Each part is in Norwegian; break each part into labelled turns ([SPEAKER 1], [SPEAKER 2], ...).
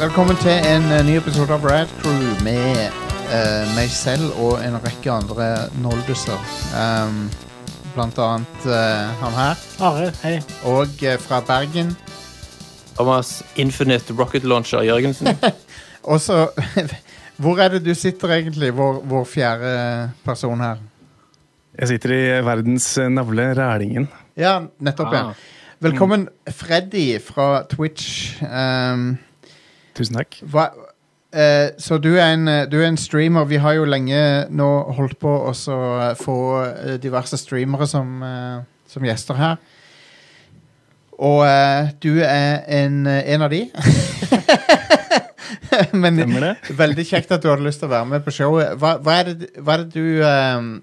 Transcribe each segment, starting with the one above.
[SPEAKER 1] Velkommen til en eh, ny episode av Rad Crew med eh, meg selv og en rekke andre nolduser. Um, blant annet eh, han her,
[SPEAKER 2] Are, hei.
[SPEAKER 1] og eh, fra Bergen.
[SPEAKER 3] Thomas Infinite Rocket Launcher Jørgensen.
[SPEAKER 1] Og så Hvor er det du sitter egentlig, vår, vår fjerde person her?
[SPEAKER 4] Jeg sitter i verdens navle, Rælingen.
[SPEAKER 1] Ja, nettopp,
[SPEAKER 3] Ah.
[SPEAKER 1] ja. Velkommen, Freddy fra Twitch. Um,
[SPEAKER 4] Tusen takk.
[SPEAKER 1] Hva, eh, så du er, en, eh, du er en streamer. Vi har jo lenge nå holdt på å så, eh, få eh, diverse streamere som, eh, som gjester her. Og eh, du er en, eh, en av de. Men
[SPEAKER 4] Stemmer det?
[SPEAKER 1] veldig kjekt at du hadde lyst til å være med på showet. Hva, hva, er, det, hva er det du eh,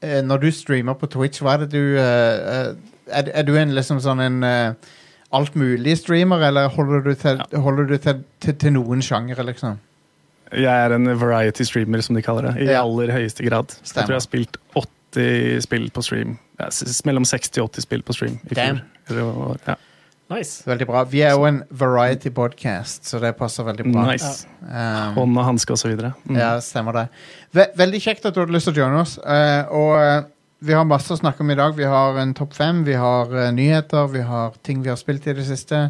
[SPEAKER 1] eh, Når du streamer på Twitch, hva er det du eh, eh, er, er du en liksom sånn en eh, alt mulig streamer, eller holder du til, holder du til, til, til noen sjangere, liksom?
[SPEAKER 4] Jeg er en variety streamer, som de kaller det. I
[SPEAKER 1] Ja.
[SPEAKER 4] aller høyeste grad.
[SPEAKER 1] Stemmer.
[SPEAKER 4] Jeg tror jeg har spilt 80 spill på stream. Ja, s- mellom 60 og 80 spill på stream i
[SPEAKER 1] Damn.
[SPEAKER 4] fjor. Det var- Ja.
[SPEAKER 2] Nice.
[SPEAKER 1] Veldig bra. Vi er jo en variety podcast, så det passer veldig bra.
[SPEAKER 4] Nice.
[SPEAKER 1] Um,
[SPEAKER 4] Hånd og hanske osv. Mm.
[SPEAKER 1] Ja, stemmer det. Ve veldig kjekt at du hadde lyst til å joine oss. eh, og eh, vi har masse å snakke om i dag. Vi har en topp fem, vi har eh, nyheter, vi har ting vi har spilt i det siste.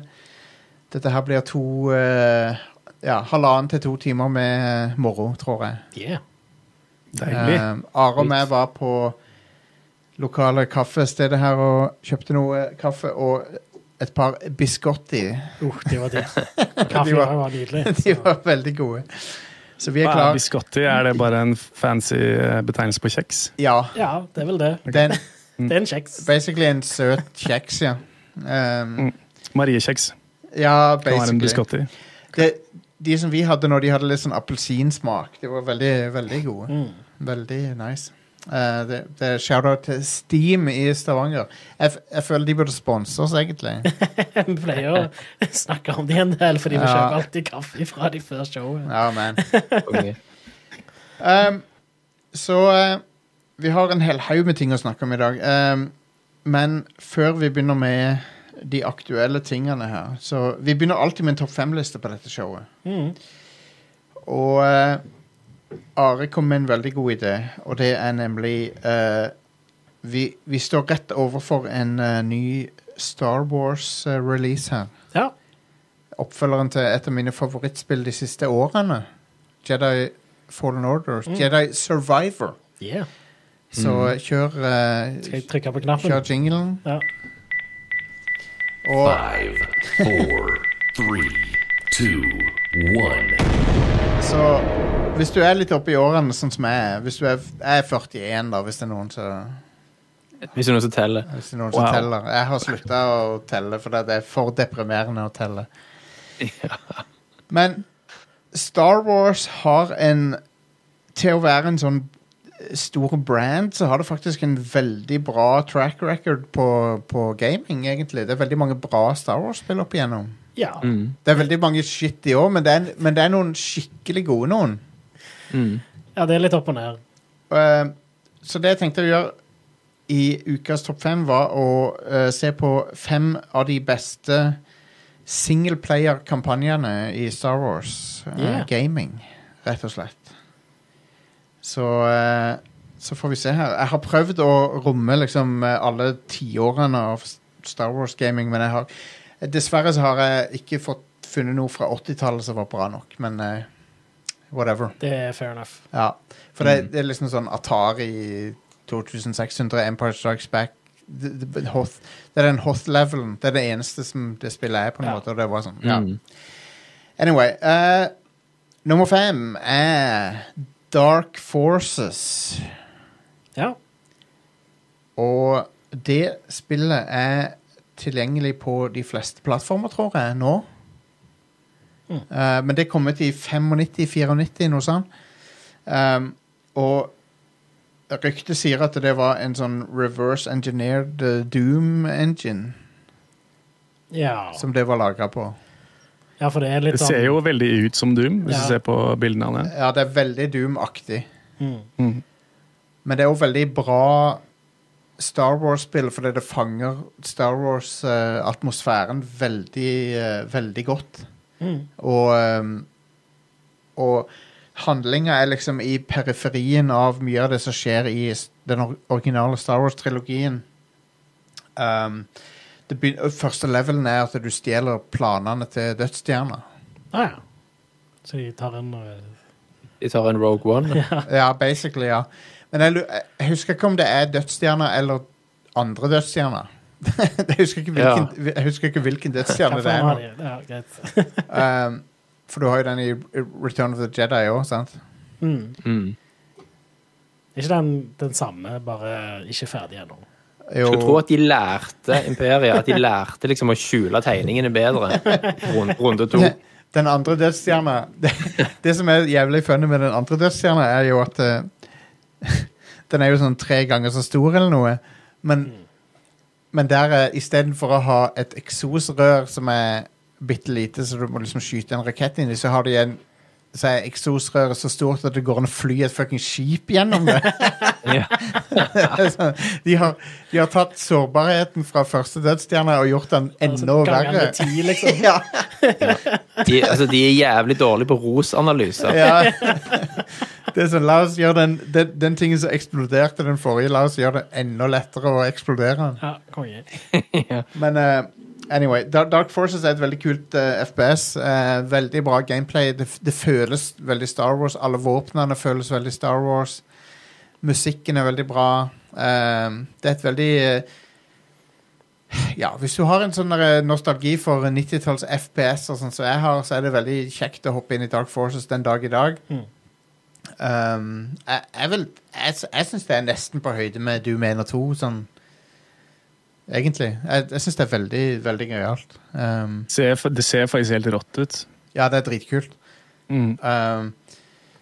[SPEAKER 1] Dette her blir to eh, Ja, halvannen til to timer med eh, moro, tror jeg.
[SPEAKER 2] Yeah.
[SPEAKER 4] Deilig.
[SPEAKER 1] Eh, Are og jeg var på lokale kaffestedet her og kjøpte noe kaffe og et par biscotti.
[SPEAKER 2] Uh, det var det. Kaffe
[SPEAKER 1] De var-
[SPEAKER 2] var, var nydelig.
[SPEAKER 1] De var veldig gode. Så vi er
[SPEAKER 4] Hva er
[SPEAKER 1] klare.
[SPEAKER 4] biscotti? Er det bare en fancy eh, betegnelse på kjeks?
[SPEAKER 1] Ja.
[SPEAKER 2] Ja, det er vel det.
[SPEAKER 1] Den,
[SPEAKER 2] Det er en kjeks.
[SPEAKER 1] basically en søt kjeks, ja. Um,
[SPEAKER 4] Mariekjeks.
[SPEAKER 1] Ja,
[SPEAKER 4] Mm. Kan være en
[SPEAKER 1] basically.
[SPEAKER 4] biscotti.
[SPEAKER 1] Det, de som vi hadde nå, de hadde litt sånn appelsinsmak. De var veldig, veldig gode.
[SPEAKER 2] Mm.
[SPEAKER 1] Veldig nice. Eh, det, det er shout-out til Steam i Stavanger. Jeg, f- jeg føler de burde sponse oss, egentlig.
[SPEAKER 2] Vi pleier å snakke om det en del, fordi vi
[SPEAKER 1] Ja.
[SPEAKER 2] kjøper alltid kaffe fra de før showet.
[SPEAKER 1] Ja, man. Um, så eh, vi har en hel haug med ting å snakke om i dag. Um, men før vi begynner med de aktuelle tingene her Så Vi begynner alltid med en topp fem-liste på dette showet.
[SPEAKER 2] Mhm.
[SPEAKER 1] Og eh, Are kom med en veldig god idé, og det er nemlig eh, vi, vi står rett overfor en eh, ny Star Wars-release her.
[SPEAKER 2] Ja.
[SPEAKER 1] Oppfølgeren til et av mine favorittspill de siste årene. Jedi Fallen Order.
[SPEAKER 2] Mm.
[SPEAKER 1] Jedi Survivor.
[SPEAKER 2] Yeah.
[SPEAKER 1] Så kjør, eh,
[SPEAKER 2] Mm. Skal jeg trykke på knappen?
[SPEAKER 1] kjør jinglen.
[SPEAKER 2] Ja.
[SPEAKER 1] Og
[SPEAKER 5] Five, four, three, two, one.
[SPEAKER 1] så hvis du er litt oppe i årene, sånn som jeg er Hvis du er, jeg er 41, da, hvis det er noen som
[SPEAKER 3] Hvis det er noen som teller.
[SPEAKER 1] Hvis det er noen som
[SPEAKER 4] Wow.
[SPEAKER 1] teller. Jeg har slutta å telle, for det er for deprimerende å telle. Men Star Wars har en Til å være en sånn stor brand, så har det faktisk en veldig bra track record på, på gaming, egentlig. Det er veldig mange bra Star Wars-spill opp igjennom.
[SPEAKER 2] ja.
[SPEAKER 1] Det er veldig mange shit i år, men det er, men det er noen skikkelig gode noen.
[SPEAKER 2] ja, det er litt opp og ned.
[SPEAKER 1] Eh, så det jeg tenkte å gjøre i ukas topp fem, var å eh, se på fem av de beste singleplayer-kampanjene i Star Wars eh,
[SPEAKER 2] Yeah.
[SPEAKER 1] gaming, rett og slett. Så eh, så får vi se her. Jeg har prøvd å romme liksom eh, alle tiårene av S- Star Wars gaming, men jeg har dessverre så har jeg ikke fått funnet noe fra 80-tallet som var bra nok, men eh, whatever.
[SPEAKER 2] Det er fair enough.
[SPEAKER 1] Ja, for det, det er liksom sånn Atari 2600, Empire Strikes Back det, det, Hoth, det er den Hoth-levelen. Det er det eneste som det spillet er, på en
[SPEAKER 2] Ja.
[SPEAKER 1] måte. Og det var sånn.
[SPEAKER 3] Ja. Mm.
[SPEAKER 1] Anyway. eh, nummer fem er Dark Forces.
[SPEAKER 2] Ja.
[SPEAKER 1] Og det spillet er tilgjengelig på de fleste plattformer, tror jeg, nå. Eh, men det er kommet i 95-94, noe sånt. Um, og ryktet sier at det var en sånn reverse engineered eh, Doom engine
[SPEAKER 2] Ja.
[SPEAKER 1] som det var laga på.
[SPEAKER 2] ja, for det er
[SPEAKER 4] Det
[SPEAKER 2] litt
[SPEAKER 4] ser
[SPEAKER 2] sånn
[SPEAKER 4] jo veldig ut som Doom, hvis
[SPEAKER 2] Ja.
[SPEAKER 4] du ser på bildene av det.
[SPEAKER 1] Ja, det er veldig Doom-aktig.
[SPEAKER 2] Mm.
[SPEAKER 4] Mm.
[SPEAKER 1] Men det er jo veldig bra Star Wars-spill, fordi det fanger Star Wars-atmosfæren eh, veldig, eh, veldig godt. Og, ehm, og handlinga er liksom i periferien av mye av det som skjer i s- den or- originale Star Wars-trilogien. Ehm, det begyn- første levelen er at du stjeler planene til dødsstjerna.
[SPEAKER 2] Ah, ja. Så de tar en eh,
[SPEAKER 3] De tar en Rogue One.
[SPEAKER 1] Ja, basically, ja. Men jeg, lu- jeg husker ikke om det er dødsstjerna eller andre dødsstjerner. jeg, husker ikke hvilken, jeg husker ikke hvilken
[SPEAKER 2] hva
[SPEAKER 1] dødsstjerne det
[SPEAKER 2] faen
[SPEAKER 1] er.
[SPEAKER 2] har
[SPEAKER 1] nå.
[SPEAKER 2] de? Ja, greit.
[SPEAKER 1] Ehm, for du har jo den i Return of the Jedi òg, sant?
[SPEAKER 2] Mm.
[SPEAKER 3] Mm.
[SPEAKER 2] Ikke den, den samme, bare ikke ferdig ennå.
[SPEAKER 3] Skulle tro at de lærte Imperiet at de lærte liksom å skjule tegningene bedre. Runde, runde to.
[SPEAKER 1] Ne- Den andre dødsstjerna det, det som er jævlig funny med den andre dødsstjerna, er jo at eh, Den er jo sånn tre ganger så stor eller noe, men, men der er istedenfor å ha et eksosrør som er bitte lite, så du må liksom skyte en rakett inn i, så har de en så er eksosrøret så stort at det går an å fly et fucking skip gjennom det.
[SPEAKER 3] Ja.
[SPEAKER 1] Så de, har, de har tatt sårbarheten fra første dødsstjerne og gjort den
[SPEAKER 2] Altså,
[SPEAKER 1] enda
[SPEAKER 2] Ganger
[SPEAKER 1] verre.
[SPEAKER 2] med ti, liksom.
[SPEAKER 1] Ja.
[SPEAKER 3] De, altså, de er jævlig dårlige på rosanalyser.
[SPEAKER 1] ja. Det er sånn, la oss gjøre den, den, den tingen som eksploderte den forrige, la oss gjøre det enda lettere å eksplodere den.
[SPEAKER 2] Ja, konge.
[SPEAKER 1] Men eh, anyway, Da- Dark Forces er et veldig kult eh, FPS. eh, veldig bra gameplay. Det, f- det føles veldig Star Wars. Alle våpnene føles veldig Star Wars. Musikken er veldig bra. Eh, det er et veldig eh, ja, Hvis du har en sånn der, eh, nostalgi for 90-talls FPS, og sånn som jeg har, så er det veldig kjekt å hoppe inn i Dark Forces den dag i dag.
[SPEAKER 2] Mm.
[SPEAKER 1] Um, jeg jeg, vil- jeg, s- jeg syns det er nesten på høyde med Du mener to, sånn Egentlig. Jeg, jeg syns det er veldig, veldig gøyalt. Um,
[SPEAKER 4] Ser, fa- det ser faktisk helt rått ut.
[SPEAKER 1] ja, det er dritkult.
[SPEAKER 4] Mm.
[SPEAKER 1] Um,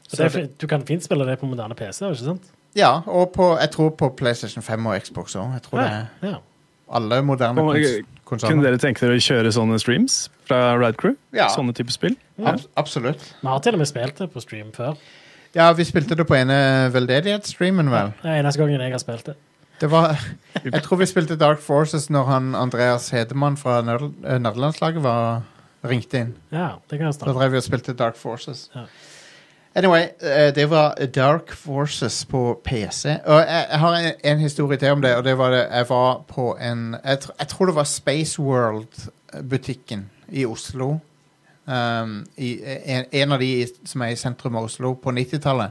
[SPEAKER 2] Så det, er fi- du kan fint spille det på moderne PC, ikke sant?
[SPEAKER 1] ja, og på, jeg tror på PlayStation 5 og Xbox òg. Jeg tror det er
[SPEAKER 2] Ja.
[SPEAKER 1] alle moderne
[SPEAKER 4] Kom,
[SPEAKER 1] kons
[SPEAKER 4] jeg- Kunne
[SPEAKER 1] konsoller.
[SPEAKER 4] dere tenke dere å kjøre sånne streams fra Rad Crew?
[SPEAKER 1] Ja. Eh.
[SPEAKER 4] Sånne type spill?
[SPEAKER 1] Abs absolutt.
[SPEAKER 2] Vi har til og med spilt det på stream før.
[SPEAKER 1] Ja, vi spilte det på ene veldedighetsstreamen, vel.
[SPEAKER 2] Det er eneste gangen jeg har spilt det.
[SPEAKER 1] Det var, jeg tror vi spilte Dark Forces når han Andreas Hedemann fra Nerd- eh, Nerdelandslaget var ringte inn.
[SPEAKER 2] Ja, det kan jeg
[SPEAKER 1] Da
[SPEAKER 2] snakke om.
[SPEAKER 1] drev vi og spilte Dark Forces.
[SPEAKER 2] Ja.
[SPEAKER 1] Anyway, eh, det var Dark Forces på PC. Og jeg, jeg har en, en historie til om det, og det var det jeg var på en Jeg, tr jeg tror det var Space World-butikken i Oslo. Um, i, en, en av de i- som er i sentrum av Oslo på 90-tallet.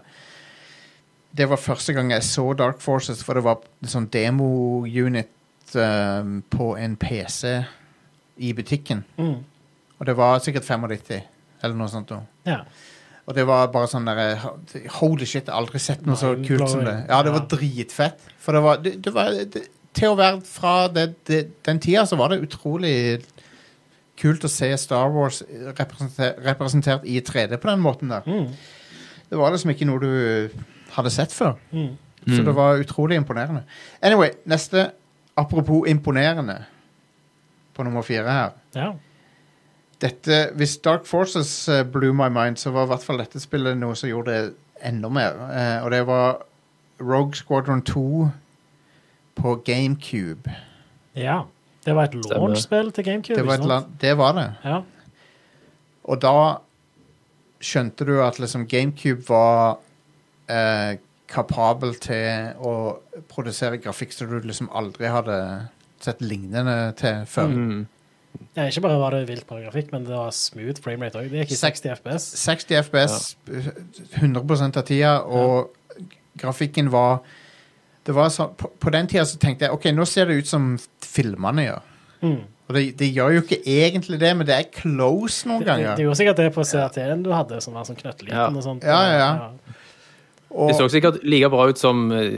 [SPEAKER 1] Det var første gang jeg så Dark Forces, for det var en sånn demo-unit um, på en PC i butikken.
[SPEAKER 2] Mm.
[SPEAKER 1] Og det var sikkert 95, eller noe sånt. Også.
[SPEAKER 2] Ja.
[SPEAKER 1] Og det var bare sånn der Holy shit, jeg har aldri sett noe så
[SPEAKER 2] Mind-blowing.
[SPEAKER 1] kult som det. Ja, det var
[SPEAKER 2] Ja.
[SPEAKER 1] dritfett. For det var, det, det var det, Til å være fra det, det, den tida, så var det utrolig kult å se Star Wars representert, representert i 3D på den måten der.
[SPEAKER 2] Mm.
[SPEAKER 1] Det var liksom ikke noe du hadde sett før.
[SPEAKER 2] Mm.
[SPEAKER 1] Så det var utrolig imponerende. Anyway, neste. Apropos imponerende på nummer fire her.
[SPEAKER 2] Ja.
[SPEAKER 1] Dette, hvis Dark Forces eh, blew my mind, så var i hvert fall dette spillet noe som gjorde det enda mer. Eh, og det var Rogue Squadron 2 på GameCube.
[SPEAKER 2] ja. Det var et launch-spill til GameCube.
[SPEAKER 1] Det var, et
[SPEAKER 2] ikke sant?
[SPEAKER 1] land, det var det.
[SPEAKER 2] Ja.
[SPEAKER 1] Og da skjønte du at liksom GameCube var eh, kapabel til å produsere grafikk som du liksom aldri hadde sett lignende til før.
[SPEAKER 3] Mm.
[SPEAKER 2] ja. Ikke bare var det vilt bra grafikk, men det var smooth framerate òg. Det gikk i 60 FPS.
[SPEAKER 1] 60 FPS 100 av tida, og grafikken var det var så, på, på den tida så tenkte jeg OK, nå ser det ut som filmene gjør.
[SPEAKER 2] Mm.
[SPEAKER 1] Og det, det gjør jo ikke egentlig det, men det er close noen
[SPEAKER 2] Det, det,
[SPEAKER 1] ganger.
[SPEAKER 2] det gjorde sikkert det på CRT-en du hadde, som var sånn knøttliten
[SPEAKER 3] Ja.
[SPEAKER 2] og sånt.
[SPEAKER 1] Ja, ja, ja.
[SPEAKER 3] Det så
[SPEAKER 1] Og,
[SPEAKER 3] sikkert like bra ut som eh,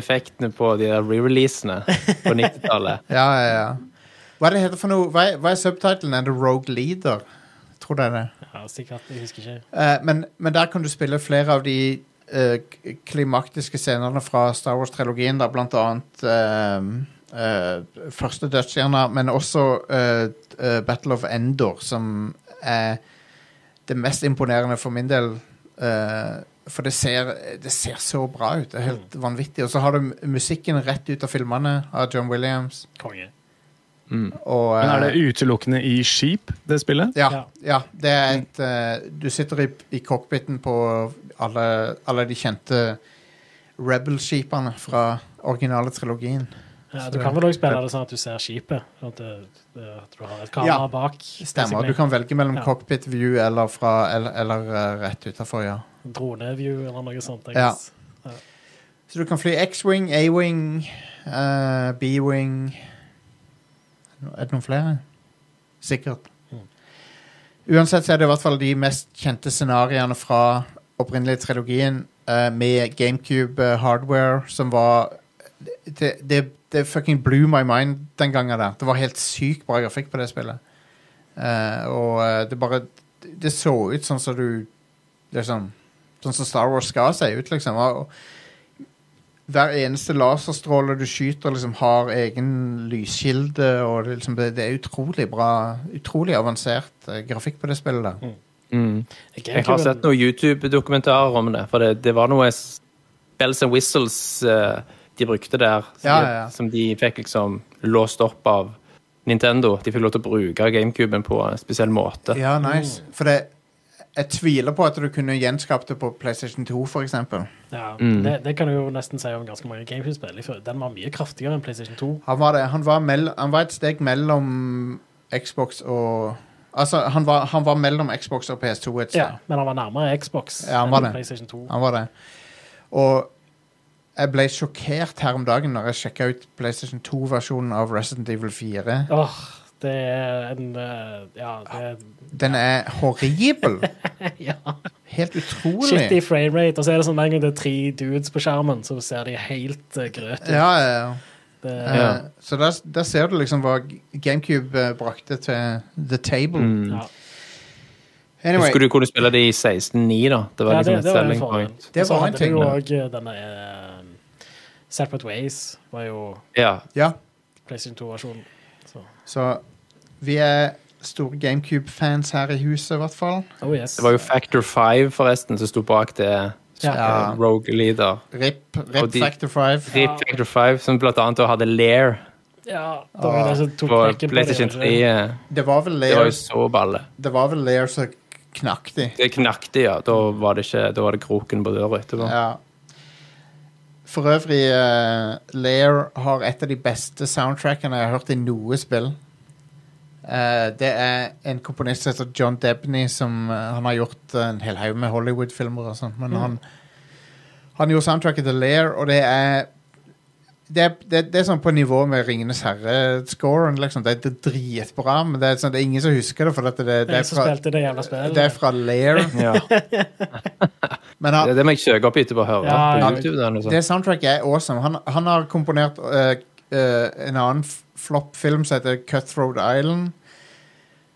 [SPEAKER 3] effektene på de der re-releasene på 90-tallet.
[SPEAKER 1] ja, ja, ja. Hva er det heter for noe? Hva er, hva er subtitlen? Er det Rogue Leader? Tror det er det.
[SPEAKER 2] ja. ja sikkert. Jeg husker ikke.
[SPEAKER 1] Eh, men, men der kan du spille flere av de eh, k- klimaktiske scenene fra Star Wars-trilogien, da, blant annet eh, eh, første dødsstjerne, men også eh, eh, Battle of Endor, som er det mest imponerende for min del. eh, for det ser, det ser så bra ut. Det er
[SPEAKER 4] Mm.
[SPEAKER 1] helt vanvittig. Og så har du musikken rett ut av filmene av John Williams.
[SPEAKER 2] Konge.
[SPEAKER 1] Og,
[SPEAKER 4] Men er
[SPEAKER 1] eh,
[SPEAKER 4] det utelukkende i skip, det spillet?
[SPEAKER 1] Ja,
[SPEAKER 2] Ja.
[SPEAKER 1] ja. Det er et eh, Du sitter i, i cockpiten på alle, alle de kjente Rebel-skipene fra originale trilogien.
[SPEAKER 2] Ja, du kan vel også spille det sånn at du ser skipet. sånn At, det, det, at du har et kamera
[SPEAKER 1] Ja,
[SPEAKER 2] bak.
[SPEAKER 1] Stemmer. Du kan velge mellom
[SPEAKER 2] Ja.
[SPEAKER 1] cockpit view eller, fra, eller, eller eh, rett utafor, ja.
[SPEAKER 2] Droneview eller noe sånt. jeg
[SPEAKER 1] Ja.
[SPEAKER 2] guess.
[SPEAKER 1] Så du kan fly X-wing, A-wing, eh, B-wing Er det noen flere? Sikkert.
[SPEAKER 2] Mm.
[SPEAKER 1] Uansett så er det i hvert fall de mest kjente scenarioene fra opprinnelige trilogien eh, med GameCube-hardware som var det, det, det fucking blew my mind den gangen der. Det var helt sykt bra grafikk på det spillet. Eh, og eh, det bare Det så ut sånn som du liksom, Sånn som Star Wars skal se ut, liksom. Og, hver eneste laserstråle du skyter, liksom har egen lyskilde. og det, liksom, det, det er utrolig bra, utrolig avansert eh, grafikk på det spillet. der.
[SPEAKER 3] Mm. Jeg har
[SPEAKER 2] GameCube-
[SPEAKER 3] sett noen YouTube-dokumentarer om det, for det, det var noe s- bells and whistles eh, de brukte der, som,
[SPEAKER 1] Ja, ja, ja.
[SPEAKER 3] som de fikk liksom låst opp av Nintendo. De fikk lov til å bruke GameCuben på en spesiell måte.
[SPEAKER 1] Ja, nice. Mm. For det, jeg tviler på at du kunne gjenskapt det på PlayStation 2, for eksempel.
[SPEAKER 2] Ja,
[SPEAKER 3] Mm.
[SPEAKER 2] det, det kan du jo nesten si om ganske mange GameCube-spill. Jeg føler Den var mye kraftigere enn PlayStation 2.
[SPEAKER 1] Han var, det. Han var, mell han var et steg mellom Xbox og Altså, han var, han var mellom Xbox og PS2 et sted.
[SPEAKER 2] Ja, men han var nærmere Xbox
[SPEAKER 1] Ja, han var
[SPEAKER 2] enn
[SPEAKER 1] det.
[SPEAKER 2] PlayStation 2.
[SPEAKER 1] Han var det. Og jeg ble sjokkert her om dagen når jeg sjekka ut PlayStation 2-versjonen av Resident Evil 4.
[SPEAKER 2] Åh, det er en eh, Ja, det er
[SPEAKER 1] Den er horribel.
[SPEAKER 2] ja.
[SPEAKER 1] Helt
[SPEAKER 2] shitty
[SPEAKER 1] utrolig.
[SPEAKER 2] framerate. Og så er det sånn en gang det er tre dudes på skjermen, så ser de helt eh, grøt ut.
[SPEAKER 1] Ja, ja, ja.
[SPEAKER 2] Det,
[SPEAKER 1] Eh,
[SPEAKER 3] Ja.
[SPEAKER 1] Så der, der ser du liksom hva G- GameCube eh, brakte til the table.
[SPEAKER 3] Mm.
[SPEAKER 2] ja.
[SPEAKER 1] Anyway,
[SPEAKER 3] Husker du hvor du spille det i 16.9, da? Det var
[SPEAKER 2] Ja, det-
[SPEAKER 3] liksom
[SPEAKER 2] det
[SPEAKER 3] et
[SPEAKER 2] var en
[SPEAKER 3] selling
[SPEAKER 2] fordel.
[SPEAKER 3] point.
[SPEAKER 1] Det
[SPEAKER 2] Og så
[SPEAKER 1] var en
[SPEAKER 2] hadde vi
[SPEAKER 1] ting,
[SPEAKER 2] jo
[SPEAKER 3] ja.
[SPEAKER 2] òg denne eh, Separate Ways, var jo
[SPEAKER 3] Ja.
[SPEAKER 1] Ja,
[SPEAKER 2] PlayStation 2-versjonen. Så
[SPEAKER 1] så vi er store GameCube-fans her i huset, i hvert fall.
[SPEAKER 2] oh yes.
[SPEAKER 3] Det var jo Factor 5, forresten, som sto bak det.
[SPEAKER 1] Ja.
[SPEAKER 3] eh, Rogue Leader.
[SPEAKER 1] RIP,
[SPEAKER 3] Og
[SPEAKER 1] Rip
[SPEAKER 3] de-
[SPEAKER 1] Factor 5.
[SPEAKER 3] Rip Factor 5, som blant annet da hadde Lair
[SPEAKER 2] Ja, det var jo det som tok
[SPEAKER 3] på
[SPEAKER 2] knekken på det.
[SPEAKER 3] PlayStation 3.
[SPEAKER 2] ikke?
[SPEAKER 3] eh,
[SPEAKER 1] Det var vel
[SPEAKER 3] Det var
[SPEAKER 1] Lair,
[SPEAKER 3] jo så balle.
[SPEAKER 1] det var vel Lair som knakk de.
[SPEAKER 3] Det knakte, ja. Da var det, ikke, da var det kroken på døra etterpå.
[SPEAKER 1] Ja. For øvrig, eh, Lair har et av de beste soundtrackene jeg har hørt i noe spill. Eh, det er en komponist som heter John Debney, som eh, han har gjort eh, en hel haug med Hollywood-filmer og sånt, men
[SPEAKER 2] Mm.
[SPEAKER 1] han, han gjorde soundtracket til Lair, og det er det, er- det, det er sånn på nivå med Ringenes herre-scoren. Liksom. Det, det er dritbra, men det er, sånn, det er ingen som husker det. For dette, det, det,
[SPEAKER 2] Jeg
[SPEAKER 1] er
[SPEAKER 2] som
[SPEAKER 1] fra,
[SPEAKER 2] spilte det jævla spillet.
[SPEAKER 1] det er fra Lair. Men han,
[SPEAKER 3] Det, det må jeg søke opp etterpå og høre
[SPEAKER 2] Ja, ja.
[SPEAKER 3] på YouTube. eller noe sånt.
[SPEAKER 1] Det soundtracket er awesome. Han, han har komponert eh, eh, en annen f- flopp film som heter Cutthroat Island.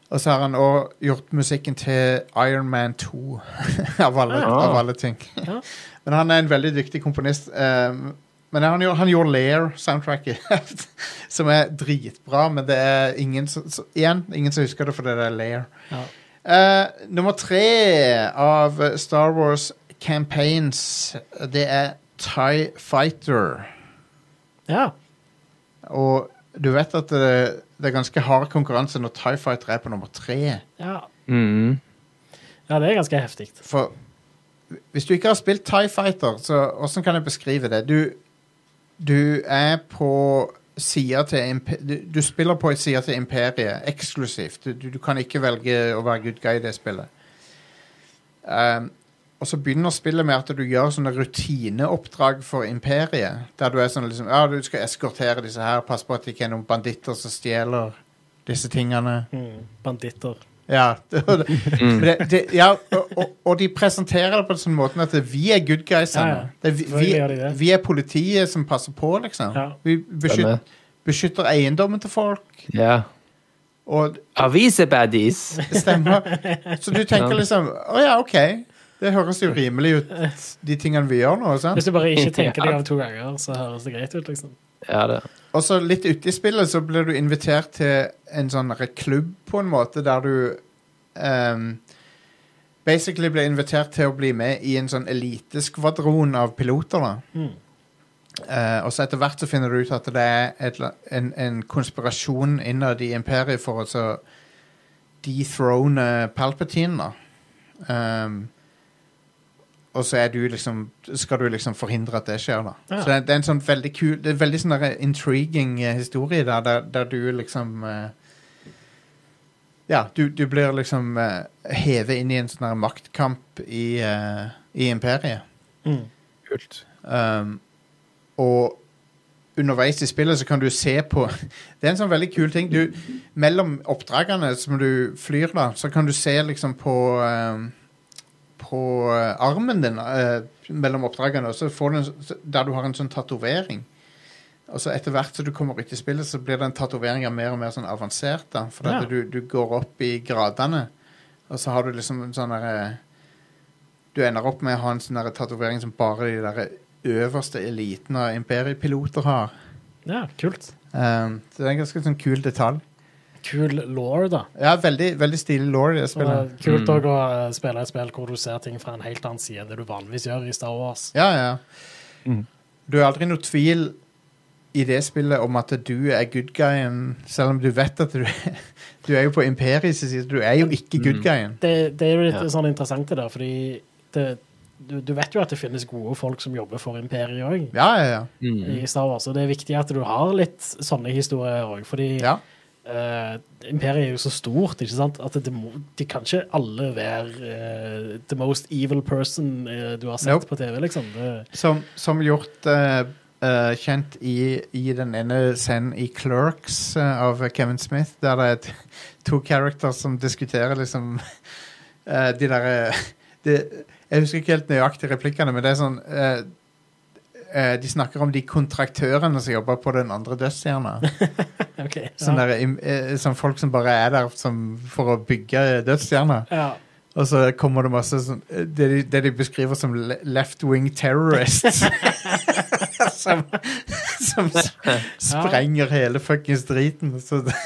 [SPEAKER 1] Og så har han òg gjort musikken til Iron Man 2, av, alle,
[SPEAKER 3] Ah.
[SPEAKER 1] av alle ting.
[SPEAKER 2] Ja.
[SPEAKER 1] Men han er en veldig dyktig komponist. eh, men han, gjorde- han gjorde Lair-soundtracket, som er dritbra, men det er ingen som som- Igjen, ingen som husker det fordi det er Lair.
[SPEAKER 2] Ja.
[SPEAKER 1] Eh, nummer tre av eh, Star Wars campaigns, det er Tie Fighter.
[SPEAKER 2] Ja.
[SPEAKER 1] Og du vet at det, det er ganske hard konkurranse når Tie Fighter er på nummer tre.
[SPEAKER 2] Ja.
[SPEAKER 3] Mhm.
[SPEAKER 2] ja, det er ganske heftig.
[SPEAKER 1] For hvis du ikke har spilt Tie Fighter, så åssen kan jeg beskrive det? Du, du er på sida til imp- du, du spiller på sida til Imperiet eksklusivt. Du, du, du kan ikke velge å være good guy i det spillet. Ehm, og så begynner spillet med at du gjør sånne rutineoppdrag for Imperiet. Der du er sånn liksom Ja, du skal eskortere disse her, pass på at det ikke er noen banditter som stjeler disse tingene.
[SPEAKER 2] Mm. Banditter.
[SPEAKER 1] Ja, Men det, det, ja og, og, og de presenterer det på en sånn måte at vi er good guys.
[SPEAKER 2] Ja, ja.
[SPEAKER 1] Anne. Det er vi,
[SPEAKER 2] Selvfølgelig gjør de
[SPEAKER 1] vi,
[SPEAKER 2] det.
[SPEAKER 1] vi er politiet som passer på, liksom.
[SPEAKER 2] Ja.
[SPEAKER 1] Vi beskytter,
[SPEAKER 3] Stemmer.
[SPEAKER 1] beskytter eiendommen til folk.
[SPEAKER 3] eh, Ja.
[SPEAKER 1] Og
[SPEAKER 3] Avisebaddies!
[SPEAKER 1] det stemmer. Så du tenker
[SPEAKER 3] Ja.
[SPEAKER 1] liksom Å ja, OK. Det høres jo rimelig ut, de tingene vi gjør nå. sant?
[SPEAKER 2] Hvis du bare ikke tenker deg av to ganger, så høres det greit ut, liksom.
[SPEAKER 3] Ja, det.
[SPEAKER 1] Og så litt ute i spillet så blir du invitert til en sånn re- klubb på en måte, der du ehm, basically blir invitert til å bli med i en sånn eliteskvadron av piloter. da.
[SPEAKER 2] Mm.
[SPEAKER 1] Eh, og så etter hvert så finner du ut at det er et, la- en, en konspirasjon innad i imperiet for å så dethrone Palpatine, da. Ehm, og så er du liksom skal du liksom forhindre at det skjer, da.
[SPEAKER 2] Ja.
[SPEAKER 1] Så det, er- det er en sånn veldig kul Det er en veldig sånn der intriguing eh, historie der, der, der du liksom eh, Ja, du, du blir liksom eh, hevet inn i en sånn der maktkamp i, eh, i imperiet.
[SPEAKER 2] Mm.
[SPEAKER 3] Kult.
[SPEAKER 1] Um, og underveis i spillet så kan du se på Det er en sånn veldig kul ting. Du, mellom oppdragene som du flyr, da, så kan du se liksom på um, På eh, armen din eh, mellom oppdragene, og så får du en, s- der du har en sånn tatovering. Og så etter hvert som du kommer ut i spillet, så blir den tatoveringa mer og mer sånn avansert. da, For
[SPEAKER 2] Ja.
[SPEAKER 1] at du, du går opp i gradene, og så har du liksom en sånn derre du ender opp med å ha en sånn der tatovering som bare de der øverste eliten av imperiepiloter har.
[SPEAKER 2] Ja, kult.
[SPEAKER 1] Um, så det er en ganske sånn kul detalj.
[SPEAKER 2] Kul law, da.
[SPEAKER 1] Ja, veldig, veldig stilig law i det
[SPEAKER 2] Så det er
[SPEAKER 1] spillet.
[SPEAKER 3] Mm.
[SPEAKER 2] kult òg å eh, spille et spill hvor du ser ting fra en helt annen side enn det du vanligvis gjør i Star Wars.
[SPEAKER 1] Ja, ja.
[SPEAKER 4] Mm.
[SPEAKER 1] Du er aldri noe tvil i det spillet om at du er good guyen, selv om du vet at du Du er jo på imperiets side, du er jo ikke good guyen.
[SPEAKER 2] Det, det er jo litt
[SPEAKER 3] Ja.
[SPEAKER 2] sånn interessant det der, fordi det, du, du vet jo at det finnes gode folk som jobber for imperiet òg.
[SPEAKER 1] Ja, ja, ja.
[SPEAKER 3] Mm.
[SPEAKER 2] I Star Wars, og Det er viktig at du har litt sånne historier òg. Fordi
[SPEAKER 1] ja.
[SPEAKER 2] eh, imperiet er jo så stort ikke sant? at det må, de kan ikke alle være eh, the most evil person eh, du har sett
[SPEAKER 1] Nope.
[SPEAKER 2] på TV. liksom. Det,
[SPEAKER 1] Som, som gjort eh, eh, kjent i, i den ene scenen i Clerks eh, av Kevin Smith, der det er t- to characters som diskuterer liksom eh, de derre Jeg husker ikke helt nøyaktig replikkene, men det er sånn eh, eh, De snakker om de kontraktørene som jobber på den andre dødsstjerna.
[SPEAKER 2] ok,
[SPEAKER 1] Sånn
[SPEAKER 2] ja.
[SPEAKER 1] der, im- eh, sånn folk som bare er der som, for å bygge dødsstjerner.
[SPEAKER 2] Ja.
[SPEAKER 1] Og så kommer det masse sånn Det de, det de beskriver som le- left-wing terrorists. som som s- sprenger hele fuckings driten. Så det,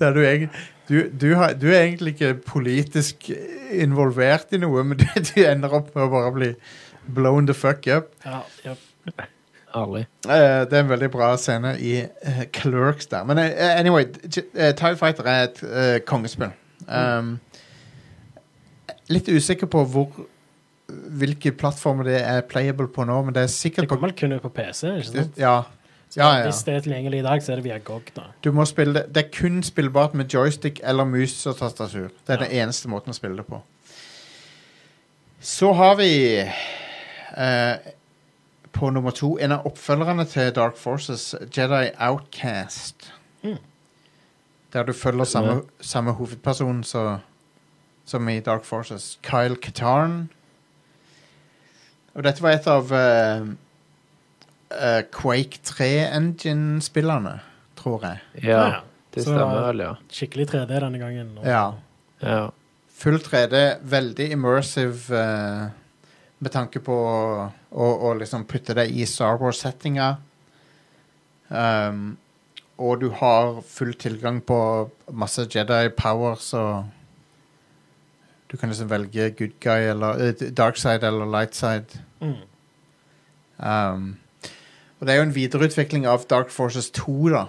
[SPEAKER 1] der du, egent- du, du, har, du er egentlig ikke politisk involvert i noe, men du, du ender opp med å bare bli blown the fuck up.
[SPEAKER 2] Ja, ja.
[SPEAKER 3] Herlig.
[SPEAKER 1] Eh, det er en veldig bra scene i eh, Clerks der. Men eh, anyway, t- eh, TIE Fighter er et eh, kongespill.
[SPEAKER 2] Mm.
[SPEAKER 1] Um, Litt usikker på hvor hvilke plattformer det er playable på nå, men det er
[SPEAKER 2] Det
[SPEAKER 1] sikkert på
[SPEAKER 2] kommer vel kun ut på PC. ikke sant?
[SPEAKER 1] ja,
[SPEAKER 2] Så
[SPEAKER 1] ja, ja.
[SPEAKER 2] Hvis det er tilgjengelig i dag, så er det via GOG. da.
[SPEAKER 1] Du må spille det. det er kun spillbart med joystick eller mus og tastatur. Det er den eneste måten å spille det på. Så har vi eh, på nummer to en av oppfølgerne til Dark Forces, Jedi Outcast.
[SPEAKER 2] Mm.
[SPEAKER 1] Der du følger samme, samme hovedperson så, som i Dark Forces, Kyle Katarn. Og dette var et av eh, eh, Quake 3-engine-spillerne, tror jeg.
[SPEAKER 3] Ja, det
[SPEAKER 2] Så-
[SPEAKER 3] stemmer vel, ja.
[SPEAKER 2] Skikkelig 3D denne gangen. og-
[SPEAKER 1] Ja.
[SPEAKER 3] ja.
[SPEAKER 1] Full 3D, veldig immersive eh, med tanke på å, å, å liksom putte det i Star Wars-settinga. Um, og du har full tilgang på masse Jedi powers og Du kan liksom velge good guy eller eh, dark side eller light side.
[SPEAKER 2] Mm.
[SPEAKER 1] Um, og det er jo en videreutvikling av Dark Forces 2, da.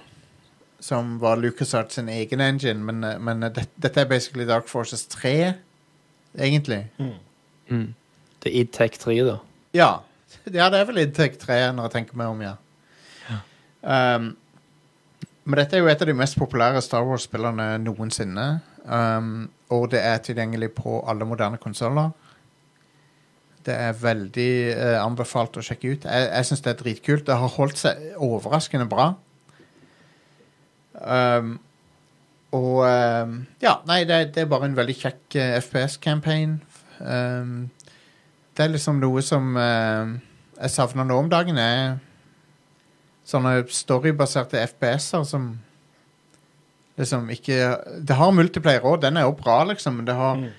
[SPEAKER 1] Som var LucasArts sin egen engine, men, eh, men eh, det, dette er basically Dark Forces 3, egentlig.
[SPEAKER 2] Mm.
[SPEAKER 3] Mm. Det er id Tech 3, da.
[SPEAKER 1] Ja. ja, det er vel Intech 3 når jeg tenker meg om, ja. Um, men dette er jo et av de mest populære Star Wars-spillerne noensinne. Um, og det er tilgjengelig på alle moderne konsoller. Det er veldig eh, anbefalt å sjekke ut. Jeg, jeg syns det er dritkult. Det har holdt seg overraskende bra. Um, og um, Ja, nei, det, det er bare en veldig kjekk eh, FPS-campaign. Um, det er liksom noe som eh, jeg savner nå om dagen, er sånne storybaserte FPS-er som liksom ikke Det har multiplayer òg, den er jo bra, liksom, men det har
[SPEAKER 2] Mm.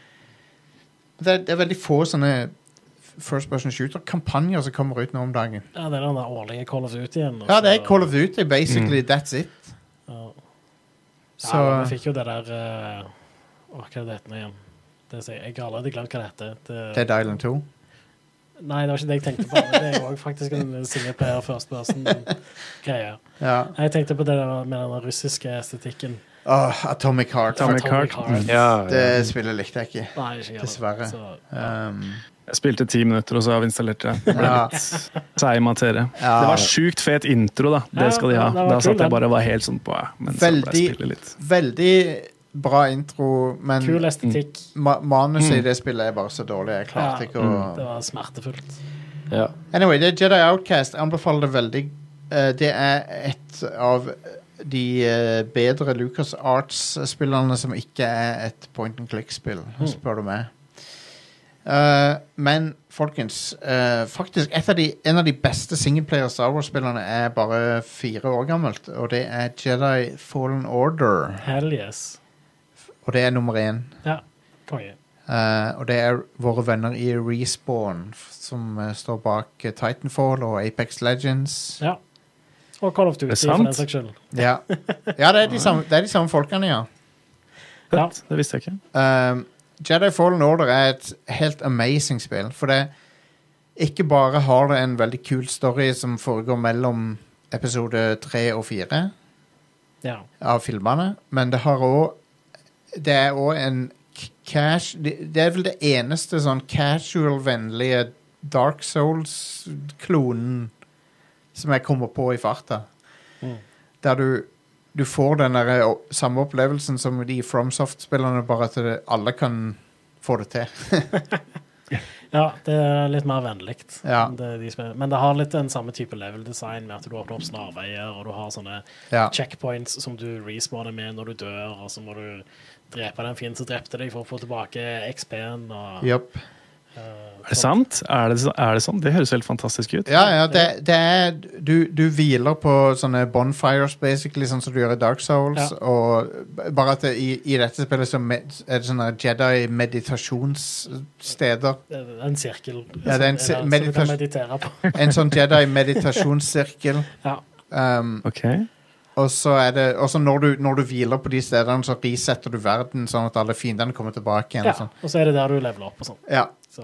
[SPEAKER 1] det, er- det er veldig få sånne First Person Shooter-kampanjer som kommer ut nå om dagen.
[SPEAKER 2] Ja, det er den der årlige Call of Duty igjen. og
[SPEAKER 1] Ja, det
[SPEAKER 2] så-
[SPEAKER 1] er Call of Duty,
[SPEAKER 4] Mm.
[SPEAKER 1] basically. That's it.
[SPEAKER 2] Ja.
[SPEAKER 1] Så
[SPEAKER 2] Ja, vi fikk jo det der eh, Åh, hva er det det heter nå igjen? Det sier, jeg har allerede glemt hva det heter. Det,
[SPEAKER 1] Dead Island 2.
[SPEAKER 2] Nei, det var ikke det jeg tenkte på. men Det er jo også faktisk en singleplayer first person-greie.
[SPEAKER 1] Ja.
[SPEAKER 2] Jeg tenkte på det der med den russiske estetikken.
[SPEAKER 1] Åh, Atomic Heart.
[SPEAKER 4] Atomic- Heart.
[SPEAKER 3] Ja, ja.
[SPEAKER 1] Det spillet likte jeg ikke.
[SPEAKER 2] Nei, ikke jeg.
[SPEAKER 1] Dessverre.
[SPEAKER 2] Så,
[SPEAKER 1] Um,
[SPEAKER 4] Jeg spilte ti minutter, og så har vi installert det. Det ble
[SPEAKER 1] Ja.
[SPEAKER 4] litt seig materie.
[SPEAKER 1] Ja.
[SPEAKER 4] Det var sjukt fet intro, da. Det
[SPEAKER 2] Ja,
[SPEAKER 4] skal de ha.
[SPEAKER 2] det var
[SPEAKER 4] Da
[SPEAKER 2] kul,
[SPEAKER 4] satt
[SPEAKER 2] den.
[SPEAKER 4] jeg bare og var helt sånn på ja, Men så ble
[SPEAKER 1] Veldig-
[SPEAKER 4] spillet litt
[SPEAKER 1] veldig bra intro, men
[SPEAKER 2] kul estetikk.
[SPEAKER 1] ma manuset i det spillet er bare så dårlig. Jeg klarte
[SPEAKER 2] Ja.
[SPEAKER 1] ikke å
[SPEAKER 2] Det var smertefullt.
[SPEAKER 3] ja.
[SPEAKER 1] Anyway, det er Jedi Outcast. Jeg anbefaler det veldig. Eh, det er et av de eh, bedre Lucas Arts-spillerne som ikke er et point and click-spill, spør du meg. Eh, men folkens, eh, faktisk et av de, en av de beste singleplayer Star Wars-spillerne er bare fire år gammelt, og det er Jedi Fallen Order.
[SPEAKER 2] Hell yes.
[SPEAKER 1] Og det er nummer én.
[SPEAKER 2] Ja, konge.
[SPEAKER 1] Eh, og det er våre venner i Respawn, f- som eh, står bak eh, Titanfall og Apex Legends.
[SPEAKER 2] Ja. Og Call of Duty,
[SPEAKER 4] Det er
[SPEAKER 2] for
[SPEAKER 4] sant.
[SPEAKER 2] den saks skyld.
[SPEAKER 1] Ja, ja det, er de samme, det er de samme folkene, ja.
[SPEAKER 2] Ja.
[SPEAKER 4] fett. Det visste jeg ikke.
[SPEAKER 1] Um, Jedi Fallen Order er et helt amazing spill. For det ikke bare har det en veldig kul story som foregår mellom episode tre og fire
[SPEAKER 2] Ja.
[SPEAKER 1] av filmene, men det har òg Det er òg en k- cash Det det er vel det eneste sånn casual-vennlige Dark Souls-klonen som jeg kommer på i farta.
[SPEAKER 2] Mm.
[SPEAKER 1] Der du du får den der eh, o- samme opplevelsen som de FromSoft-spillerne, bare at det, alle kan få det til.
[SPEAKER 2] ja, det er litt mer vennlig.
[SPEAKER 1] Ja.
[SPEAKER 2] Det de spiller. Men det har litt den samme type level design, med at du åpner opp snarveier, og du har sånne
[SPEAKER 1] Ja.
[SPEAKER 2] checkpoints som du respawner med når du dør, og så må du drepe den fienden som drepte deg, for å få tilbake XP-en. Og,
[SPEAKER 1] Yep.
[SPEAKER 2] eh,
[SPEAKER 4] Er det sant? Er det, er det sånn? Det høres helt fantastisk ut.
[SPEAKER 1] Ja, ja, det, det er du, du hviler på sånne bonfires, basically, sånn som du gjør i Dark Souls.
[SPEAKER 2] Ja.
[SPEAKER 1] Og b- bare at det, i, i dette spillet så med, er det sånne Jedi-meditasjonssteder.
[SPEAKER 2] eh, En sirkel
[SPEAKER 1] Ja, det er en
[SPEAKER 2] som-
[SPEAKER 1] sir-
[SPEAKER 2] som du kan meditere på.
[SPEAKER 1] En sånn Jedi-meditasjonssirkel.
[SPEAKER 2] Ja.
[SPEAKER 1] Um,
[SPEAKER 4] Ok.
[SPEAKER 1] og så er det Og så når du, når du hviler på de stedene, så resetter du verden, sånn at alle fiendene kommer tilbake igjen.
[SPEAKER 2] ja.
[SPEAKER 1] og sånn.
[SPEAKER 2] Og så er det der du leveler opp og sånn.
[SPEAKER 1] Ja,
[SPEAKER 2] Så,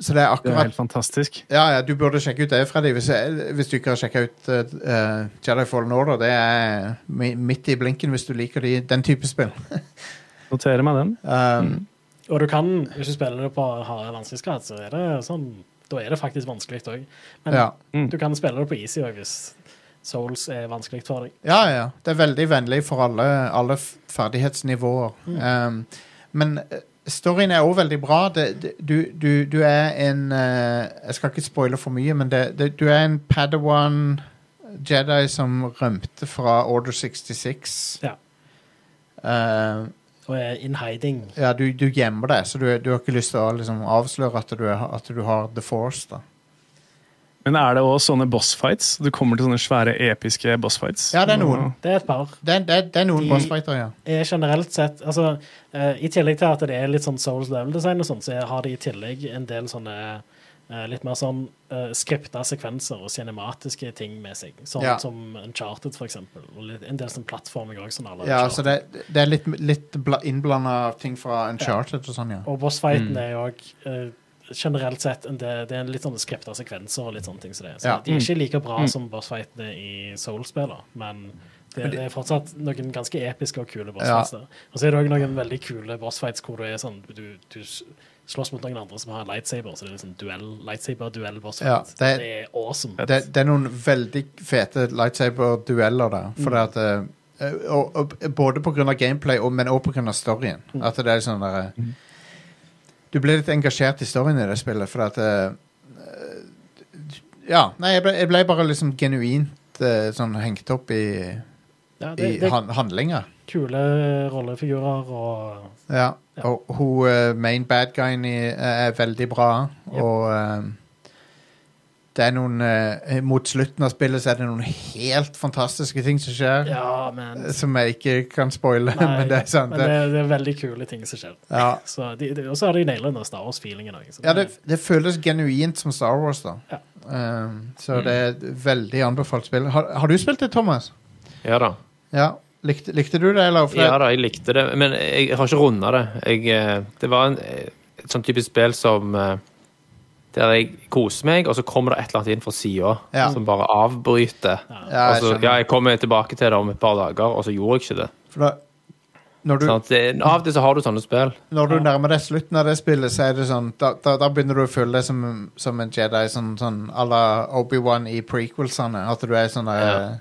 [SPEAKER 1] så det er
[SPEAKER 4] Det er
[SPEAKER 1] akkurat
[SPEAKER 4] helt fantastisk.
[SPEAKER 1] Ja, ja, du burde sjekke ut det, Freddy, hvis, hvis du ikke har sjekka ut eh, eh, Jedi Fallen Order. Det er mi- midt i blinken hvis du liker de, den type spill.
[SPEAKER 4] Noterer meg den.
[SPEAKER 1] Um,
[SPEAKER 2] og du kan, hvis du spiller det på harde vanskelighetsgrad, så er det sånn Da er det faktisk vanskelig òg. Men
[SPEAKER 1] ja.
[SPEAKER 4] Mm.
[SPEAKER 2] du kan spille det på easy òg hvis Souls er vanskelig for deg.
[SPEAKER 1] ja, ja. Det er veldig vennlig for alle, alle f- ferdighetsnivåer. Um, men eh, storyen er òg veldig bra. Det, det, du, du, du er en eh, Jeg skal ikke spoile for mye, men det, det, du er en Padawan Jedi som rømte fra Order 66.
[SPEAKER 2] Ja.
[SPEAKER 1] Um,
[SPEAKER 2] Og er in hiding.
[SPEAKER 1] Ja, du, du gjemmer deg, så du, du har ikke lyst til å liksom, avsløre at du, er, at du har The Force. da.
[SPEAKER 4] Men er det òg sånne bossfights? Du kommer til sånne svære, episke bossfights?
[SPEAKER 1] Ja, det er noen.
[SPEAKER 2] Det er et par.
[SPEAKER 1] Det, det, det er noen
[SPEAKER 2] De-
[SPEAKER 1] bossfighter, ja.
[SPEAKER 2] er generelt sett altså, eh, I tillegg til at det er litt sånn Souls level design, og sånt, så har de i tillegg en del sånne eh, litt mer sånn uh, skripta sekvenser og cinematiske ting med seg. Sånn
[SPEAKER 1] Ja.
[SPEAKER 2] som Uncharted, for eksempel. Og litt, en del sånn plattforming òg. Sånn alle
[SPEAKER 1] ja så
[SPEAKER 2] Uncharted.
[SPEAKER 1] det, det er litt, litt innblanda ting fra Uncharted og sånn, ja.
[SPEAKER 2] Og bossfighten er jo òg generelt sett en del, det er litt sånne skripta sekvenser og litt sånne ting som det er. Så
[SPEAKER 1] Ja. Mm.
[SPEAKER 2] de er ikke like bra som bossfightene i Soul-spiller, men det, det er fortsatt noen ganske episke og kule bossfights der. Og så er det òg noen veldig kule bossfights hvor du er sånn du, du s- slåss mot noen andre som har en lightsaber, så det er liksom duell,
[SPEAKER 1] Ja,
[SPEAKER 2] lightsaber-duell-bossfight.
[SPEAKER 1] det-
[SPEAKER 2] det, er awesome.
[SPEAKER 1] Det, det er noen veldig fete lightsaber-dueller der. For det at eh, og, og, Både pga. gameplay, og, men òg pga. storyen. At det er sånn derre Du blir litt engasjert i storyen i det spillet, for at eh, Ja. Nei, jeg ble, jeg ble bare liksom genuint eh, sånn hengt opp i
[SPEAKER 2] Ja, det,
[SPEAKER 1] i
[SPEAKER 2] det er
[SPEAKER 1] han, handlinga.
[SPEAKER 2] kule rollefigurer og
[SPEAKER 1] Ja.
[SPEAKER 2] Ja.
[SPEAKER 1] Og hun eh, main bad guyen i, eh, er veldig bra,
[SPEAKER 2] Ja.
[SPEAKER 1] og eh, det er noen eh, Mot slutten av spillet så er det noen helt fantastiske ting som skjer,
[SPEAKER 2] Ja, men
[SPEAKER 1] eh, som jeg ikke kan spoile,
[SPEAKER 2] Nei,
[SPEAKER 1] men det er sant.
[SPEAKER 2] men
[SPEAKER 1] Det,
[SPEAKER 2] det, det er veldig kule ting som skjer.
[SPEAKER 1] ja.
[SPEAKER 2] Så de, de, og så har de naila den Star Wars-feelingen òg.
[SPEAKER 1] ja, det, det føles genuint som Star Wars, da.
[SPEAKER 2] Ja.
[SPEAKER 1] Um, så det er et veldig anbefalt spill. Har, har du spilt det, Thomas?
[SPEAKER 3] ja da.
[SPEAKER 1] Ja. Likte, likte du det, eller? For
[SPEAKER 3] Ja da, jeg likte det. Men jeg har ikke runda det. Jeg, eh, det var en, eh, et sånn typisk spill som eh, der jeg koser meg, og så kommer det et eller annet inn fra sida
[SPEAKER 1] Ja.
[SPEAKER 3] som bare avbryter.
[SPEAKER 1] Ja, jeg
[SPEAKER 3] og så,
[SPEAKER 1] skjønner.
[SPEAKER 3] ja, jeg kommer tilbake til det om et par dager, og så gjorde jeg ikke det.
[SPEAKER 1] For da, når du,
[SPEAKER 3] Sånn at det- av og til så har du sånne spill.
[SPEAKER 1] når du nærmer deg slutten av det spillet, så er det sånn Da, da, da begynner du å føle deg som, som en Jedi, sånn, sånn à la Obi-Wan i prequelsene. At du er sånn eh,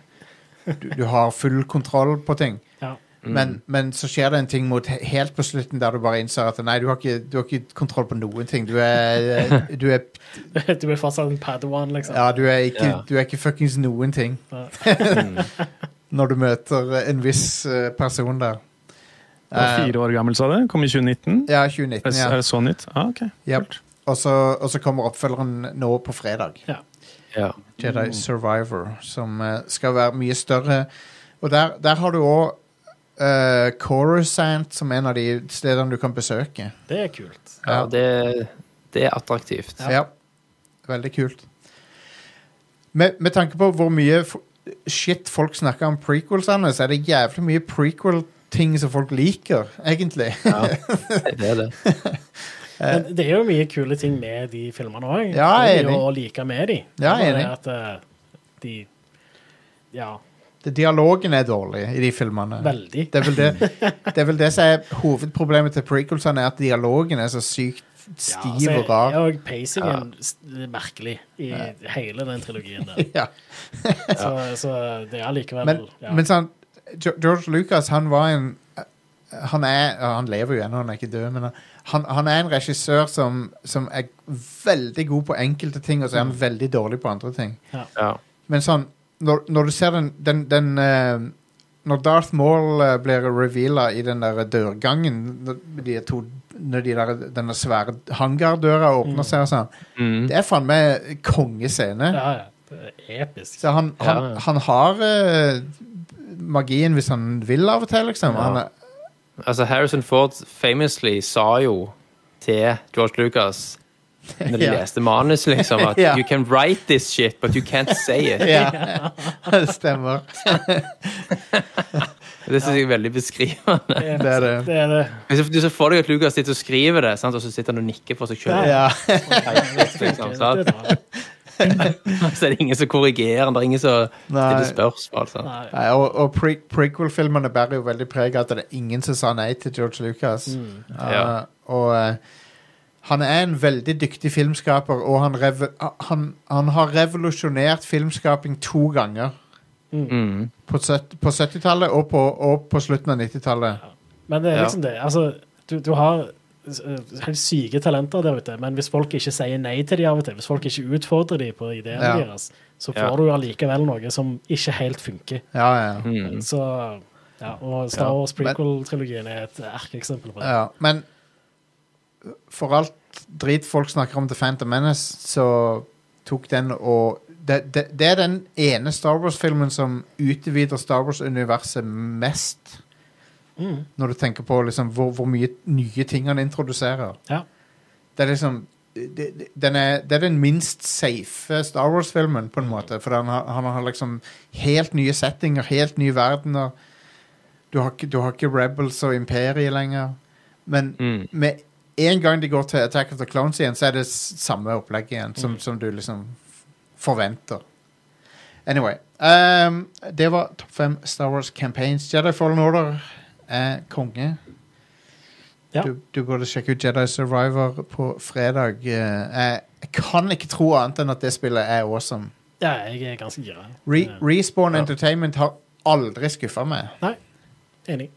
[SPEAKER 1] du, du har full kontroll på ting.
[SPEAKER 2] Ja.
[SPEAKER 4] Mm.
[SPEAKER 1] Men, men så skjer det en ting mot he- helt på slutten der du bare innser at nei, du har ikke, du har ikke kontroll på noen ting. Du er, eh, du er,
[SPEAKER 2] Du er fortsatt en padawan, liksom.
[SPEAKER 1] ja, du er ikke,
[SPEAKER 3] Ja.
[SPEAKER 1] du er ikke fuckings noen ting.
[SPEAKER 2] Ja.
[SPEAKER 1] når du møter eh, en viss eh, person der.
[SPEAKER 4] Du var
[SPEAKER 1] Eh,
[SPEAKER 4] fire år gammel, sa du? Kom i 2019?
[SPEAKER 1] ja,
[SPEAKER 4] Er
[SPEAKER 1] 2019.
[SPEAKER 4] det- Er
[SPEAKER 1] Ja.
[SPEAKER 4] det så nytt? Ah, ok.
[SPEAKER 1] Yep. Og, så, og så kommer oppfølgeren nå på fredag.
[SPEAKER 3] Ja.
[SPEAKER 1] Jedi Survivor, som eh, skal være mye større. Og der, der har du òg uh, Coruscant som en av de stedene du kan besøke.
[SPEAKER 2] Det er kult.
[SPEAKER 3] Ja, det, det er attraktivt.
[SPEAKER 1] Ja. Veldig kult. Med, med tanke på hvor mye f shit folk snakker om prequelsene, så er det jævlig mye prequel-ting som folk liker, egentlig.
[SPEAKER 3] Ja, det er det.
[SPEAKER 2] Men det er jo mye kule ting med de filmene òg.
[SPEAKER 1] Eh. Ja, jeg er
[SPEAKER 2] det er
[SPEAKER 1] enig.
[SPEAKER 2] jo å like med de.
[SPEAKER 1] Ja, jeg er
[SPEAKER 2] Det
[SPEAKER 1] enig.
[SPEAKER 2] At eh, de Ja,
[SPEAKER 1] Det- Dialogen er dårlig i de filmene.
[SPEAKER 2] veldig.
[SPEAKER 1] Det er vel det, det, er vel det som er hovedproblemet til prequelsene, er at dialogen er så sykt stiv og
[SPEAKER 2] Ja, altså,
[SPEAKER 1] rar.
[SPEAKER 2] og pacingen s- er merkelig i hele den trilogien der.
[SPEAKER 1] Ja.
[SPEAKER 2] Så, så det er likevel
[SPEAKER 1] Men,
[SPEAKER 2] ja.
[SPEAKER 1] men sånn, Ge- George Lucas, han var en Han er ja, Han lever jo ennå, han er ikke død, men han, han er en regissør som, som er veldig god på enkelte ting, og så er
[SPEAKER 2] Mm.
[SPEAKER 1] han veldig dårlig på andre ting.
[SPEAKER 3] Ja.
[SPEAKER 1] Men sånn, når, når du ser den, den, den eh, Når Darth Maul eh, blir reveala i den der dørgangen når de to, når de der, denne svære hangardøra åpner seg og sånn
[SPEAKER 3] Mm.
[SPEAKER 1] Det er faen meg kongescene.
[SPEAKER 2] ja, ja. Det er episk.
[SPEAKER 1] Så han, han,
[SPEAKER 3] Ja, ja.
[SPEAKER 1] han har eh, magien hvis han vil av og til, liksom.
[SPEAKER 3] Ja.
[SPEAKER 1] Han er,
[SPEAKER 3] Altså, Harrison Ford famously sa jo til George Lucas når de
[SPEAKER 1] Ja.
[SPEAKER 3] leste manus, liksom, at
[SPEAKER 1] Ja.
[SPEAKER 3] You can write this shit, but you can't say it.
[SPEAKER 1] ja, det stemmer.
[SPEAKER 3] Det syns jeg er veldig beskrivende.
[SPEAKER 2] Det er
[SPEAKER 1] Det er det.
[SPEAKER 2] det. Er det.
[SPEAKER 3] Hvis du ser for deg at Lucas sitter og skriver det, sant? og så sitter han og nikker for seg sjøl,
[SPEAKER 1] Ja.
[SPEAKER 3] liksom, sant?
[SPEAKER 2] Det er bra.
[SPEAKER 3] så er det ingen som korrigerer han, det er ingen som
[SPEAKER 1] Nei.
[SPEAKER 3] stiller spørsmål. Sant?
[SPEAKER 2] Nei.
[SPEAKER 1] Nei, og og pre prequel-filmene bærer jo veldig preg av at det er ingen som sa nei til George Lucas. Uh,
[SPEAKER 3] Mm. Ja.
[SPEAKER 1] Og eh, han er en veldig dyktig filmskaper, og han, rev han, han har revolusjonert filmskaping to ganger.
[SPEAKER 3] Mm.
[SPEAKER 1] På, søt- på 70-tallet og, på- og på slutten av 90-tallet.
[SPEAKER 2] Men det er
[SPEAKER 3] Ja.
[SPEAKER 2] liksom det. Altså, du, du har eh, helt syke talenter der ute, men hvis folk ikke sier nei til de av og til, hvis folk ikke utfordrer de på ideene
[SPEAKER 1] Ja.
[SPEAKER 2] deres, så får
[SPEAKER 3] Ja.
[SPEAKER 2] du allikevel noe som ikke helt funker.
[SPEAKER 1] Ja, ja.
[SPEAKER 3] Mm.
[SPEAKER 2] Så ja, og Star
[SPEAKER 3] Ja.
[SPEAKER 2] Wars prequel-trilogien er et erkeeksempel på det.
[SPEAKER 1] ja. Men for alt drit folk snakker om The Phantom Menace, så tok den og det, det, det er den ene Star Wars-filmen som utvider Star Wars-universet mest.
[SPEAKER 2] Mm.
[SPEAKER 1] Når du tenker på liksom hvor, hvor mye nye ting han introduserer.
[SPEAKER 2] Ja.
[SPEAKER 1] Det er liksom det, det- den er, det er den minst safe Star Wars-filmen, på en måte. For han har, han har liksom helt nye settinger, helt nye verdener. Du har ikke, du har ikke Rebels og Imperiet lenger. Men
[SPEAKER 3] Mm.
[SPEAKER 1] med en gang de går til Attack of the Clones igjen, så er det s- samme opplegg igjen, som, som du liksom f- forventer. Anyway. ehm, det var topp fem Star Wars campaigns. Jedi Fallen Order er konge.
[SPEAKER 2] Ja.
[SPEAKER 1] Du, du burde sjekke ut Jedi Survivor på fredag. Eh, Jeg kan ikke tro annet enn at det spillet er awesome.
[SPEAKER 2] ja, jeg er ganske gira.
[SPEAKER 1] Re
[SPEAKER 2] Ja.
[SPEAKER 1] Respawn Entertainment har aldri skuffa meg.
[SPEAKER 2] Nei, enig.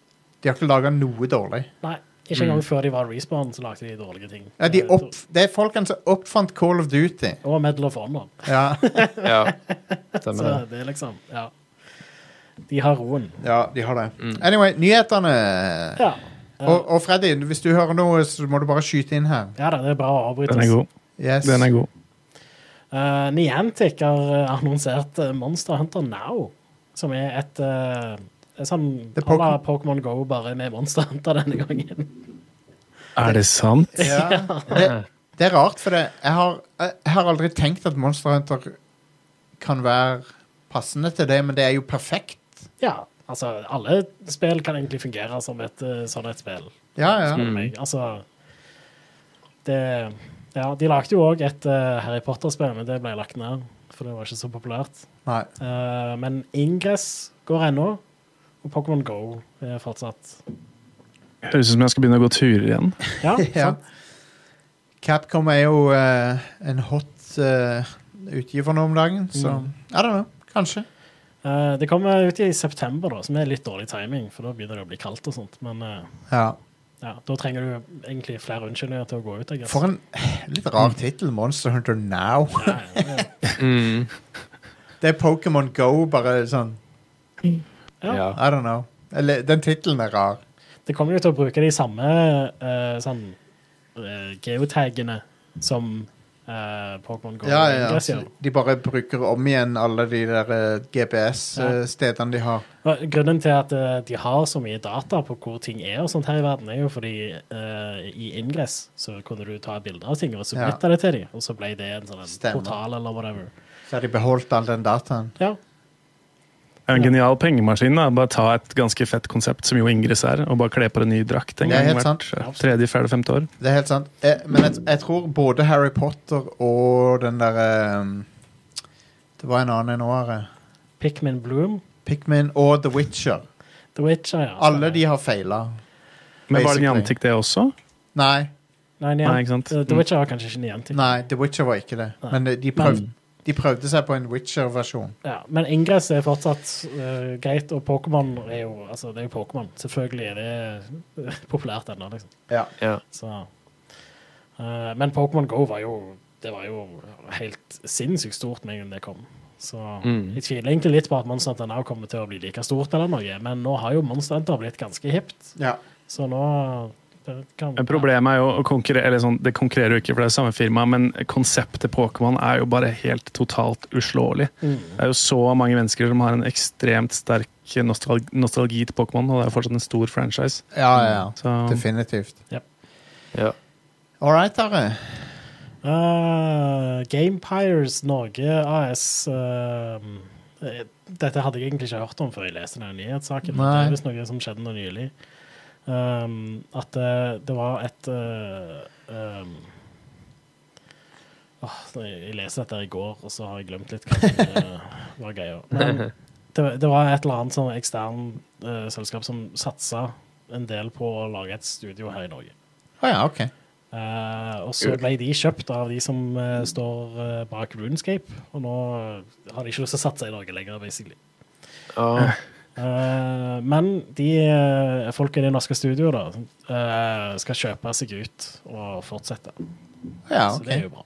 [SPEAKER 1] De har ikke laga noe dårlig.
[SPEAKER 2] Nei, ikke engang før de var respawn, så lagde de dårlige ting.
[SPEAKER 1] Ja, de
[SPEAKER 2] Eh,
[SPEAKER 1] opp, det er folkene som oppfant Call of Duty.
[SPEAKER 2] Og Medal of Honor.
[SPEAKER 1] Ja,
[SPEAKER 3] Ja. Stemmer
[SPEAKER 2] Så
[SPEAKER 3] det.
[SPEAKER 2] det er liksom Ja. De har roen.
[SPEAKER 1] ja de har det. Anyway, nyhetene.
[SPEAKER 2] Ja.
[SPEAKER 1] Og, og Freddy, hvis du hører noe, så må du bare skyte inn her.
[SPEAKER 2] Ja da, det er bare å avbryte.
[SPEAKER 4] Den er god.
[SPEAKER 1] Yes.
[SPEAKER 4] Den er god.
[SPEAKER 2] Eh, Niantic har eh, annonsert eh, Monster Hunter Now, som er et eh, et sånn
[SPEAKER 1] Det er
[SPEAKER 2] à la Pokémon Go, bare med Monster Hunter denne gangen.
[SPEAKER 4] Er det sant?
[SPEAKER 1] Ja. Det, det er rart, for det, jeg, har, jeg har aldri tenkt at Monster Hunter kan være passende til det, men det er jo perfekt.
[SPEAKER 2] ja, altså, alle spill kan egentlig fungere
[SPEAKER 1] Mm.
[SPEAKER 2] som et eh, sånn et spill.
[SPEAKER 1] Ja, ja.
[SPEAKER 2] spør du meg. Altså det Ja, de lagde jo òg et eh, Harry Potter-spill, men det ble lagt ned, for det var ikke så populært.
[SPEAKER 1] Nei.
[SPEAKER 2] Eh, men Ingress går ennå, og Pokémon Go er fortsatt
[SPEAKER 4] Høres ut som jeg skal begynne å gå turer igjen.
[SPEAKER 2] Ja,
[SPEAKER 1] Ja.
[SPEAKER 2] sant?
[SPEAKER 1] Capcom er jo eh, en hot eh, utgiver nå om dagen, så
[SPEAKER 2] Mm.
[SPEAKER 1] I don't know. Kanskje.
[SPEAKER 2] Eh, det kommer ut i september, da, som er litt dårlig timing, for da begynner det å bli kaldt og sånt. Men eh,
[SPEAKER 1] Ja.
[SPEAKER 2] ja, da trenger du egentlig flere unnskyldninger til å gå ut, jeg
[SPEAKER 1] For en litt
[SPEAKER 2] Mm.
[SPEAKER 1] rar tittel, Monster Hunter Now.
[SPEAKER 2] Ja, ja, ja.
[SPEAKER 3] Mm.
[SPEAKER 1] Det er Pokémon Go, bare sånn
[SPEAKER 2] Ja.
[SPEAKER 3] Ja.
[SPEAKER 1] I don't know. Eller, den tittelen er rar.
[SPEAKER 2] Det kommer jo til å bruke de samme eh, sånn, eh, geotagene som eh, Pokémon Go.
[SPEAKER 1] Ja, ja, ja.
[SPEAKER 2] Ingress
[SPEAKER 1] Så
[SPEAKER 2] gjør.
[SPEAKER 1] De bare bruker om igjen alle de der eh,
[SPEAKER 2] Ja.
[SPEAKER 1] GPS-stedene eh, de har.
[SPEAKER 2] Og Grunnen til at eh, de har så mye data på hvor ting er og sånt her i verden, er jo fordi eh, i Ingress så kunne du ta bilder av ting og submitte det til dem, og så ble det en sånn en
[SPEAKER 1] Stemmer.
[SPEAKER 2] portal eller whatever.
[SPEAKER 1] Så har de beholdt all den dataen.
[SPEAKER 2] Ja,
[SPEAKER 4] Det er En genial pengemaskin. da. Bare ta et ganske fett konsept, som jo Ingris er, og bare kle på deg ny drakt en
[SPEAKER 1] Det er
[SPEAKER 4] gang
[SPEAKER 1] helt
[SPEAKER 4] hvert
[SPEAKER 1] sant.
[SPEAKER 4] eh, tredje, fjerde, femte år.
[SPEAKER 1] Det er helt sant. Eh, men jeg, jeg tror både Harry Potter og den derre Det var en annen enn året.
[SPEAKER 2] Pikmin Bloom,
[SPEAKER 1] Pikmin og The Witcher.
[SPEAKER 2] The Witcher, ja.
[SPEAKER 1] Alle de har feila.
[SPEAKER 4] Men var det
[SPEAKER 1] Basically.
[SPEAKER 4] Niantic, det også?
[SPEAKER 1] Nei,
[SPEAKER 2] Nei, Nian-
[SPEAKER 4] Nei, ikke sant? Mm.
[SPEAKER 2] The Witcher var kanskje ikke Niantic.
[SPEAKER 1] nei, The Witcher var ikke det.
[SPEAKER 2] Nei.
[SPEAKER 1] Men eh, de, prøvde, de prøvde seg på en Witcher-versjon.
[SPEAKER 2] Ja, men Ingress er fortsatt eh, greit, og Pokémon er jo altså det er jo Pokémon. Selvfølgelig er det eh, populært ennå, liksom.
[SPEAKER 1] Ja.
[SPEAKER 3] Ja.
[SPEAKER 2] Så, eh, men Pokémon Go var jo det var jo helt sinnssykt stort med en gang det kom. Så
[SPEAKER 3] Mm.
[SPEAKER 2] jeg tviler egentlig litt på at Monster Hunter Now kommer til å bli like stort eller noe, men nå har jo Monster Hunter blitt ganske hipt,
[SPEAKER 1] ja.
[SPEAKER 2] så nå det kan,
[SPEAKER 4] Men Problemet er jo å konkurrere, eller sånn, det konkurrerer jo ikke, for det er samme firma, men konseptet Pokémon er jo bare helt totalt uslåelig.
[SPEAKER 2] Mm.
[SPEAKER 4] Det er jo så mange mennesker som har en ekstremt sterk nostalgi, nostalgi til Pokémon, og det er jo fortsatt en stor franchise.
[SPEAKER 1] ja, ja,
[SPEAKER 2] Mm,
[SPEAKER 1] ja.
[SPEAKER 4] Så
[SPEAKER 1] Definitivt.
[SPEAKER 3] Ja.
[SPEAKER 1] All right, Are.
[SPEAKER 2] Eh, Gamepires Norge AS eh, eh, Dette hadde jeg egentlig ikke hørt om før jeg leste denne nyhetssaken. men Det
[SPEAKER 1] Nei.
[SPEAKER 2] er visst noe som skjedde nå nylig. Um, at eh, det var et eh, um, åh, Jeg jeg leste dette her i går, og så har jeg glemt litt hva som eh, var greia. Men det, det var et eller annet sånn ekstern eh, selskap som satsa en del på å lage et studio her i Norge.
[SPEAKER 1] Å ja, OK.
[SPEAKER 2] Eh, og så ble de kjøpt av de som eh, står eh, bak Runescape, og nå eh, har de ikke lyst til å satse i Norge lenger, basically.
[SPEAKER 3] Ja.
[SPEAKER 2] Eh, men de uh, folk i det norske studioet da, eh, skal kjøpe seg ut og fortsette.
[SPEAKER 1] Å Ja, ok.
[SPEAKER 2] Så det er
[SPEAKER 1] Jeg
[SPEAKER 2] jo bra.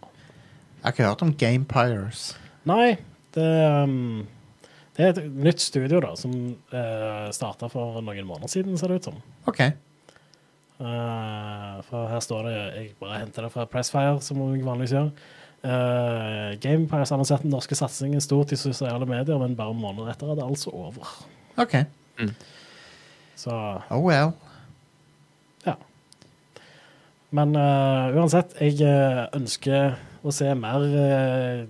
[SPEAKER 1] har ikke hørt om Game Pirates.
[SPEAKER 2] Nei, det, um, det er et nytt studio da, som uh, starta for noen måneder siden, ser det ut som.
[SPEAKER 1] OK.
[SPEAKER 2] Eh, for her står det Jeg bare henter det fra Pressfire, som jeg vanligvis gjør. Uh, Gamepires annonserte den norske satsingen stort i sosiale medier, men bare måneder etter er det altså over.
[SPEAKER 1] ok
[SPEAKER 2] Så
[SPEAKER 1] Oh well.
[SPEAKER 2] ja. Men eh, uansett, jeg eh, ønsker å se mer eh,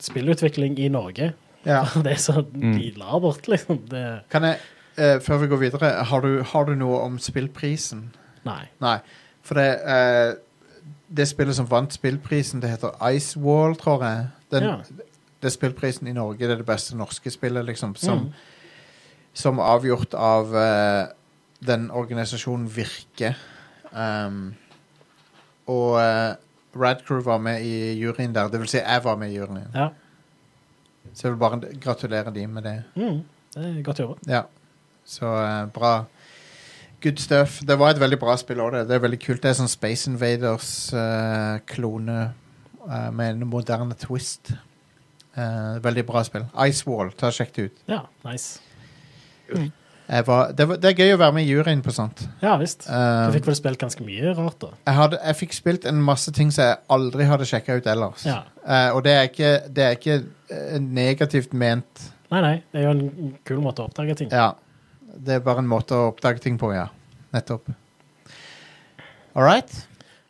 [SPEAKER 2] spillutvikling i Norge.
[SPEAKER 1] Ja.
[SPEAKER 2] Det er så de lar bort, liksom. Det,
[SPEAKER 1] Kan jeg, eh, før vi går videre, har du, har du noe om spillprisen?
[SPEAKER 2] nei.
[SPEAKER 1] Nei, for det eh, Det spillet som vant spillprisen, det heter Icewall, tror jeg. Den,
[SPEAKER 2] Ja.
[SPEAKER 1] Det er spillprisen i Norge, det er det beste norske spillet, liksom. Som, som avgjort av eh, den organisasjonen Virke. Um, og eh, Radcrew var med i juryen der. Det vil si, jeg var med i juryen.
[SPEAKER 2] Ja.
[SPEAKER 1] Så jeg vil bare gratulere de med det.
[SPEAKER 2] Mm, det er godt jobba.
[SPEAKER 1] Ja. Så eh, bra. Good stuff. Det var et veldig bra spill òg, det. Det er veldig kult. Det er sånn Space Invaders-klone eh, med en moderne twist. Eh, veldig bra spill. Icewall, ta og sjekk det ut.
[SPEAKER 2] Ja, nice.
[SPEAKER 1] Jeg var, det, var, det er gøy å være med i juryen på sånt.
[SPEAKER 2] Ja visst.
[SPEAKER 1] Eh,
[SPEAKER 2] Du fikk vel spilt ganske mye rart, da.
[SPEAKER 1] jeg, hadde, jeg fikk spilt en masse ting som jeg aldri hadde sjekka ut ellers.
[SPEAKER 2] Ja.
[SPEAKER 1] Eh, og det er ikke, det er ikke eh, negativt ment.
[SPEAKER 2] Nei, nei. Det er jo en kul måte å oppdage ting.
[SPEAKER 1] Ja. Det er bare en måte å oppdage ting på, ja. Nettopp. All right.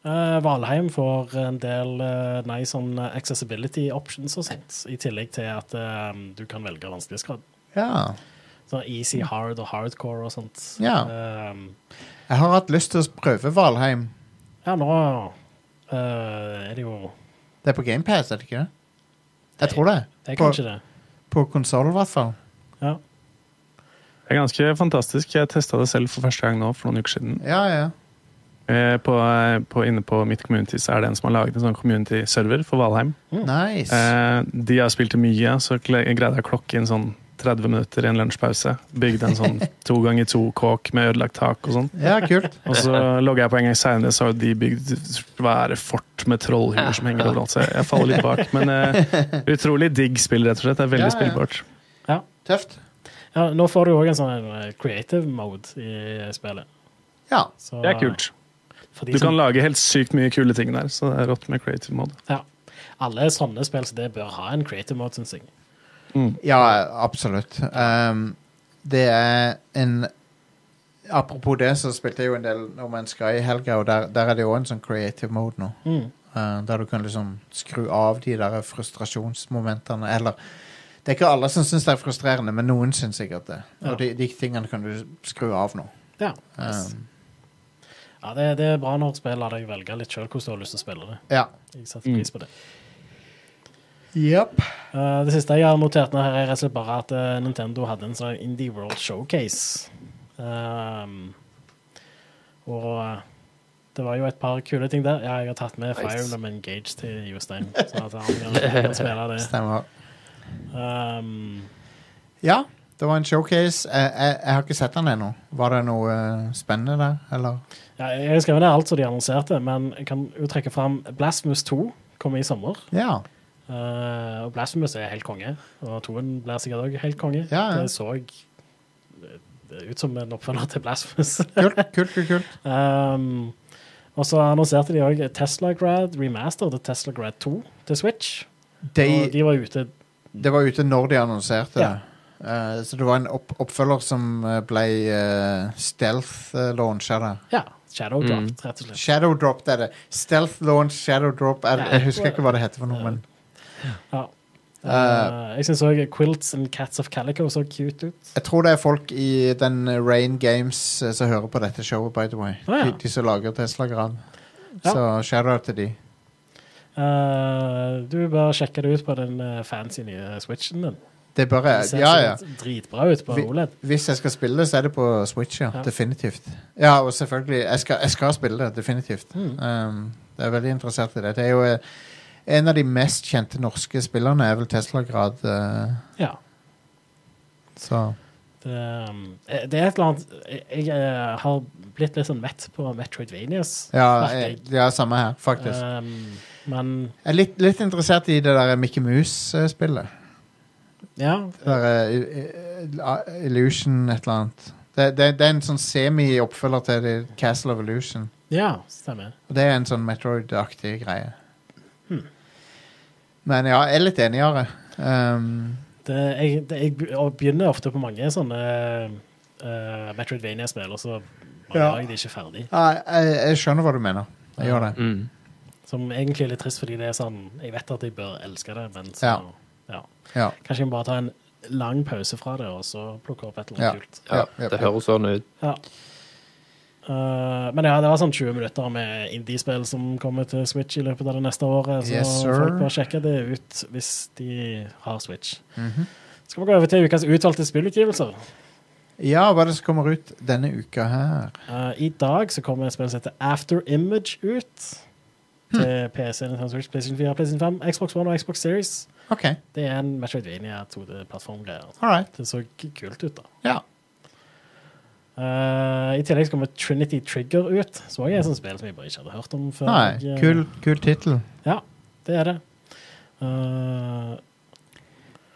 [SPEAKER 2] Eh, Valheim får en del eh, nei, sånn eh, accessibility options og sånt, i tillegg til at eh, du kan velge vanskelighetsgrad.
[SPEAKER 1] Ja.
[SPEAKER 2] Sånn easy, hard og hardcore og sånt.
[SPEAKER 1] Ja.
[SPEAKER 2] Eh,
[SPEAKER 1] Jeg har hatt lyst til å prøve Valheim.
[SPEAKER 2] ja, nå eh, er det jo
[SPEAKER 1] Det er på GamePass, er det ikke det? Jeg tror det.
[SPEAKER 2] Det er
[SPEAKER 1] På-
[SPEAKER 2] kanskje det.
[SPEAKER 1] På konsoll, i hvert fall.
[SPEAKER 2] Ja.
[SPEAKER 4] Det er ganske fantastisk. Jeg testa det selv for første gang nå for noen uker siden.
[SPEAKER 1] Ja, ja.
[SPEAKER 4] Eh, På, på, inne på mitt community så er det en som har laget en sånn community-server for Valheim.
[SPEAKER 2] Mm.
[SPEAKER 1] Nice.
[SPEAKER 4] Eh, de har spilt det mye, så kle- greide jeg å klokke inn sånn 30 minutter i en lunsjpause. Bygde en sånn to ganger to-kåk med ødelagt tak og sånn.
[SPEAKER 1] Ja, kult.
[SPEAKER 4] Og så logga jeg på en gang seinere, så har jo de bygd svære fort med trollhuer som henger overalt. Så jeg- jeg faller litt bak. Men eh, utrolig digg spill, rett og slett. Det er
[SPEAKER 1] Ja, ja.
[SPEAKER 4] veldig spillbart.
[SPEAKER 1] Tøft.
[SPEAKER 2] ja, nå får du òg en sånn eh, creative mode i spillet.
[SPEAKER 1] Ja.
[SPEAKER 2] Så,
[SPEAKER 4] Det er kult.
[SPEAKER 2] For de
[SPEAKER 4] Du kan
[SPEAKER 2] som,
[SPEAKER 4] lage helt sykt mye kule ting der, så det er rått med creative mode.
[SPEAKER 2] ja, alle sånne spill som det bør ha en creative mode, syns jeg.
[SPEAKER 1] Ja, absolutt. Ehm, det er en Apropos det, så spilte jeg jo en del No Man's Sky i helga, og der, der er det jo en sånn creative mode nå.
[SPEAKER 2] Mm.
[SPEAKER 1] Eh, der du kan liksom skru av de der frustrasjonsmomentene, eller Det er ikke alle som syns det er frustrerende, men noen syns sikkert det. Og de, de tingene kan du skru av nå.
[SPEAKER 2] Ja, nice.
[SPEAKER 1] Ehm,
[SPEAKER 2] ja det, det er bra når et spill lar deg velge litt sjøl hvordan du har lyst til å spille det.
[SPEAKER 1] ja.
[SPEAKER 2] Jeg setter
[SPEAKER 1] Mm.
[SPEAKER 2] pris på det.
[SPEAKER 1] Jepp.
[SPEAKER 2] Eh, det siste jeg har notert ned her, er rett og slett bare at eh, Nintendo hadde en sånn Indie World Showcase. Ehm, og eh, det var jo et par kule ting der. Ja, jeg har tatt med Fire Emblem Engage til Jostein. Sånn at han kan, kan spille det.
[SPEAKER 1] Stemmer.
[SPEAKER 2] Ehm,
[SPEAKER 1] Ja, det var en showcase. Jeg, jeg, jeg har ikke sett den ennå. Var det noe eh, spennende der, eller?
[SPEAKER 2] ja, jeg har skrevet ned alt som de annonserte, men jeg kan jo trekke fram Blasphemous 2 kommer i sommer.
[SPEAKER 1] Ja.
[SPEAKER 2] Eh, og Blasphemous er helt konge, og toen blir sikkert òg helt konge.
[SPEAKER 1] Ja, ja.
[SPEAKER 2] Det så eh, ut som en oppfølger til Blasphemous.
[SPEAKER 1] Kult, kult, kult. kult.
[SPEAKER 2] Um, og så annonserte de òg Tesla Grad Remaster til Tesla Grad 2 til Switch. og
[SPEAKER 1] De,
[SPEAKER 2] de var ute
[SPEAKER 1] det var ute når de annonserte
[SPEAKER 2] Ja.
[SPEAKER 1] det. Eh, så det var en opp oppfølger som eh, ble eh, stealth-launcha der.
[SPEAKER 2] Ja,
[SPEAKER 1] Mm.
[SPEAKER 2] Shadow Draft, rett og slett.
[SPEAKER 1] Shadow drop det er det. Stealth launch, shadow drop er,
[SPEAKER 2] Ja.
[SPEAKER 1] Jeg husker ikke hva det heter for noe, men
[SPEAKER 2] Ja. Uh, jeg syns òg Quilts and Cats of Calico så cute ut.
[SPEAKER 1] jeg tror det er folk i den Rain Games eh, som hører på dette showet, by the way.
[SPEAKER 2] Å, ja.
[SPEAKER 1] de, de som lager Tesla-gran.
[SPEAKER 2] Ja.
[SPEAKER 1] Så shadow til de.
[SPEAKER 2] Uh, du bør sjekke det ut på den eh, fancy nye Switchen din.
[SPEAKER 1] Det er bare
[SPEAKER 2] Det ser
[SPEAKER 1] Ja,
[SPEAKER 2] så
[SPEAKER 1] ja.
[SPEAKER 2] dritbra ut på E
[SPEAKER 1] Vi-
[SPEAKER 2] OLED.
[SPEAKER 1] Hvis jeg skal spille det, så er det på Switch, ja.
[SPEAKER 2] Ja.
[SPEAKER 1] Definitivt. Ja, og selvfølgelig, jeg skal, jeg skal spille det, definitivt.
[SPEAKER 2] Mm.
[SPEAKER 1] Um, jeg er veldig interessert i det. Det er jo eh, en av de mest kjente norske spillerne, er vel Tesla-grad. eh,
[SPEAKER 2] Ja.
[SPEAKER 1] så
[SPEAKER 2] Det, um, eh, det er et eller annet Jeg, jeg eh, har blitt litt sånn mett på Metroidvanias.
[SPEAKER 1] ja,
[SPEAKER 2] merker
[SPEAKER 1] jeg,
[SPEAKER 2] jeg.
[SPEAKER 1] ja, samme her, faktisk.
[SPEAKER 2] Um, men
[SPEAKER 1] Jeg er litt, litt interessert i det der Mickey Mouse-spillet.
[SPEAKER 2] ja,
[SPEAKER 1] Det der eh, I- I- Illusion et eller annet. Det, det, det er en sånn semi-oppfølger til det- Castle of Illusion.
[SPEAKER 2] ja stemmer.
[SPEAKER 1] Og det er en sånn Metroid-aktig greie. Hmm. Men ja, jeg er litt enig, Are. Um,
[SPEAKER 2] Det, jeg, det, jeg be- og begynner ofte på mange sånne eh, Metroidvania-spill, og så mangler
[SPEAKER 1] Ja.
[SPEAKER 2] jeg det ikke ferdig.
[SPEAKER 1] ja, jeg, jeg skjønner hva du mener. Jeg gjør det.
[SPEAKER 3] Mm.
[SPEAKER 2] Som egentlig er litt trist, fordi det er sånn Jeg vet at jeg bør elske det, men så
[SPEAKER 1] Ja.
[SPEAKER 2] Ja.
[SPEAKER 1] Ja.
[SPEAKER 2] Kanskje jeg må bare ta en lang pause fra det, og så plukke opp et eller
[SPEAKER 1] Ja.
[SPEAKER 2] annet kult.
[SPEAKER 3] Ja,
[SPEAKER 1] Ja, ja,
[SPEAKER 3] det
[SPEAKER 1] ja.
[SPEAKER 3] høres sånn ut.
[SPEAKER 2] Ja. Eh, men ja, det var sånn 20 minutter med indiespill som kommer til Switch i løpet av det neste året, så
[SPEAKER 1] Yes, sir.
[SPEAKER 2] folk bør sjekke det ut hvis de har Switch.
[SPEAKER 1] Mhm.
[SPEAKER 2] Skal vi gå over til ukas utvalgte spillutgivelser?
[SPEAKER 1] ja, hva er det som kommer ut denne uka her?
[SPEAKER 2] Eh, I dag så kommer et spill som heter After Image ut. Til
[SPEAKER 1] Hmm.
[SPEAKER 2] PC, Nintendo Switch, PlayStation 4, PlayStation 5, Xbox One og Xbox Series.
[SPEAKER 1] OK,
[SPEAKER 2] Det er en Metroidvania 2D-plattformgreier.
[SPEAKER 1] all right.
[SPEAKER 2] Det så k- kult ut, da.
[SPEAKER 1] Ja.
[SPEAKER 2] Eh, I tillegg så kommer Trinity Trigger ut, som også er et sånt spill som jeg bare ikke hadde hørt om før.
[SPEAKER 1] Nei,
[SPEAKER 2] Jeg, eh,
[SPEAKER 1] kul, kul tittel.
[SPEAKER 2] Ja, det er det. Eh,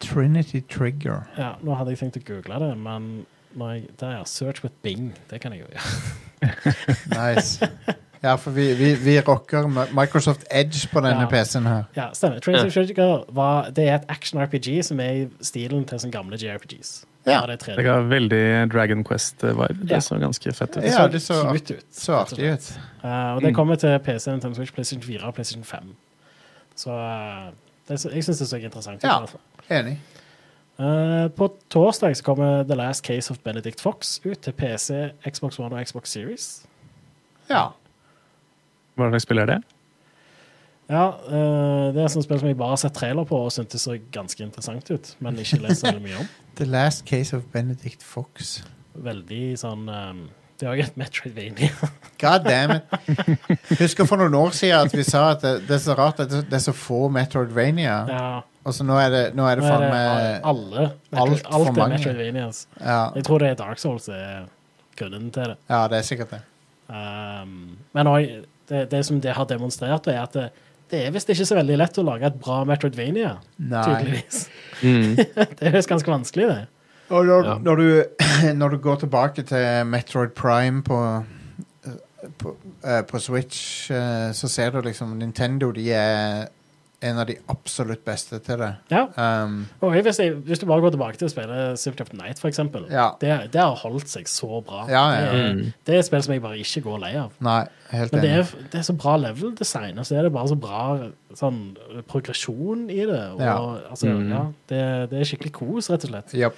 [SPEAKER 1] Trinity Trigger.
[SPEAKER 2] ja, nå hadde jeg tenkt å google det, men når jeg, der, search with Bing. Det kan jeg jo gjøre.
[SPEAKER 1] Nice. Ja, for vi, vi, vi rocker Mi- Microsoft Edge på denne
[SPEAKER 2] Ja.
[SPEAKER 1] PC-en her.
[SPEAKER 2] Ja, stemmer. Trinity Trigger var, det er et action-RPG som er i stilen til sånne gamle JRPGs.
[SPEAKER 1] Ja.
[SPEAKER 2] det er 3D.
[SPEAKER 4] Det ga veldig Dragon Quest-vibe.
[SPEAKER 2] Ja.
[SPEAKER 4] Det så ganske fett ut.
[SPEAKER 2] Det
[SPEAKER 1] Ja,
[SPEAKER 2] så
[SPEAKER 1] det så-
[SPEAKER 2] cute ut.
[SPEAKER 1] Så artig ut.
[SPEAKER 2] Eh, og det
[SPEAKER 1] Mm.
[SPEAKER 2] kommer til PC, Nintendo Switch, PlayStation 4 og PlayStation 5. Så eh, det, så- jeg syns det så interessant ut. i
[SPEAKER 1] Ja.
[SPEAKER 2] hvert fall.
[SPEAKER 1] Enig.
[SPEAKER 2] Eh, på torsdag så kommer The Last Case of Benedict Fox ut til PC, Xbox One og Xbox Series.
[SPEAKER 1] Ja.
[SPEAKER 4] Hva slags spill er det?
[SPEAKER 2] Ja, eh, det er et sånt spill som jeg bare har sett trailer på og syntes så ganske interessant ut, men ikke lest så veldig mye om.
[SPEAKER 1] The Last Case of Benedict Fox.
[SPEAKER 2] Veldig sånn eh, Det er jo et Metroidvania.
[SPEAKER 1] God damn it. Husker for noen år siden at vi sa at det, det er så rart at det det er så få Metroidvania.
[SPEAKER 2] Ja,
[SPEAKER 1] Og så nå er det, nå er det
[SPEAKER 2] nå er
[SPEAKER 1] faen
[SPEAKER 2] det
[SPEAKER 1] meg
[SPEAKER 2] alle.
[SPEAKER 1] alt
[SPEAKER 2] Alt,
[SPEAKER 1] for
[SPEAKER 2] alt
[SPEAKER 1] mange.
[SPEAKER 2] er Metroidvanias.
[SPEAKER 1] ja,
[SPEAKER 2] Jeg tror det er Dark Souls er grunnen til det.
[SPEAKER 1] ja, det er sikkert det.
[SPEAKER 4] Ehm,
[SPEAKER 2] Um, men også, det, det som det har demonstrert, er at det, det er visst ikke så veldig lett å lage et bra Metroidvania.
[SPEAKER 1] Nei. Mm.
[SPEAKER 2] Tydeligvis. det er visst ganske vanskelig, det.
[SPEAKER 1] Og når,
[SPEAKER 3] Ja.
[SPEAKER 1] når, du, når du går tilbake til Metroid Prime på, på, eh, på Switch, eh, så ser du liksom Nintendo de er en av de absolutt beste til det.
[SPEAKER 2] Ja.
[SPEAKER 1] Um,
[SPEAKER 2] Og jeg- hvis, jeg, hvis du bare går tilbake til å spille Symphony of the Night, for eksempel,
[SPEAKER 1] Ja.
[SPEAKER 2] det, det har holdt seg så bra.
[SPEAKER 1] Ja, ja, ja.
[SPEAKER 2] Det, er, det er et spill som jeg bare ikke går lei av.
[SPEAKER 1] nei, helt
[SPEAKER 2] Men det
[SPEAKER 1] enig.
[SPEAKER 2] er, det er så bra level-design, og så er det bare så bra sånn, progresjon i det. Og,
[SPEAKER 1] Ja.
[SPEAKER 2] Altså,
[SPEAKER 4] Mm.
[SPEAKER 2] ja, det, det er skikkelig kos, rett og slett.
[SPEAKER 1] Japp.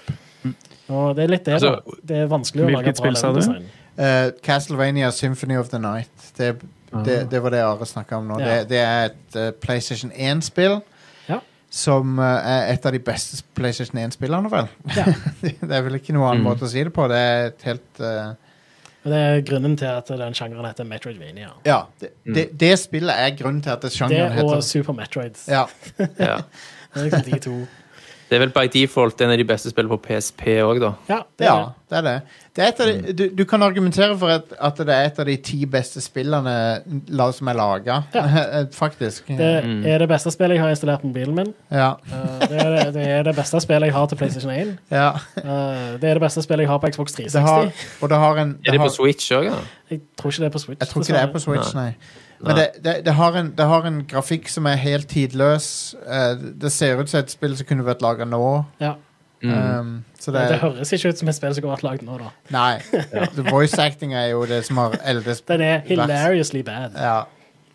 [SPEAKER 2] Og det er litt det, da.
[SPEAKER 3] Altså,
[SPEAKER 2] Det er vanskelig å lage
[SPEAKER 4] hvilket
[SPEAKER 2] bra
[SPEAKER 4] spill sa du?
[SPEAKER 2] level-design.
[SPEAKER 1] Eh, Castlevania Symphony of the Night. Det,
[SPEAKER 3] Ah.
[SPEAKER 1] det, det var det Are snakka om nå.
[SPEAKER 2] Ja.
[SPEAKER 1] Det, det er et eh, PlayStation 1-spill
[SPEAKER 2] Ja.
[SPEAKER 1] som eh, er et av de beste PlayStation 1-spillene, vel.
[SPEAKER 2] Ja.
[SPEAKER 1] det er vel ikke noen
[SPEAKER 3] Mm.
[SPEAKER 1] annen måte å si det på. Det er et helt eh,
[SPEAKER 2] Men Det er grunnen til at den sjangeren heter Metroidvania.
[SPEAKER 1] Ja. Det,
[SPEAKER 3] Mm.
[SPEAKER 1] det, det spillet er grunnen til at det
[SPEAKER 2] Det
[SPEAKER 1] sjangeren
[SPEAKER 2] og
[SPEAKER 1] heter
[SPEAKER 2] Super Metroid.
[SPEAKER 1] ja,
[SPEAKER 3] Ja.
[SPEAKER 2] Det er liksom de to.
[SPEAKER 3] Det er vel by default en av de beste spillene på PSP òg, da.
[SPEAKER 2] Ja, det
[SPEAKER 1] ja,
[SPEAKER 2] er det.
[SPEAKER 1] det er det. det er et av
[SPEAKER 3] Mm.
[SPEAKER 1] de, du, du kan argumentere for at, at det er et av de ti beste spillene la- som er laga, faktisk.
[SPEAKER 2] Det er det beste spillet jeg har installert på mobilen min.
[SPEAKER 1] Ja.
[SPEAKER 2] Eh, Det er det, det, er det beste spillet jeg har til PlayStation 1.
[SPEAKER 1] ja.
[SPEAKER 2] Eh, Det er det beste spillet jeg har på Xbox
[SPEAKER 1] Det har,
[SPEAKER 2] 360.
[SPEAKER 1] og det har en
[SPEAKER 3] Er det
[SPEAKER 1] har,
[SPEAKER 3] på Switch òg, da?
[SPEAKER 2] Jeg tror ikke det er på Switch.
[SPEAKER 1] Jeg tror ikke det er på
[SPEAKER 2] dessverre.
[SPEAKER 1] Switch, nei. Men
[SPEAKER 3] Nei.
[SPEAKER 1] det, det, det, har en, det har en grafikk som er helt tidløs. Eh, det ser ut som et spill som kunne vært laga nå.
[SPEAKER 2] Ja.
[SPEAKER 3] Mm.
[SPEAKER 1] Um, så det,
[SPEAKER 2] Det, det høres ikke ut som et spill som har vært lagd nå, da.
[SPEAKER 1] Nei. The voice acting er jo det som har eldes
[SPEAKER 2] Den er
[SPEAKER 1] verst.
[SPEAKER 2] hilariously bad.
[SPEAKER 1] Ja.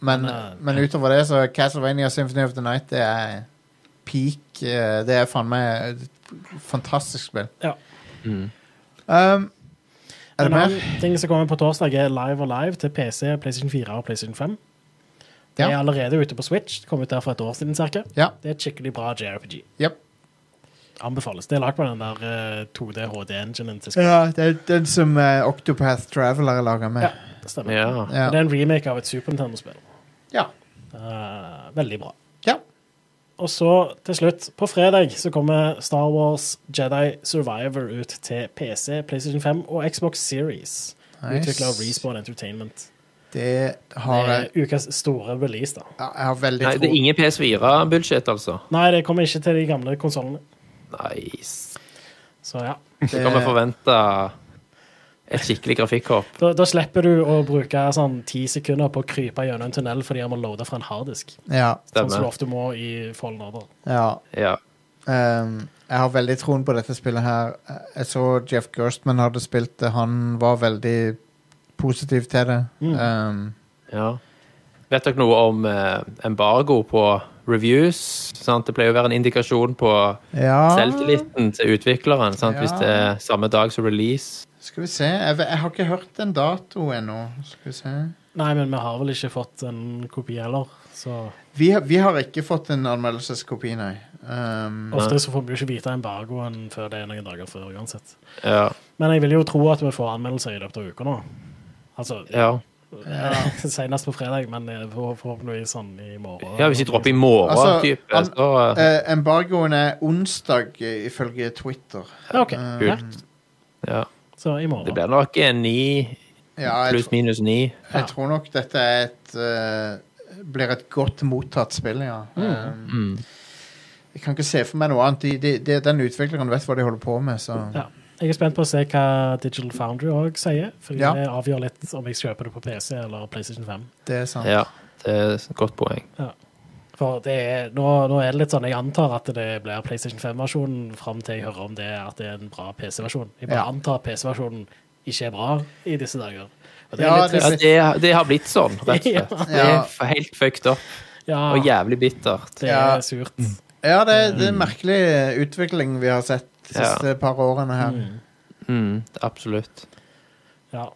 [SPEAKER 1] Men,
[SPEAKER 2] eh,
[SPEAKER 1] men utover det, så Castlevania Symphony of the Night, det er peak. eh, Det er faen meg et fantastisk spill.
[SPEAKER 2] Ja.
[SPEAKER 1] Um, er
[SPEAKER 2] En
[SPEAKER 1] det mer?
[SPEAKER 2] annen ting som kommer på torsdag, er Live og Live til PC, PlayStation 4 og PlayStation 5. Det
[SPEAKER 1] Ja.
[SPEAKER 2] er allerede ute på Switch. Det kom ut der for et år siden, cirka.
[SPEAKER 1] Ja.
[SPEAKER 2] Det er et skikkelig bra JRPG.
[SPEAKER 1] Yep.
[SPEAKER 2] Anbefales. Det er lagd på den der eh, 2D HD-enginen til Square.
[SPEAKER 1] Ja, det er den som eh, Octopath Traveler er laga med.
[SPEAKER 2] Ja, det stemmer.
[SPEAKER 3] Ja.
[SPEAKER 1] Ja.
[SPEAKER 2] Det er en remake av et Super Nintendo-spill.
[SPEAKER 1] Ja.
[SPEAKER 2] Eh, veldig bra.
[SPEAKER 1] ja.
[SPEAKER 2] Og så til slutt, på fredag så kommer Star Wars Jedi Survivor ut til PC, PlayStation 5 og Xbox Series.
[SPEAKER 1] Nice.
[SPEAKER 2] Utvikla av Respawn Entertainment.
[SPEAKER 1] Det
[SPEAKER 2] Det
[SPEAKER 1] har jeg
[SPEAKER 2] er ukas store release, da.
[SPEAKER 1] Ja, Jeg har veldig
[SPEAKER 3] Nei, det er
[SPEAKER 1] tro.
[SPEAKER 3] ingen PS4-budsjett, altså.
[SPEAKER 2] Nei, det kommer ikke til de gamle konsollene.
[SPEAKER 3] Nice.
[SPEAKER 2] Så ja.
[SPEAKER 3] Så kan vi forvente et skikkelig grafikkhopp.
[SPEAKER 2] Da, da slipper du å bruke sånn ti sekunder på å krype gjennom en tunnel fordi han må loade fra en harddisk.
[SPEAKER 1] Ja.
[SPEAKER 2] Sånn som du
[SPEAKER 3] Stemmer.
[SPEAKER 2] ofte må i Fallen Order.
[SPEAKER 1] ja.
[SPEAKER 3] Ja.
[SPEAKER 1] Ehm, jeg har veldig troen på dette spillet her. Jeg så Jeff Gerstmann hadde spilt det. Han var veldig positiv til det.
[SPEAKER 3] Mm.
[SPEAKER 1] Ehm,
[SPEAKER 3] ja. Vet dere noe om eh, embargo på reviews? Sant? Det pleier å være en indikasjon på
[SPEAKER 1] ja
[SPEAKER 3] selvtilliten til utvikleren sant?
[SPEAKER 1] Ja.
[SPEAKER 3] hvis det er samme dag som release.
[SPEAKER 1] Skal vi se. Jeg, ve- jeg har ikke hørt en dato ennå. Skal vi se.
[SPEAKER 2] Nei, men vi har vel ikke fått en kopi heller, så
[SPEAKER 1] Vi, har- vi har ikke fått en anmeldelseskopi, nei. Ehm,
[SPEAKER 2] ofte så får vi jo ikke vite embargoen før det er noen dager før uansett.
[SPEAKER 3] Ja.
[SPEAKER 2] Men jeg vil jo tro at vi får anmeldelser i løpet av uka nå. Altså
[SPEAKER 3] ja.
[SPEAKER 2] senest på fredag, men eh, for- forhåpentligvis sånn i morgen.
[SPEAKER 3] ja hvis de dropper i morgen,
[SPEAKER 1] Altså,
[SPEAKER 3] type,
[SPEAKER 1] an-
[SPEAKER 3] så eh,
[SPEAKER 1] eh, embargoen er onsdag, eh, ifølge Twitter.
[SPEAKER 2] Ja, ok.
[SPEAKER 1] eh,
[SPEAKER 2] Ja,
[SPEAKER 3] kult. Ja.
[SPEAKER 2] så i morgen.
[SPEAKER 3] Mm. Det blir nok en ni,
[SPEAKER 1] Ja, jeg,
[SPEAKER 3] pluss
[SPEAKER 1] tr
[SPEAKER 3] minus ni.
[SPEAKER 1] jeg tror nok dette er et eh, blir et godt mottatt spill, ja. Ehm,
[SPEAKER 3] Mm.
[SPEAKER 1] Jeg kan ikke se for meg noe annet. De, de, de, den utvikleren vet hva de holder på med, så
[SPEAKER 2] Ja. Jeg er spent på å se hva Digital Foundry òg sier. For
[SPEAKER 1] Ja.
[SPEAKER 2] det avgjør litt om jeg kjøper det på PC eller PlayStation 5.
[SPEAKER 1] det er sant.
[SPEAKER 3] Ja, det er et godt poeng.
[SPEAKER 2] For det er, nå, nå er det litt sånn, jeg antar at det blir PlayStation 5-versjonen fram til jeg hører om det at det er en bra PC-versjon. Jeg bare
[SPEAKER 1] Ja.
[SPEAKER 2] antar PC-versjonen ikke er bra i disse dager. Og det er
[SPEAKER 1] Ja,
[SPEAKER 2] litt
[SPEAKER 1] det-
[SPEAKER 3] Ja,
[SPEAKER 2] trist.
[SPEAKER 3] det, det har blitt sånn, rett og slett. Det
[SPEAKER 1] Ja.
[SPEAKER 3] er f- helt fucked up
[SPEAKER 2] Ja,
[SPEAKER 3] og jævlig bittert.
[SPEAKER 2] det
[SPEAKER 1] Ja.
[SPEAKER 2] er surt.
[SPEAKER 1] Ja, det, det er
[SPEAKER 3] Mm.
[SPEAKER 1] en merkelig utvikling vi har sett de siste par årene her.
[SPEAKER 3] Mm, absolutt.
[SPEAKER 2] Ja.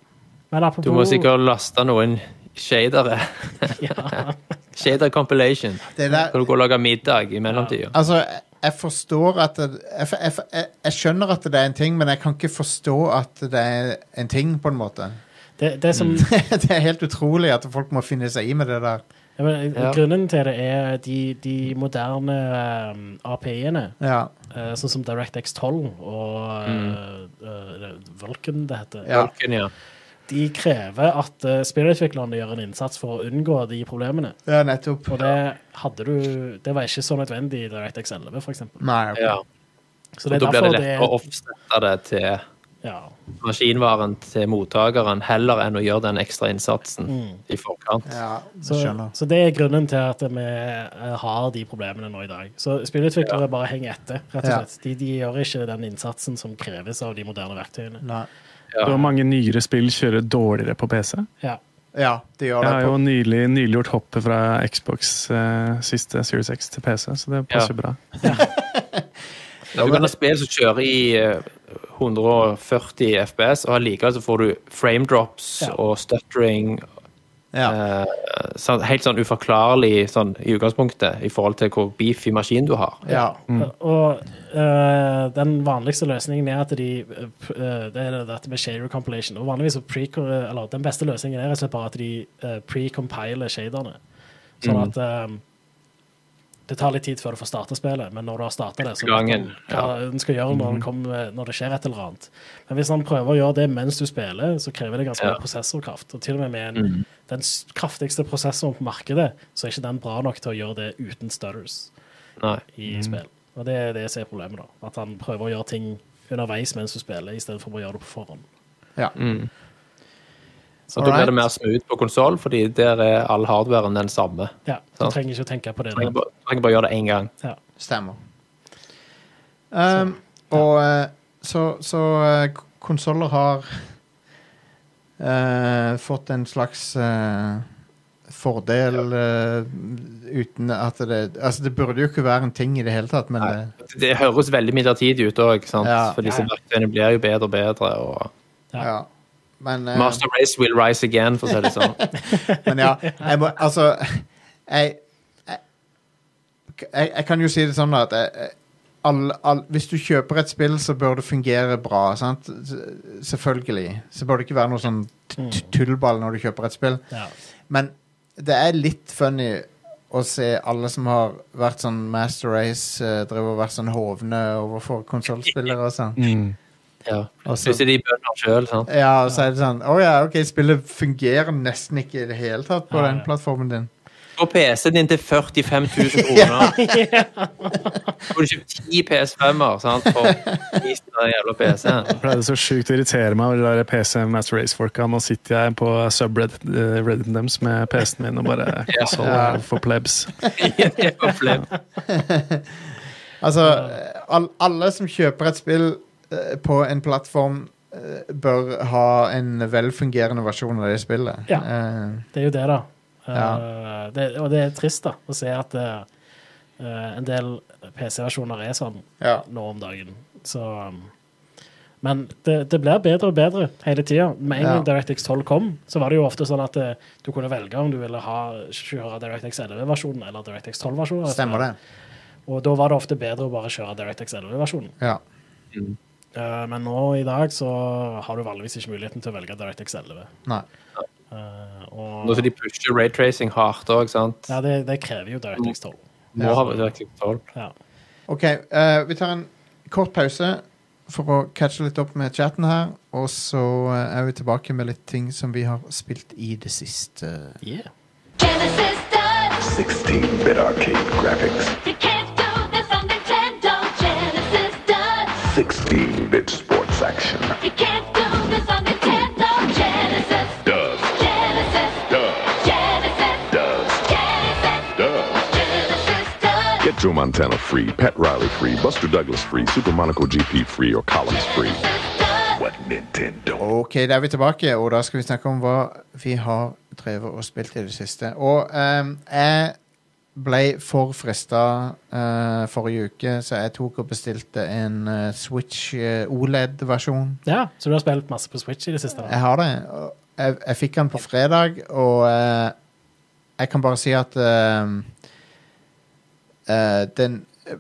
[SPEAKER 2] Men apropos
[SPEAKER 3] Du må sikkert laste noen shadere.
[SPEAKER 2] Ja.
[SPEAKER 3] Shader compilation.
[SPEAKER 1] Det der,
[SPEAKER 3] Kan du gå og lage middag i mellomtida?
[SPEAKER 1] altså, jeg- jeg forstår at det, jeg, jeg, jeg, jeg skjønner at det er en ting, men jeg kan ikke forstå at det er en ting, på en måte.
[SPEAKER 2] Det, det som,
[SPEAKER 1] det er helt utrolig at folk må finne seg i med det der.
[SPEAKER 2] jeg mener,
[SPEAKER 3] Ja.
[SPEAKER 2] Grunnen til det er de, de moderne um, API-ene,
[SPEAKER 1] Ja,
[SPEAKER 2] eh, sånn som DirectX 12 og eh, eh, Vulkan, det heter.
[SPEAKER 1] ja.
[SPEAKER 3] Vulkan, ja.
[SPEAKER 2] De krever at uh, spillutviklerne gjør en innsats for å unngå de problemene.
[SPEAKER 1] ja nettopp.
[SPEAKER 2] Og det hadde du Det var ikke så nødvendig i DirectX 11, f.eks.
[SPEAKER 1] Nei, ok.
[SPEAKER 3] ja.
[SPEAKER 2] Så
[SPEAKER 3] Og
[SPEAKER 2] det
[SPEAKER 3] da
[SPEAKER 2] er
[SPEAKER 3] blir det
[SPEAKER 2] derfor det,
[SPEAKER 3] lettere å offsette det til
[SPEAKER 2] ja,
[SPEAKER 3] maskinvaren til mottakeren, heller enn å gjøre den ekstra innsatsen
[SPEAKER 2] Mm.
[SPEAKER 3] i forkant.
[SPEAKER 1] Ja,
[SPEAKER 2] så,
[SPEAKER 1] jeg skjønner.
[SPEAKER 2] så det er grunnen til at vi eh, har de problemene nå i dag. Så spillutviklere bare henger etter, rett og
[SPEAKER 1] Ja.
[SPEAKER 2] slett. De, de gjør ikke den innsatsen som kreves av de moderne verktøyene.
[SPEAKER 1] Nei.
[SPEAKER 3] Ja.
[SPEAKER 4] Hvor mange nyere spill kjører dårligere på PC?
[SPEAKER 2] Ja.
[SPEAKER 1] Ja, det gjør
[SPEAKER 4] Jeg
[SPEAKER 1] det.
[SPEAKER 4] har
[SPEAKER 1] på-
[SPEAKER 4] jo nylig, nylig gjort hoppet fra Xbox eh, siste Series X til PC, så det passer
[SPEAKER 3] Ja.
[SPEAKER 4] bra.
[SPEAKER 3] Du kan ha spill som kjører i eh, 140 FPS, og allikevel så får du frame drops
[SPEAKER 2] Ja.
[SPEAKER 3] og stuttering.
[SPEAKER 1] Ja.
[SPEAKER 3] eh, sånn- helt sånn uforklarlig sånn, i utgangspunktet i forhold til hvor beefy maskin du har.
[SPEAKER 1] Ja.
[SPEAKER 2] mm.
[SPEAKER 3] Mm.
[SPEAKER 2] Og eh, den vanligste løsningen er at de eh, p- eh, Det er dette med shader compilation. Og vanligvis så pre eller, Den beste løsningen er rett og slett bare at de eh, pre-compiler shaderne. Sånn
[SPEAKER 3] Mm.
[SPEAKER 2] at eh, det tar litt tid før du får starta spillet, men når du har starta det, så vet
[SPEAKER 3] Gangen, Mm.
[SPEAKER 2] du hva den skal gjøre når det, kommer, når det skjer et eller annet. Men hvis han prøver å gjøre det mens du spiller, så krever det ganske
[SPEAKER 3] Ja. Mm.
[SPEAKER 2] mye prosessorkraft. Og til og med med en, den s- kraftigste prosessoren på markedet, så er ikke den bra nok til å gjøre det uten stutters
[SPEAKER 3] Nei.
[SPEAKER 2] i
[SPEAKER 1] Mm.
[SPEAKER 2] spill. Og det er det som er problemet, da. At han prøver å gjøre ting underveis mens du spiller, istedenfor å gjøre det på forhånd.
[SPEAKER 1] ja.
[SPEAKER 3] Så da blir
[SPEAKER 1] Alright.
[SPEAKER 3] det mer smooth på konsoll, fordi der er all hardwaren den samme.
[SPEAKER 2] Ja, Du
[SPEAKER 3] Sant.
[SPEAKER 2] trenger ikke å tenke på det.
[SPEAKER 3] Trenger bare, trenger bare gjøre det én gang.
[SPEAKER 2] Ja.
[SPEAKER 1] Stemmer. Um, og eh, så, så eh, k- konsoller har eh, fått en slags eh, fordel eh, uten at det Altså, det burde jo ikke være en ting i det hele tatt, men
[SPEAKER 3] Nei.
[SPEAKER 1] det,
[SPEAKER 3] Det høres veldig midlertidig ut òg,
[SPEAKER 1] Ja.
[SPEAKER 3] for disse
[SPEAKER 2] Ja, ja.
[SPEAKER 3] verktøyene blir jo bedre og bedre. Og
[SPEAKER 2] Ja.
[SPEAKER 1] ja. Men, eh,
[SPEAKER 3] Master Race will rise again, for å si det sånn.
[SPEAKER 1] men ja, jeg må Altså, jeg jeg, jeg kan jo si det sånn da, at jeg, jeg- all, all, hvis du kjøper et spill, så bør det fungere bra. Sant? S- Selvfølgelig. Så bør det ikke være noe sånn t- t- tullball når du kjøper et spill.
[SPEAKER 2] Ja.
[SPEAKER 1] Men det er litt funny å se alle som har vært sånn Master Race, eh, drevet og vært sånn hovne overfor konsollspillere og sånn.
[SPEAKER 2] Mm.
[SPEAKER 3] Ja.
[SPEAKER 1] Og så-
[SPEAKER 3] Plutselig de bønder sjøl, sant.
[SPEAKER 1] Ja, og så er det sånn Å ja, OK, spillet fungerer nesten ikke i det hele tatt på
[SPEAKER 2] Ja,
[SPEAKER 1] den
[SPEAKER 2] ja.
[SPEAKER 1] plattformen din.
[SPEAKER 3] Få PC-en din til 45 000 kroner. Får du kjøpt ti PS5-er sant, for prisen av den jævla PC-en.
[SPEAKER 4] For Det er så sjukt å irritere meg over de der PC Master Race-folka. Nå sitter jeg på subredditen deres med PC-en min og bare konsoll
[SPEAKER 1] Ja.
[SPEAKER 4] for plebs.
[SPEAKER 3] Det var flaut.
[SPEAKER 1] Altså, eh, all, alle som kjøper et spill eh, på en plattform, eh, bør ha en velfungerende versjon av det spillet.
[SPEAKER 2] Ja.
[SPEAKER 1] Eh,
[SPEAKER 2] Det er jo det, da. Eh,
[SPEAKER 1] Ja.
[SPEAKER 2] det, og det er trist da, å se at eh, eh, en del PC-versjoner er sånn
[SPEAKER 1] ja.
[SPEAKER 2] nå om dagen. Så um, Men det, det blir bedre og bedre hele tida. Med en gang
[SPEAKER 1] Ja.
[SPEAKER 2] DirectX 12 kom, så var det jo ofte sånn at eh, du kunne velge om du ville ha kjøre DirectX 11-versjonen eller DirectX 12-versjonen.
[SPEAKER 1] Stemmer det.
[SPEAKER 2] Og da var det ofte bedre å bare kjøre DirectX 11-versjonen.
[SPEAKER 1] Ja.
[SPEAKER 2] Eh, men nå i dag så har du vanligvis ikke muligheten til å velge DirectX 11.
[SPEAKER 1] Nei.
[SPEAKER 2] Eh,
[SPEAKER 3] Nå
[SPEAKER 2] og
[SPEAKER 3] som de pusher raytracing hardt òg, sant.
[SPEAKER 2] ja, det, det krever jo DirectX 12.
[SPEAKER 3] Må ha DirectX 12.
[SPEAKER 2] Ja.
[SPEAKER 1] OK, eh, vi tar en kort pause for å catche litt opp med chatten her. Og så eh, er vi tilbake med litt ting som vi har spilt i det siste.
[SPEAKER 2] Yeah.
[SPEAKER 6] Genesis Dodge,
[SPEAKER 7] 16-bit arcade graphics,
[SPEAKER 6] you can't do this on Nintendo. Genesis Dodge,
[SPEAKER 7] 16-bit sports action.
[SPEAKER 6] you can't do this on Nintendo. Genesis,
[SPEAKER 7] Does,
[SPEAKER 6] Genesis,
[SPEAKER 7] does,
[SPEAKER 6] Genesis,
[SPEAKER 7] does,
[SPEAKER 6] Genesis,
[SPEAKER 7] does.
[SPEAKER 6] Genesis Dodge.
[SPEAKER 7] Get Joe Montana free, Pat Riley free, Buster Douglas free, Super Monaco GP free, or Collins free. What Nintendo?
[SPEAKER 1] OK, da er vi tilbake, og da skal vi snakke om hva vi har drevet og spilt i det siste. Og ehm, jeg ble for frista eh, forrige uke, så jeg tok og bestilte en eh, Switch eh, OLED-versjon.
[SPEAKER 2] ja, så du har spilt masse på Switch i det siste? da?
[SPEAKER 1] Jeg har det. og- jeg, jeg fikk den på fredag, og eh, jeg kan bare si at eh, eh, den eh,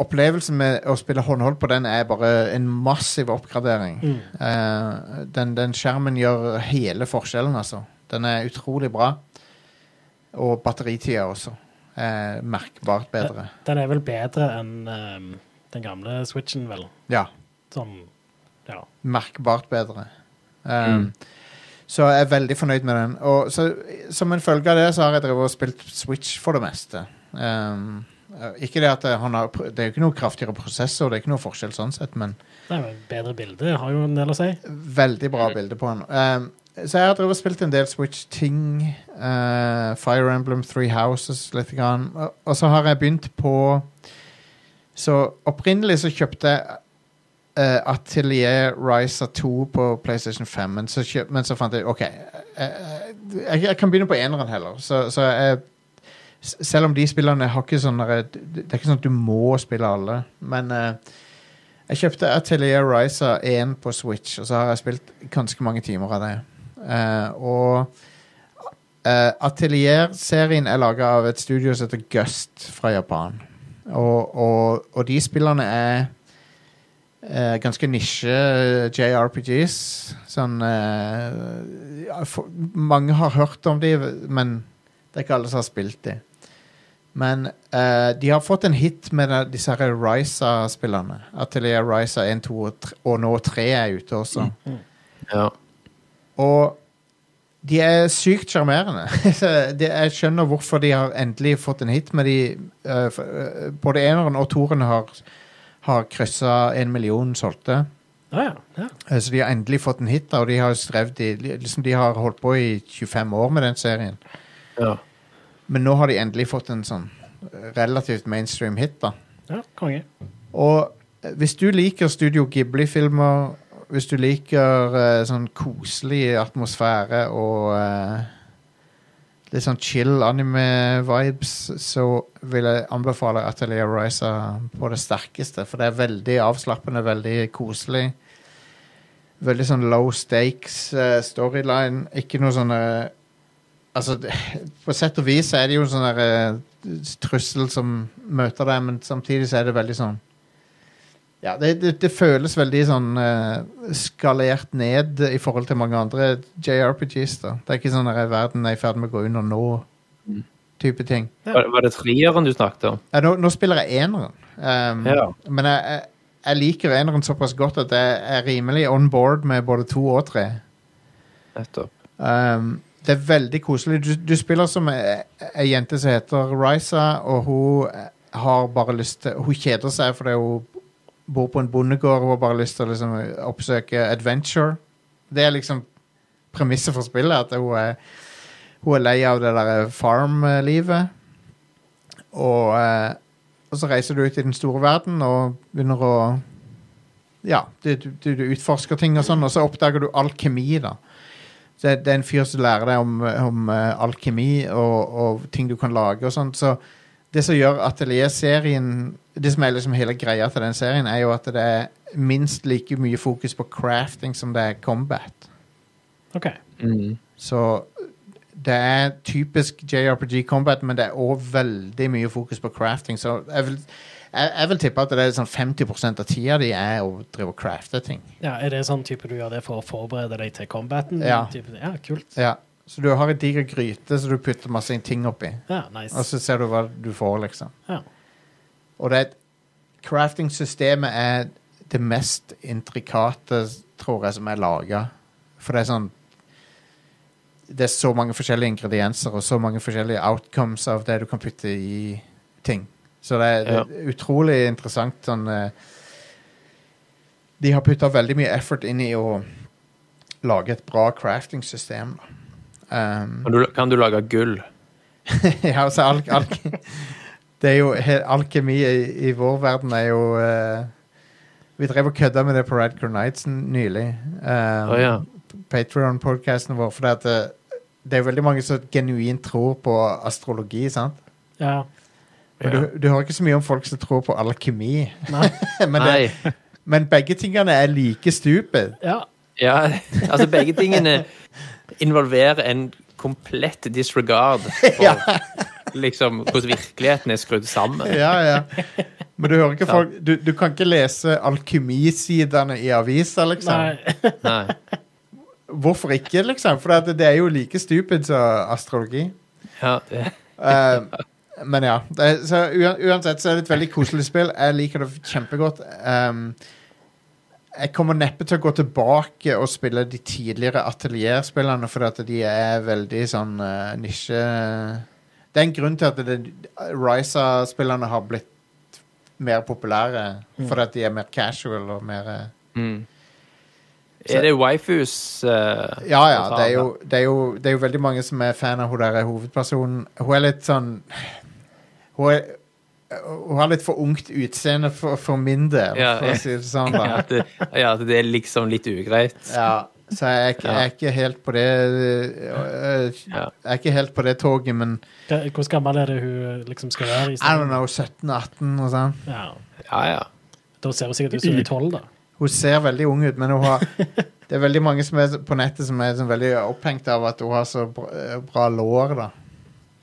[SPEAKER 1] Opplevelsen med å spille håndhold på den er bare en massiv oppgradering.
[SPEAKER 2] Mm.
[SPEAKER 1] Eh, den, den skjermen gjør hele forskjellen, altså. Den er utrolig bra. Og batteritida også. Er merkbart bedre.
[SPEAKER 2] Den er vel bedre enn ehm, den gamle Switchen, vel.
[SPEAKER 1] Ja.
[SPEAKER 2] Sånn, ja.
[SPEAKER 1] merkbart bedre. Um, Så jeg er veldig fornøyd med den. Og så, som en følge av det, så har jeg drevet og spilt Switch for det meste. Um, eh, ikke det at eh, han har pr- Det er jo ikke noe kraftigere prosessor, det er ikke noe forskjell sånn sett, men
[SPEAKER 2] Nei, men bedre bilde har jo en del å si.
[SPEAKER 1] veldig bra bilde på han. Um, så jeg har drevet og spilt en del Switch-ting. eh, Fire Emblem, Three Houses, litt. Grann. Og, og så har jeg begynt på Så opprinnelig så kjøpte jeg eh, Atelier Ryza 2 på PlayStation 5, men så, kjøp, men så fant jeg OK, jeg, jeg, jeg kan begynne på eneren heller. Så, så jeg s- Selv om de spillerne har ikke sånn derre- Det er ikke sånn at du må spille alle, men eh, jeg kjøpte Atelier Ryza 1 på Switch, og så har jeg spilt ganske mange timer av det. Eh, og eh, Atelier-serien er laga av et studio som heter Gust fra Japan. Og, og, og de spillerne er eh, ganske nisje eh, JRPGs. Sånn eh, ja, for, Mange har hørt om de, men det er ikke alle som har spilt de. Men eh, de har fått en hit med de, disse her Ryza-spillerne. Atelier Ryza 1, 2 og 3, og nå 3 er ute også.
[SPEAKER 3] Ja.
[SPEAKER 1] Og de er sykt sjarmerende. Så det- jeg skjønner hvorfor de har endelig fått en hit med de eh, for, eh, Både eneren og toeren har, har kryssa en million solgte.
[SPEAKER 2] Ja, ja. ja.
[SPEAKER 1] Eh, Så de har endelig fått en hit, da, og de har strevd i liksom De har holdt på i 25 år med den serien.
[SPEAKER 3] Ja.
[SPEAKER 1] Men nå har de endelig fått en sånn relativt mainstream hit, da.
[SPEAKER 2] ja konge.
[SPEAKER 1] Og eh, hvis du liker Studio Ghibli-filmer, hvis du liker eh, sånn koselig atmosfære og eh, litt sånn chill anime-vibes, så vil jeg anbefale Atelier Ryza på det sterkeste. For det er veldig avslappende, veldig koselig. Veldig sånn low stakes eh, storyline. Ikke noe sånne Altså, det- på sett og vis så er det jo en sånn der, eh, trussel som møter deg, men samtidig så er det veldig sånn Ja, det, det, det føles veldig sånn eh, skalert ned i forhold til mange andre JRPGs, da. Det er ikke sånn at verden er i ferd med å gå under nå-type ting.
[SPEAKER 3] Var, var det treeren du snakket om?
[SPEAKER 1] Ja, nå, nå spiller jeg eneren. Um,
[SPEAKER 3] Ja.
[SPEAKER 1] Men jeg, jeg, jeg liker eneren såpass godt at jeg er rimelig on board med både to og tre.
[SPEAKER 3] Nettopp.
[SPEAKER 1] Um, det er veldig koselig. Du, du spiller som ei ei jente som heter Ryza, og hun eh, har bare lyst til Hun kjeder seg fordi hun bor på en bondegård og har bare lyst til å liksom oppsøke adventure. Det er liksom premisset for spillet, at hun er, hun er lei av det der farm-livet. Og, eh, og så reiser du ut i den store verden og begynner å Ja, du, du, du utforsker ting og sånn, og så oppdager du alkemi, da. Så det, det er en fyr som lærer deg om, om eh, alkemi og, og ting du kan lage og sånt. Så det som gjør Atelier-serien Det som er liksom hele greia til den serien, er jo at det er minst like mye fokus på crafting som det er combat.
[SPEAKER 2] OK.
[SPEAKER 3] Mm.
[SPEAKER 1] Så det er typisk JRPG combat, men det er òg veldig mye fokus på crafting. Så jeg vil, jeg, jeg vil tippe at det er sånn 50 av tida di er å drive og crafte ting.
[SPEAKER 2] Ja, er det sånn type du gjør det for å forberede deg til combaten?
[SPEAKER 1] Ja.
[SPEAKER 2] Type, ja, kult.
[SPEAKER 1] Ja. Så du har ei diger gryte som du putter masse ting oppi,
[SPEAKER 2] Ja, nice.
[SPEAKER 1] og så ser du hva du får, liksom.
[SPEAKER 2] ja.
[SPEAKER 1] Og det er et Crafting-systemet er det mest intrikate, tror jeg, som er laga. For det er sånn Det er så mange forskjellige ingredienser og så mange forskjellige outcomes av det du kan putte i ting. Så det er, det er utrolig interessant sånn eh, De har putta veldig mye effort inn i å lage et bra crafting-system. da. Um,
[SPEAKER 3] Kan, du, kan du lage gull?
[SPEAKER 1] ja, altså alk, alk, Det er jo he- Alkemi i, i vår verden er jo eh, Vi drev og kødda med det på Radcor Nights nylig.
[SPEAKER 3] Å
[SPEAKER 1] Um,
[SPEAKER 3] ja.
[SPEAKER 1] Patreon-podkasten vår. For det, at det, det er jo veldig mange som genuint tror på astrologi, sant?
[SPEAKER 2] ja.
[SPEAKER 1] Men du, du hører ikke så mye om folk som tror på alkemi.
[SPEAKER 2] Nei.
[SPEAKER 1] men, eh,
[SPEAKER 3] Nei.
[SPEAKER 1] det, men begge tingene er like stupid.
[SPEAKER 2] Ja.
[SPEAKER 3] Ja, altså begge tingene involverer en komplett disregard for liksom, hvordan virkeligheten er skrudd sammen.
[SPEAKER 1] Ja, ja. Men du hører ikke folk Du, du kan ikke lese alkemisidene i aviser, liksom.
[SPEAKER 2] Nei.
[SPEAKER 3] Nei.
[SPEAKER 1] Hvorfor ikke, liksom? For det, det er jo like stupid som astrologi.
[SPEAKER 3] Ja, det,
[SPEAKER 1] Eh, men ja. Det, er- så ua- uansett så er det et veldig koselig spill. Jeg liker det kjempegodt. Ehm, jeg kommer neppe til å gå tilbake og spille de tidligere atelierspillene, fordi at de er veldig sånn eh, nisje... Det er en grunn til at det- Ryza-spillerne har blitt mer populære, fordi at de er mer casual og mer eh,
[SPEAKER 3] mm. Er det waifus? eh,
[SPEAKER 1] Ja, ja.
[SPEAKER 3] portal,
[SPEAKER 1] Det er, jo, det, er jo, det er jo veldig mange som er fan av hun der hovedpersonen. Hun er litt sånn Hun, er, hun har litt for ungt utseende for, for min del,
[SPEAKER 3] Ja,
[SPEAKER 1] for
[SPEAKER 3] ja.
[SPEAKER 1] å si det sånn.
[SPEAKER 3] Ja,
[SPEAKER 1] da.
[SPEAKER 3] at det, ja, at det er liksom litt ugreit.
[SPEAKER 1] Ja, så jeg, er ikke- jeg er ikke helt på det øh,
[SPEAKER 3] Ja.
[SPEAKER 1] Jeg er ikke helt på det toget, men
[SPEAKER 2] Hva- Hvordan gammel er det hun liksom skal være? i
[SPEAKER 1] I don't
[SPEAKER 2] stedet?
[SPEAKER 1] know, 17-18 og sånn.
[SPEAKER 2] Ja.
[SPEAKER 3] Ja, ja.
[SPEAKER 2] Da ser hun sikkert ut som hun er tolv, da.
[SPEAKER 1] Hun ser veldig ung ut, men hun har Det er veldig mange som er på nettet som er sånn veldig opphengt av at hun har så bra, øh, bra lår, da.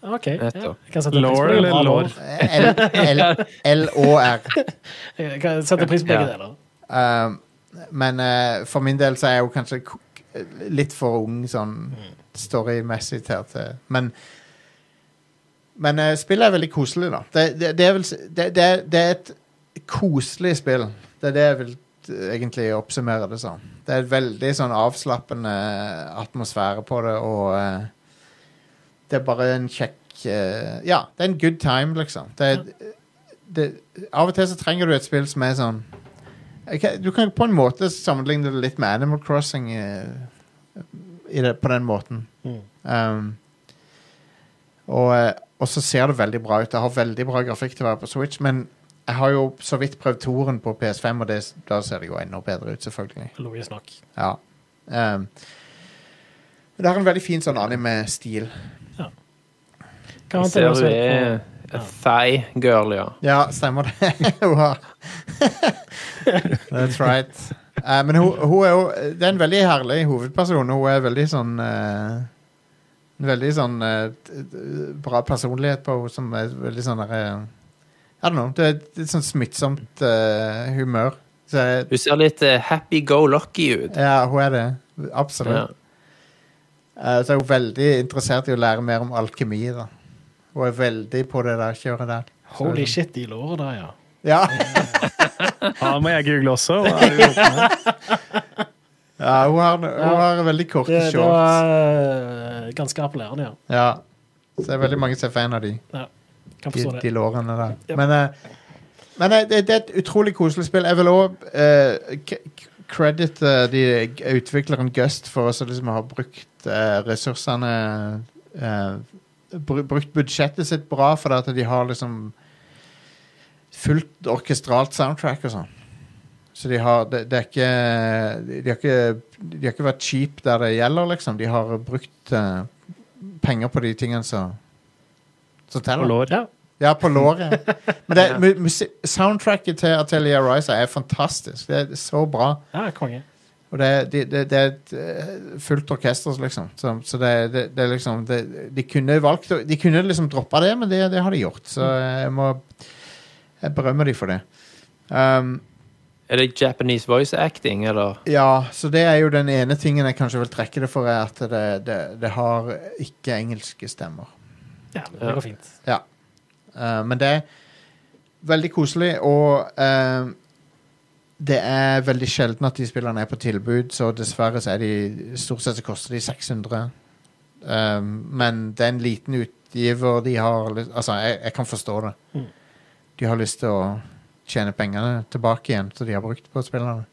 [SPEAKER 2] OK. Ja.
[SPEAKER 3] Nettopp.
[SPEAKER 2] Jeg kan sette pris på
[SPEAKER 4] Lår
[SPEAKER 2] det.
[SPEAKER 4] eller
[SPEAKER 2] Bra
[SPEAKER 4] lår?
[SPEAKER 1] L- L- L-Å-R.
[SPEAKER 2] Jeg kan sette pris på begge
[SPEAKER 3] Ja.
[SPEAKER 2] deler.
[SPEAKER 1] Eh, men eh, for min del så er jeg jo kanskje k- k- litt for ung sånn storymessig til at eh, Men, men eh, spillet er veldig koselig, da. Det, det, det, er vel, s- det, det, er- det er et koselig spill. Det er det jeg vil eh, egentlig oppsummere det som. Det er et veldig sånn avslappende atmosfære på det, og eh, det er bare en kjekk eh, Ja, det er en good time, liksom. Det, er- det, av og til så trenger du et spill som er sånn Ok, Du kan på en måte sammenligne det litt med Animal Crossing eh, i det, på den måten.
[SPEAKER 2] Mm.
[SPEAKER 1] Um, og, eh, og så ser det veldig bra ut. Det har veldig bra grafikk til å være på Switch, men jeg har jo så vidt prøvd toren på PS5, og det, da ser det jo enda bedre ut, selvfølgelig.
[SPEAKER 2] Logisk nok.
[SPEAKER 1] Ja. Um, det har en veldig fin sånn anime-stil.
[SPEAKER 2] Hva
[SPEAKER 3] Jeg
[SPEAKER 2] annet er
[SPEAKER 3] ser
[SPEAKER 2] det å
[SPEAKER 3] hun
[SPEAKER 2] se
[SPEAKER 3] er
[SPEAKER 2] på?
[SPEAKER 3] a thigh girl, ja.
[SPEAKER 1] Ja, stemmer det. Hun har- That's right. Eh, men hun, hun er jo Det er en veldig herlig hovedperson. Hun er veldig sånn eh, En veldig sånn eh, t- t- bra personlighet på henne som er veldig sånn der eh, I don't know. Det er et litt sånn smittsomt eh, humør. Så jeg,
[SPEAKER 3] Hun ser litt eh, happy go lucky ut.
[SPEAKER 1] ja, hun er det. Absolutt.
[SPEAKER 3] Ja.
[SPEAKER 1] Eh, så er hun veldig interessert i å lære mer om alkemi. da Hun er veldig på det der kjøret der. Så-
[SPEAKER 2] Holy shit, de låra der, ja.
[SPEAKER 1] Ja.
[SPEAKER 4] Ja, det må jeg google også. Da er vi åpne.
[SPEAKER 1] Ja, hun har, hun har veldig korte
[SPEAKER 2] Det, det
[SPEAKER 1] shorts.
[SPEAKER 2] var eh, ganske appellerende, ja.
[SPEAKER 1] Ja. Så det er veldig mange som er fan av de,
[SPEAKER 2] ja. Kan
[SPEAKER 1] de,
[SPEAKER 2] forstå
[SPEAKER 1] de
[SPEAKER 2] det.
[SPEAKER 1] lårene der.
[SPEAKER 2] Yep.
[SPEAKER 1] Men, eh, men eh, det, det er et utrolig koselig spill. Jeg vil òg credit eh, de, utvikleren Gust for også liksom å ha brukt eh, ressursene eh, br Brukt budsjettet sitt bra, for at de har liksom fullt orkestralt soundtrack og sånn. Så de har det, det er ikke de har ikke De har ikke vært cheap der det gjelder, liksom. De har brukt eh, penger på de tingene som som teller.
[SPEAKER 4] Og lår.
[SPEAKER 2] Ja.
[SPEAKER 1] Ja, på låret. Men det, mu- musi- soundtracket til Atelier Ryza er fantastisk. Det er så bra.
[SPEAKER 2] ja, konge.
[SPEAKER 1] Og det, er- det, det, det er et eh, fullt orkester, liksom. Så, så det, det, det er liksom det, De kunne valgt å- De kunne liksom droppa det, men det, det har de gjort. Så jeg må Jeg berømmer de for det. Um,
[SPEAKER 3] Er det Japanese voice acting, eller?
[SPEAKER 1] ja, så det er jo den ene tingen jeg kanskje vil trekke det for, er at det, det, det har ikke engelske stemmer.
[SPEAKER 2] Ja, det går fint.
[SPEAKER 1] Ja. Eh, men det er veldig koselig, og eh, det er veldig sjelden at de spillerne er på tilbud, så dessverre så er de Stort sett så koster de 600. Eh, men det er en liten utgiver de har lyst- Altså, jeg, jeg kan forstå det.
[SPEAKER 2] Mm.
[SPEAKER 1] De har lyst til å tjene pengene tilbake igjen som de har brukt på spillerne.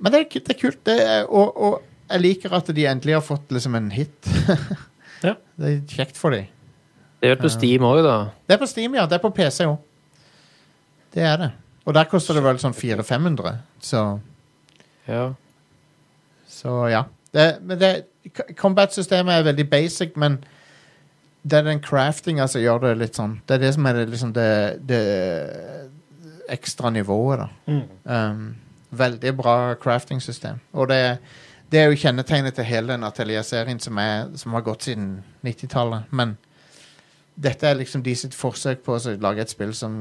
[SPEAKER 1] Men det er, ku- det er kult, det er, og, og jeg liker at de endelig har fått liksom en hit.
[SPEAKER 2] Ja.
[SPEAKER 1] Det er kjekt for dem.
[SPEAKER 3] Det er vel på Steam òg, da.
[SPEAKER 1] Det er på Steam, ja. Det er på PC òg. Det er det. Og der koster det vel sånn 400-500. Så,
[SPEAKER 3] Ja.
[SPEAKER 1] så ja. Det, men det, combat-systemet er veldig basic, men det er den craftinga som gjør det litt sånn. Det er det som er det, liksom det, det ekstra nivået, da.
[SPEAKER 2] Mm.
[SPEAKER 1] Um, veldig bra crafting-system. Og det, Det er jo kjennetegnet til hele den Atelier-serien som, er- som har gått siden 90-tallet. Men dette er liksom de sitt forsøk på å så lage et spill som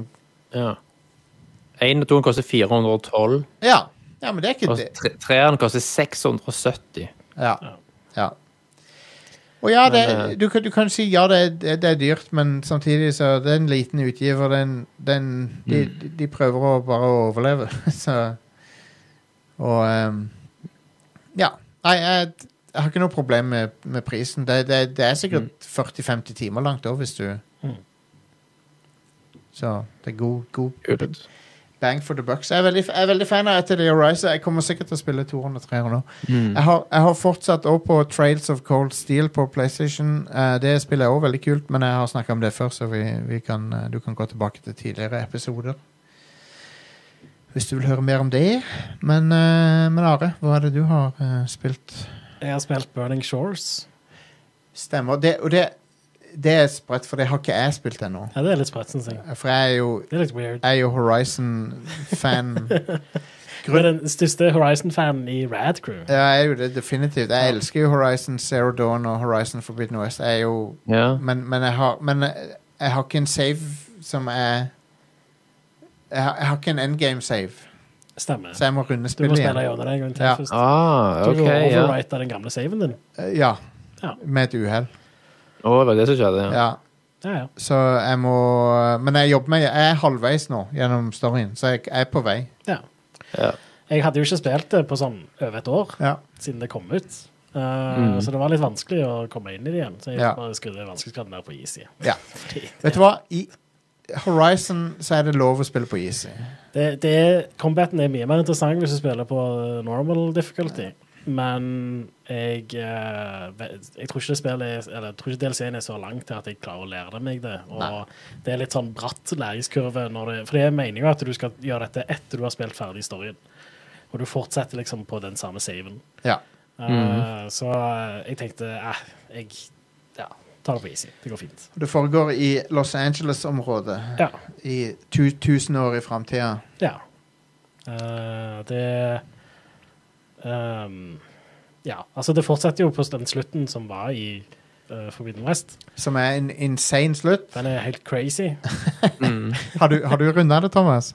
[SPEAKER 3] Ja. Én og toen koster 412.
[SPEAKER 1] Ja, ja men det er ikke
[SPEAKER 3] Og
[SPEAKER 1] det.
[SPEAKER 3] tre- treeren koster 670.
[SPEAKER 1] Ja. ja. Og ja,
[SPEAKER 3] Men, eh,
[SPEAKER 1] det, du, kan- du kan si ja, det, er- det, det er dyrt, men samtidig så det er en liten utgiver. Den, den, de,
[SPEAKER 3] Mm.
[SPEAKER 1] de- de prøver å bare å overleve, så Og ehm, Ja. Nei, jeg, jeg har ikke noe problem med, med prisen. Det, det, det er
[SPEAKER 3] Mm.
[SPEAKER 1] sikkert 40-50 timer langt òg, hvis du Så det er god, god
[SPEAKER 3] Kult.
[SPEAKER 1] bang for the bucks. Jeg er veldig, jeg er veldig fan av Atelier Horizon. Jeg kommer sikkert til å spille 200-300 nå. Jeg, har, jeg har fortsatt òg på Trails of Cold Steel på PlayStation. Eh, det spillet er òg veldig kult, men jeg har snakka om det før, så vi, vi kan, eh, du kan gå tilbake til tidligere episoder. Hvis du vil høre mer om det. Men, eh, men Are, hva er det du har eh, spilt?
[SPEAKER 2] Jeg har spilt Burning Shores.
[SPEAKER 1] Stemmer. Det, og det, det er spredt, for det har ikke jeg spilt ennå.
[SPEAKER 2] Ja, det er litt spredt, syns jeg.
[SPEAKER 1] For jeg er jo,
[SPEAKER 2] Det er litt weird.
[SPEAKER 1] jeg er jo Horizon-fan.
[SPEAKER 2] Du er den største Horizon-fanen i Rad Crew.
[SPEAKER 1] Ja, jeg er jo det, definitivt. Jeg elsker jo Horizon Zero Dawn og Horizon Forbidden West. Jeg er jo,
[SPEAKER 3] Ja.
[SPEAKER 1] men, men, jeg har, men jeg jeg har ikke en save som er Jeg har, jeg har ikke en endgame save,
[SPEAKER 2] Stemmer.
[SPEAKER 1] så jeg må runde
[SPEAKER 2] Du må
[SPEAKER 1] spillet
[SPEAKER 2] spille
[SPEAKER 1] igjen.
[SPEAKER 2] gjennom det en gang til
[SPEAKER 1] Ja.
[SPEAKER 2] først.
[SPEAKER 3] Ah,
[SPEAKER 2] Du
[SPEAKER 3] OK.
[SPEAKER 2] okay,
[SPEAKER 3] Ja.
[SPEAKER 2] overwrite den gamle saven din.
[SPEAKER 1] Ja.
[SPEAKER 2] Ja.
[SPEAKER 1] Med et uhell.
[SPEAKER 3] Å, det var det som skjedde, ja.
[SPEAKER 1] Ja.
[SPEAKER 2] Ja, ja.
[SPEAKER 1] Så jeg må Men jeg jobber meg Jeg er halvveis nå gjennom storyen, så jeg, jeg er på vei.
[SPEAKER 2] ja.
[SPEAKER 3] Ja.
[SPEAKER 2] Jeg hadde jo ikke spilt det på sånn over et år
[SPEAKER 1] Ja.
[SPEAKER 2] siden det kom ut. Eh, Så det var litt vanskelig å komme inn i det igjen. Så jeg
[SPEAKER 1] Mm. Ja.
[SPEAKER 2] bare skrudde vanskelighetsgraden ned på easy.
[SPEAKER 1] ja.
[SPEAKER 2] Fordi
[SPEAKER 1] Vet du hva? I Horizon så er det lov å spille på easy.
[SPEAKER 2] Det, det, combaten er mye mer interessant hvis du spiller på eh, normal difficulty. Men jeg, eh, ve- jeg tror ikke det spillet er- eller jeg tror ikke DLC-en er så langt til at jeg klarer å lære det meg det. Og
[SPEAKER 1] Nei.
[SPEAKER 2] det er litt sånn bratt læringskurve. Når det, for det er meninga at du skal gjøre dette etter du har spilt ferdig storyen. Og du fortsetter liksom på den samme saven.
[SPEAKER 1] Ja.
[SPEAKER 3] Mhm.
[SPEAKER 2] Eh, Så eh, jeg tenkte eh, jeg ja, tar det på easy. Det går fint.
[SPEAKER 1] Det foregår i Los Angeles-området.
[SPEAKER 2] Ja.
[SPEAKER 1] I tu tusen år i framtida.
[SPEAKER 2] Ja. Eh, det ehm, Ja, altså, det fortsetter jo på den slutten som var i uh, Forbidden West.
[SPEAKER 1] Som er en insane slutt.
[SPEAKER 2] Den er helt crazy.
[SPEAKER 1] Har du, har du runda det, Thomas?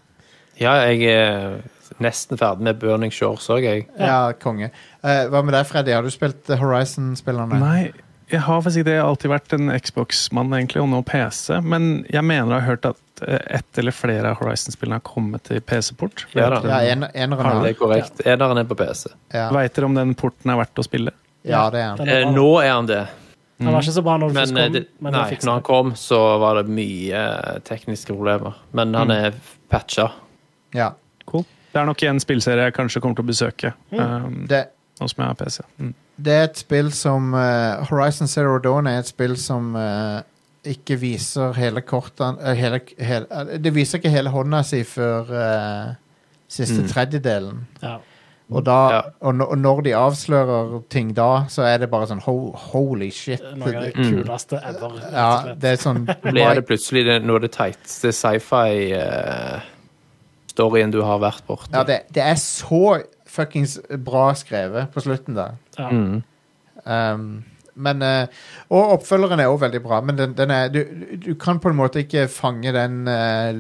[SPEAKER 3] ja, jeg er nesten ferdig med Burning Shores òg, jeg.
[SPEAKER 1] Ja, konge. Eh, hva med deg, Freddy? Har du spilt eh, Horizon-spillerne?
[SPEAKER 4] Nei, jeg har faktisk ikke det. Jeg har alltid vært en Xbox-mann, egentlig, og nå PC. Men jeg mener jeg har hørt at eh, ett eller flere av Horizon-spillene har kommet til PC-port.
[SPEAKER 3] Ja da.
[SPEAKER 1] Ja, en, eneren
[SPEAKER 4] Har
[SPEAKER 1] har
[SPEAKER 3] Det er korrekt. Eneren er på PC.
[SPEAKER 1] ja.
[SPEAKER 4] Veit dere om den porten er verdt å spille?
[SPEAKER 1] ja, det er han.
[SPEAKER 2] Den er
[SPEAKER 3] Eh,
[SPEAKER 2] bra.
[SPEAKER 3] nå er han det,
[SPEAKER 2] Den var ikke så bra når den
[SPEAKER 3] men,
[SPEAKER 2] først
[SPEAKER 3] eh,
[SPEAKER 2] kom,
[SPEAKER 3] det,
[SPEAKER 2] men
[SPEAKER 3] nei,
[SPEAKER 2] den
[SPEAKER 3] når
[SPEAKER 2] fiksa
[SPEAKER 3] han
[SPEAKER 2] det.
[SPEAKER 3] kom, så var det mye eh, tekniske problemer. Men han er patcha.
[SPEAKER 1] Ja.
[SPEAKER 4] Cool. Det er nok en spillserie jeg kanskje kommer til å besøke.
[SPEAKER 3] Mm.
[SPEAKER 4] Um,
[SPEAKER 1] Det,
[SPEAKER 4] nå som jeg har PC. Mm.
[SPEAKER 1] det er et spill som eh, Horizon Zero Dawn er et spill som eh, ikke viser hele kortet eh, hele, hele, eh, Det viser ikke hele hånda si før eh, siste tredjedelen.
[SPEAKER 2] Ja.
[SPEAKER 1] Og, da,
[SPEAKER 3] Ja.
[SPEAKER 1] og, når, og når de avslører ting da, så er det bare sånn ho, holy shit.
[SPEAKER 2] Noe av det
[SPEAKER 3] Mm.
[SPEAKER 2] kuleste ever. rett og
[SPEAKER 1] ja,
[SPEAKER 2] slett.
[SPEAKER 1] det er sånn
[SPEAKER 3] Blir det plutselig det, noe av det teiteste sci-fi-storyen du har vært borti?
[SPEAKER 1] ja, det, det er så fuckings bra skrevet på slutten der.
[SPEAKER 2] Ja.
[SPEAKER 3] Mm.
[SPEAKER 1] Um, men, eh, og oppfølgeren er òg veldig bra, men den, den er, du, du kan på en måte ikke fange den eh,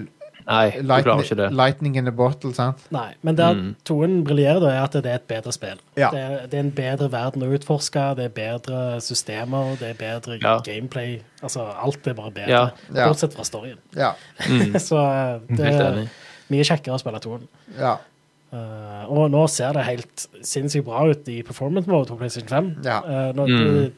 [SPEAKER 3] Nei, du klarer ikke det.
[SPEAKER 1] lightning, lightning in the bottle, sant?
[SPEAKER 2] Nei, men der
[SPEAKER 3] Mm.
[SPEAKER 2] toen briljerer, da, er at det er et bedre spill.
[SPEAKER 1] Ja.
[SPEAKER 2] Det, er, det er en bedre verden å utforske, det er bedre systemer, det er bedre
[SPEAKER 3] Ja.
[SPEAKER 2] gameplay. Altså, alt er bare bedre.
[SPEAKER 3] Ja. Mm.
[SPEAKER 1] Ja.
[SPEAKER 2] Bortsett fra storyen.
[SPEAKER 1] Ja.
[SPEAKER 2] Så eh, det
[SPEAKER 3] Helt
[SPEAKER 2] er
[SPEAKER 3] enig.
[SPEAKER 2] mye kjekkere å spille toen.
[SPEAKER 1] Ja.
[SPEAKER 2] Eh, og nå ser det helt sinnssykt bra ut i performance mode på PlayStation 5.
[SPEAKER 1] Ja.
[SPEAKER 2] Eh, nå,
[SPEAKER 3] Mm.
[SPEAKER 2] de,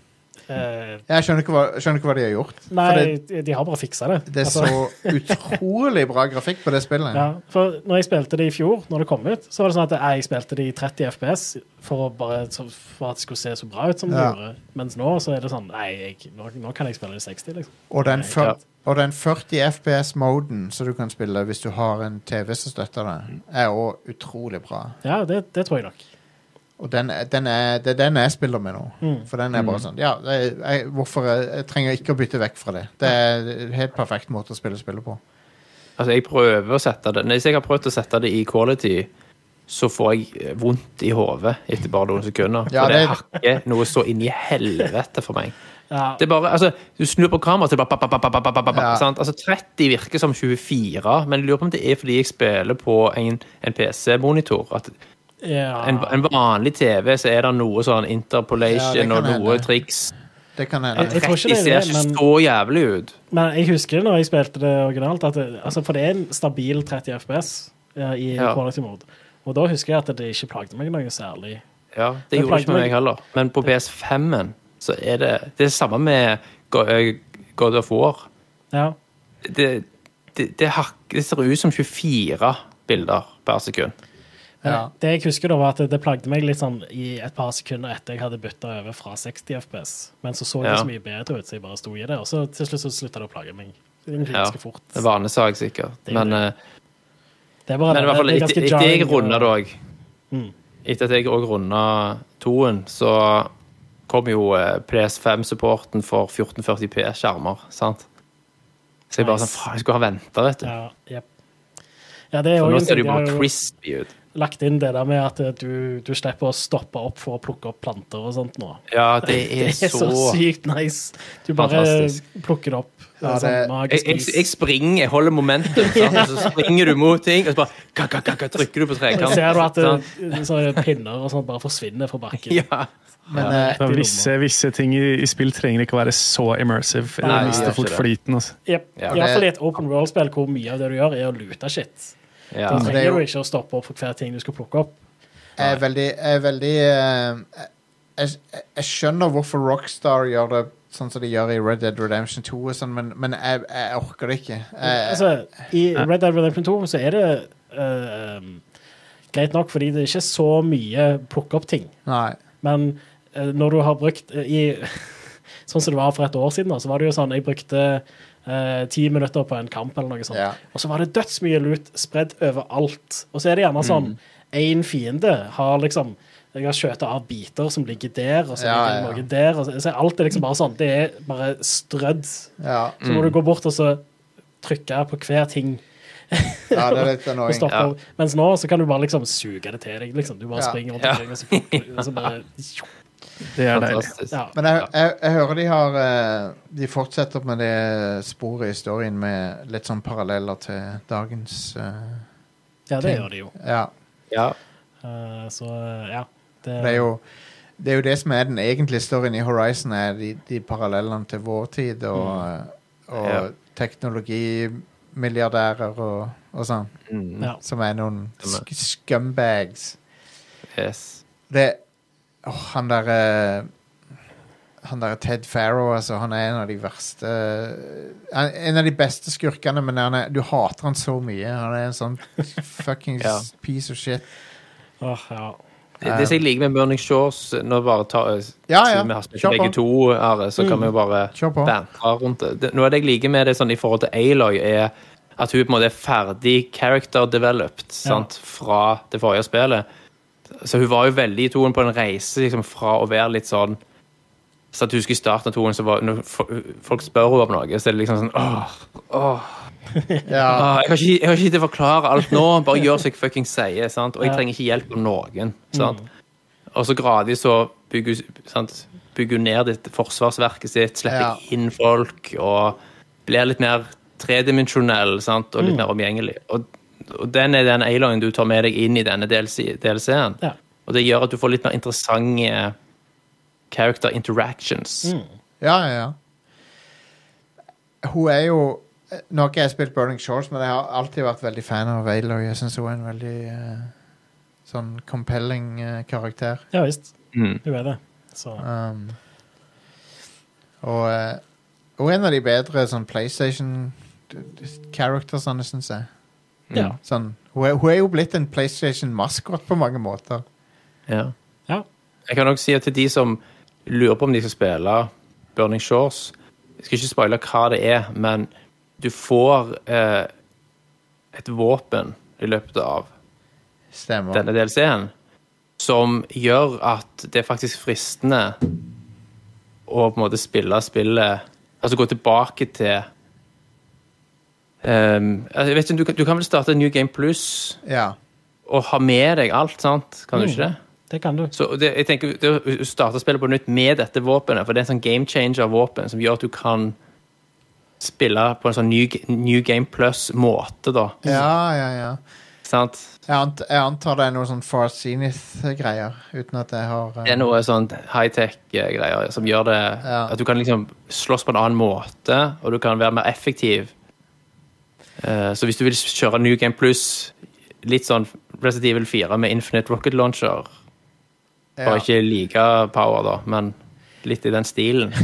[SPEAKER 2] eh,
[SPEAKER 1] Jeg skjønner ikke, hva, skjønner ikke hva de har gjort. For
[SPEAKER 2] nei,
[SPEAKER 1] det,
[SPEAKER 2] de- de har bare fiksa det.
[SPEAKER 1] det er
[SPEAKER 2] Altså,
[SPEAKER 1] så utrolig bra grafikk på det spillet.
[SPEAKER 2] ja, for når jeg spilte det i fjor, når det kom ut, så var det sånn at jeg spilte det i 30 FPS for, å bare, så, for at det skulle se så bra ut som det
[SPEAKER 1] Ja.
[SPEAKER 2] gjorde. Mens nå så er det sånn Nei, jeg, nå, nå kan jeg spille det i 60, liksom.
[SPEAKER 1] Og den,
[SPEAKER 2] Nei,
[SPEAKER 1] fyr-
[SPEAKER 3] ja.
[SPEAKER 1] og den 40 FPS-moden som du kan spille hvis du har en TV som støtter deg, er òg utrolig bra.
[SPEAKER 2] Ja, det, det tror jeg nok.
[SPEAKER 1] Og den, er- den er, det er den jeg spiller med nå.
[SPEAKER 3] Mm.
[SPEAKER 1] For den er bare sånn Ja, jeg, jeg, hvorfor jeg, jeg trenger ikke å bytte vekk fra det. Det er en helt perfekt måte å spille spillet på.
[SPEAKER 3] Altså, jeg prøver å sette det Nei, så jeg har prøvd å sette det i quality, så får jeg eh, vondt i hodet etter bare noen sekunder.
[SPEAKER 1] Ja,
[SPEAKER 3] for det,
[SPEAKER 1] det-
[SPEAKER 3] hakker noe så inn i helvete for meg.
[SPEAKER 2] Ja.
[SPEAKER 3] Det er bare, altså, Du snur på kameraet, så er det bare ba, ba, ba, ba, ba, ba, ba,
[SPEAKER 1] Ja.
[SPEAKER 3] sant? Altså, 30 virker som 24, men jeg lurer på om det er fordi jeg spiller på en, en PC-monitor. At
[SPEAKER 2] Ja.
[SPEAKER 3] en, en vanlig TV så er det noe sånn
[SPEAKER 1] Ja, det
[SPEAKER 3] interpolation
[SPEAKER 1] kan
[SPEAKER 3] og noe
[SPEAKER 1] hende.
[SPEAKER 3] triks.
[SPEAKER 1] Det kan
[SPEAKER 2] Jeg-
[SPEAKER 1] hende.
[SPEAKER 2] jeg tror
[SPEAKER 3] 30
[SPEAKER 2] ikke det er
[SPEAKER 3] ser
[SPEAKER 2] det,
[SPEAKER 3] ikke
[SPEAKER 2] men-
[SPEAKER 3] så jævlig ut.
[SPEAKER 2] Men jeg husker når jeg spilte det originalt, at det, altså, for det er en stabil 30 FPS eh, i
[SPEAKER 3] Ja.
[SPEAKER 2] quality mode. Og da husker jeg at det ikke plagde meg noe særlig.
[SPEAKER 3] Ja, det,
[SPEAKER 2] Det
[SPEAKER 3] gjorde ikke
[SPEAKER 2] plagde meg.
[SPEAKER 3] meg heller. Men på PS5-en så er det det er samme med Go- eh, God of War.
[SPEAKER 2] Ja.
[SPEAKER 3] Det, det, det, hak, det ser ut som 24 bilder per sekund.
[SPEAKER 2] Men
[SPEAKER 1] Ja.
[SPEAKER 2] Eh, Det jeg husker da var at det, det plagde meg litt sånn i et par sekunder etter jeg hadde bytta over fra 60 FPS. Men så så det
[SPEAKER 3] Ja.
[SPEAKER 2] så mye bedre ut, så jeg bare sto i det. Og så til slutt så slutta det å plage meg. Det er
[SPEAKER 3] Ja,
[SPEAKER 2] ganske fort.
[SPEAKER 3] det er vanesag, sikkert.
[SPEAKER 2] Det er
[SPEAKER 3] men,
[SPEAKER 2] det.
[SPEAKER 3] eh,
[SPEAKER 2] Det er bare
[SPEAKER 3] men i hvert fall
[SPEAKER 2] det er
[SPEAKER 3] etter,
[SPEAKER 2] ganske
[SPEAKER 3] etter jeg
[SPEAKER 2] jarring, Mm.
[SPEAKER 3] runda det
[SPEAKER 2] og-
[SPEAKER 3] òg Etter at jeg òg runda toen, så kom jo eh, PS5-supporten for 1440p-skjermer, sant? Så jeg bare
[SPEAKER 2] Nice.
[SPEAKER 3] sånn Faen, jeg skulle ha venta, vet du.
[SPEAKER 2] Ja, jep. ja, det er
[SPEAKER 3] For
[SPEAKER 2] jo
[SPEAKER 3] nå
[SPEAKER 2] en
[SPEAKER 3] ser
[SPEAKER 2] ting
[SPEAKER 3] det
[SPEAKER 2] de
[SPEAKER 3] jo
[SPEAKER 2] har
[SPEAKER 3] bare
[SPEAKER 2] jo
[SPEAKER 3] crispy ut.
[SPEAKER 2] lagt inn det der med at eh, du, du slipper å stoppe opp for å plukke opp planter og sånt nå.
[SPEAKER 3] Ja, det
[SPEAKER 2] Det
[SPEAKER 3] er,
[SPEAKER 2] er så
[SPEAKER 3] så
[SPEAKER 2] sykt nice. Du bare
[SPEAKER 3] Fantastisk.
[SPEAKER 2] plukker det opp. Det
[SPEAKER 1] Ja,
[SPEAKER 2] er sånn
[SPEAKER 1] det-
[SPEAKER 3] jeg,
[SPEAKER 2] magisk
[SPEAKER 3] jeg,
[SPEAKER 2] vis.
[SPEAKER 3] jeg springer, jeg holder momentum, sant? og så springer du mot ting, og så bare ka, ka, ka, ka, trykker du på
[SPEAKER 2] Og så ser du at
[SPEAKER 3] trekanten.
[SPEAKER 2] eh, sånne pinner og sånt bare forsvinner fra bakken.
[SPEAKER 3] Ja.
[SPEAKER 1] Men eh,
[SPEAKER 4] Så Visse, visse ting i, i spill trenger ikke å være så immersive.
[SPEAKER 3] Nei,
[SPEAKER 4] Eller
[SPEAKER 3] det
[SPEAKER 4] mister
[SPEAKER 3] gjør
[SPEAKER 4] folk
[SPEAKER 3] ikke
[SPEAKER 4] flyten. Altså.
[SPEAKER 2] Yep.
[SPEAKER 3] Ja.
[SPEAKER 2] I hvert fall i et open world-spill hvor mye av det du gjør, er å lute shit.
[SPEAKER 3] Ja.
[SPEAKER 2] Da
[SPEAKER 1] det er jo-
[SPEAKER 2] trenger du ikke å stoppe opp for hver ting du skal plukke opp.
[SPEAKER 1] jeg er veldig, jeg, er veldig eh, jeg, jeg- jeg skjønner hvorfor Rockstar gjør det sånn som de gjør i Red Dead Redemption 2, og sånn, men, men jeg, jeg orker det ikke. Jeg,
[SPEAKER 2] Altså, I Red Dead Redemption 2 så er det eh, greit nok, fordi det er ikke så mye plukke opp ting.
[SPEAKER 3] Altså-
[SPEAKER 1] nei.
[SPEAKER 2] Men eh, når du har brukt eh, i, Sånn som det var for et år siden, da, så var det jo sånn jeg brukte eh, ti minutter på en kamp, eller
[SPEAKER 3] Sånn.
[SPEAKER 2] noe sånt.
[SPEAKER 1] Ja.
[SPEAKER 2] Og så var det dødsmye lut spredd overalt. Og så er det gjerne sånn
[SPEAKER 1] Mm.
[SPEAKER 2] én fiende har liksom jeg har skjøtet av biter som ligger der, og så
[SPEAKER 1] Ja,
[SPEAKER 2] ligger
[SPEAKER 1] ja.
[SPEAKER 2] noe der. Og så, så alt er liksom bare sånn. Det er bare strødd.
[SPEAKER 1] Ja,
[SPEAKER 2] Så må du gå bort og så trykke på hver ting.
[SPEAKER 1] ja det er litt
[SPEAKER 2] Og
[SPEAKER 1] annoying.
[SPEAKER 2] stoppe.
[SPEAKER 3] Ja.
[SPEAKER 2] opp. Mens nå så kan du bare liksom suge det til deg. liksom. Du bare
[SPEAKER 1] Ja.
[SPEAKER 2] springer rundt
[SPEAKER 3] Ja.
[SPEAKER 2] omkring, og så, plukker- og så bare
[SPEAKER 4] Det er deilig.
[SPEAKER 3] Fantastisk.
[SPEAKER 2] ja.
[SPEAKER 1] Men jeg, jeg, jeg hører de har eh, De fortsetter med det sporet i historien med litt sånn paralleller til dagens eh,
[SPEAKER 2] ja, det
[SPEAKER 1] ting.
[SPEAKER 2] gjør de jo.
[SPEAKER 1] Ja.
[SPEAKER 3] Ja.
[SPEAKER 2] Eh, så eh, ja. Det,
[SPEAKER 1] Det er jo det, er jo det som er den egentlige storyen i Horizon, er de, de parallellene til vår tid og, og
[SPEAKER 3] Ja.
[SPEAKER 1] teknologimilliardærer og, og sånn,
[SPEAKER 3] Mm.
[SPEAKER 2] ja.
[SPEAKER 1] som er noen sk scumbags.
[SPEAKER 3] Yes.
[SPEAKER 1] Det åh, Han derre han der Ted Farrow, altså, han er en av de verste eh, han, er En av de beste skurkene, men han er, du hater han så mye. Han er en sånn fuckings
[SPEAKER 3] Ja.
[SPEAKER 1] piece of shit.
[SPEAKER 2] Åh, ja.
[SPEAKER 3] Det, det som jeg liker med Burning Shores Nå bare ta, eh,
[SPEAKER 1] Ja, ja.
[SPEAKER 3] siden vi har spilt
[SPEAKER 1] Kjør på.
[SPEAKER 3] begge to, Are, så kan vi jo bare
[SPEAKER 1] Kjør på.
[SPEAKER 3] bantre rundt det. det. Noe av det jeg liker med det sånn, i forhold til Aloy, er at hun på en måte er ferdig character developed sant? fra det forrige spillet. Så hun var jo veldig i toen på en reise liksom, fra å være litt sånn så at du husker i starten av toen, så var, når fo- folk spør henne om noe, så er det liksom sånn åh, åh,
[SPEAKER 1] Ja,
[SPEAKER 3] Ah, jeg, har ikke, jeg har ikke tid til å forklare alt nå. Bare gjør som jeg fucking sier. Sant? Og jeg
[SPEAKER 2] Ja. Mm.
[SPEAKER 3] trenger ikke hjelp av noen. Sant? Og så gradvis så bygger hun- sant? bygger hun ned dette forsvarsverket sitt, slipper
[SPEAKER 1] Ja.
[SPEAKER 3] inn folk og blir litt mer tredimensjonell sant?
[SPEAKER 2] Mm.
[SPEAKER 3] og litt mer omgjengelig. Og, og den er den A-linen du tar med deg inn i denne DLC DLC-en.
[SPEAKER 2] Ja.
[SPEAKER 3] Og det gjør at du får litt mer interessante character
[SPEAKER 2] Mm.
[SPEAKER 3] interactions.
[SPEAKER 1] ja, ja. ja. Hun er jo Nå har ikke jeg spilt Burning Shores, men jeg har alltid vært veldig fan av Aloy. Jeg syns hun er en veldig eh, sånn compelling eh, karakter.
[SPEAKER 2] ja visst.
[SPEAKER 3] Mm.
[SPEAKER 2] Hun er det. Så
[SPEAKER 1] Um, og eh, hun er en av de bedre sånn PlayStation-charactersene, syns jeg.
[SPEAKER 2] ja.
[SPEAKER 1] Sånn, hun, er, hun er jo blitt en PlayStation-maskot på mange måter.
[SPEAKER 3] Ja.
[SPEAKER 2] ja.
[SPEAKER 3] Jeg kan nok si at til de som lurer på om de skal spille Burning Shores Jeg skal ikke spoile hva det er, men du får eh, et våpen i løpet av
[SPEAKER 1] Stemmer.
[SPEAKER 3] denne DLC-en som gjør at det er faktisk fristende å på en måte spille spillet Altså gå tilbake til eh, ehm, altså, jeg vet ikke, du, kan, du kan vel starte New Game Plus
[SPEAKER 1] Ja.
[SPEAKER 3] og- å ha med deg alt, sant? Kan du ikke det?
[SPEAKER 2] Det kan du.
[SPEAKER 3] Så det, jeg tenker, det å starte spillet på nytt med dette våpenet, for det er en sånn game changer-våpen som gjør at du kan spille på en sånn New, new Game Plus-måte, da.
[SPEAKER 1] Ja, ja, ja.
[SPEAKER 3] Sant?
[SPEAKER 1] Jeg, ant jeg antar det er noe sånn Far Zenith-greier, uten at jeg har eh,
[SPEAKER 3] Det er noe sånn high-tech-greier som gjør det
[SPEAKER 1] Ja.
[SPEAKER 3] at du kan liksom slåss på en annen måte, og du kan være mer effektiv. Eh, så hvis du vil kjøre New Game Plus, litt sånn Resident Evil 4 med Infinite Rocket Launcher,
[SPEAKER 1] ja.
[SPEAKER 3] bare ikke like power, da, men litt i den stilen.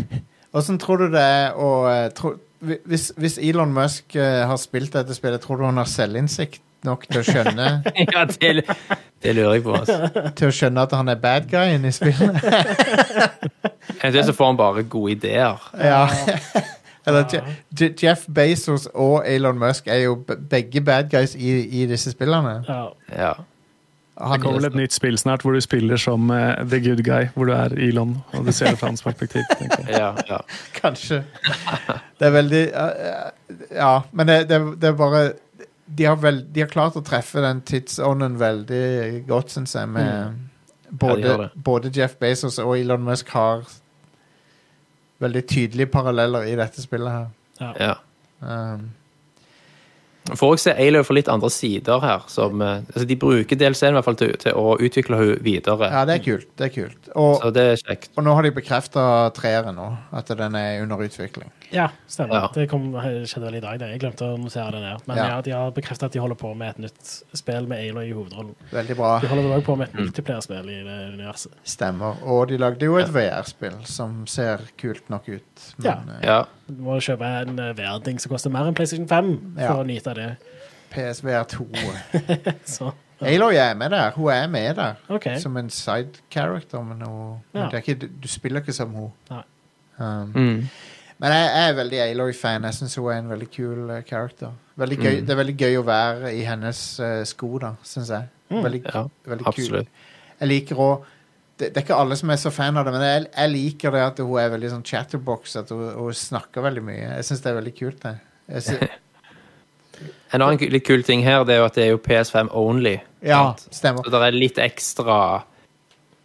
[SPEAKER 1] Åssen tror du det er å eh, tro, hvi- hvis, hvis Elon Musk eh, har spilt dette spillet, tror du han har selvinnsikt nok til å skjønne,
[SPEAKER 3] ja, det, det lurer jeg på. Altså.
[SPEAKER 1] til å skjønne at han er bad guyen i spillet?
[SPEAKER 3] Eventuelt så får han bare gode ideer.
[SPEAKER 1] Ja. Eller Je Je Jeff Bezos og Elon Musk er jo be- begge bad guys i, i disse spillene.
[SPEAKER 2] Ja.
[SPEAKER 3] Ja.
[SPEAKER 4] Det
[SPEAKER 1] Han,
[SPEAKER 4] kommer vel et nytt spill snart hvor du spiller som eh, the good guy, hvor du er Elon, og du ser det fra hans perspektiv. tenker jeg.
[SPEAKER 3] Ja, ja.
[SPEAKER 1] kanskje. Det er veldig eh, Ja, men det, det, det er bare de har, vel, de har klart å treffe den tidsånden veldig godt, syns jeg. Med
[SPEAKER 3] Ja, de
[SPEAKER 1] både,
[SPEAKER 3] har det.
[SPEAKER 1] både Jeff Bezos og Elon Musk har veldig tydelige paralleller i dette spillet her.
[SPEAKER 3] ja.
[SPEAKER 1] Um,
[SPEAKER 3] Får også se Aloy fra litt andre sider her. Som, eh, altså de bruker DLC-en i hvert fall til, til å utvikle henne videre.
[SPEAKER 1] ja, det er kult. Det er kult. Og,
[SPEAKER 3] Så det er kjekt.
[SPEAKER 1] Og nå har de bekrefta treeren nå, at den er under utvikling.
[SPEAKER 2] ja, stemmer.
[SPEAKER 3] Ja.
[SPEAKER 2] Det kom, skjedde vel i dag, det. Jeg glemte å notere det ned. Men
[SPEAKER 1] Ja.
[SPEAKER 2] ja, de har bekreftet at de holder på med et nytt spill med Aloy i hovedrollen.
[SPEAKER 1] Veldig bra.
[SPEAKER 2] De holder vel også på med et multiplierspill i det universet.
[SPEAKER 1] Stemmer. Og de lagde jo et VR-spill som ser kult nok ut. Men eh,
[SPEAKER 3] Ja.
[SPEAKER 2] Du må kjøpe en eh, VR-ting som koster mer enn PlayStation 5 for
[SPEAKER 1] Ja.
[SPEAKER 2] å nyte av det.
[SPEAKER 1] PSVR 2
[SPEAKER 2] Så
[SPEAKER 1] Aloy er med der. Hun er med der
[SPEAKER 2] OK.
[SPEAKER 1] som en side character, men, hun, men
[SPEAKER 2] Ja.
[SPEAKER 1] det er ikke, du, du spiller ikke som hun.
[SPEAKER 2] Nei.
[SPEAKER 1] Um,
[SPEAKER 3] Mm.
[SPEAKER 1] men jeg, jeg er veldig Aloy-fan. Jeg syns hun er en veldig kul eh, character. Veldig gøy,
[SPEAKER 3] Mm.
[SPEAKER 1] Det er veldig gøy å være i hennes eh, sko, da, syns jeg.
[SPEAKER 2] Mm.
[SPEAKER 1] Veldig,
[SPEAKER 3] Ja,
[SPEAKER 1] veldig kul.
[SPEAKER 3] absolutt.
[SPEAKER 1] Jeg liker òg det, det er ikke alle som er så fan av det, men jeg, jeg liker det at hun er veldig sånn chatterbox, at hun, hun snakker veldig mye. Jeg syns det er veldig kult, det. Jeg sy-
[SPEAKER 3] En annen ku- litt kul ting her det er jo at det er jo PS5 only.
[SPEAKER 1] ja,
[SPEAKER 3] sant?
[SPEAKER 1] stemmer.
[SPEAKER 3] Så det er litt ekstra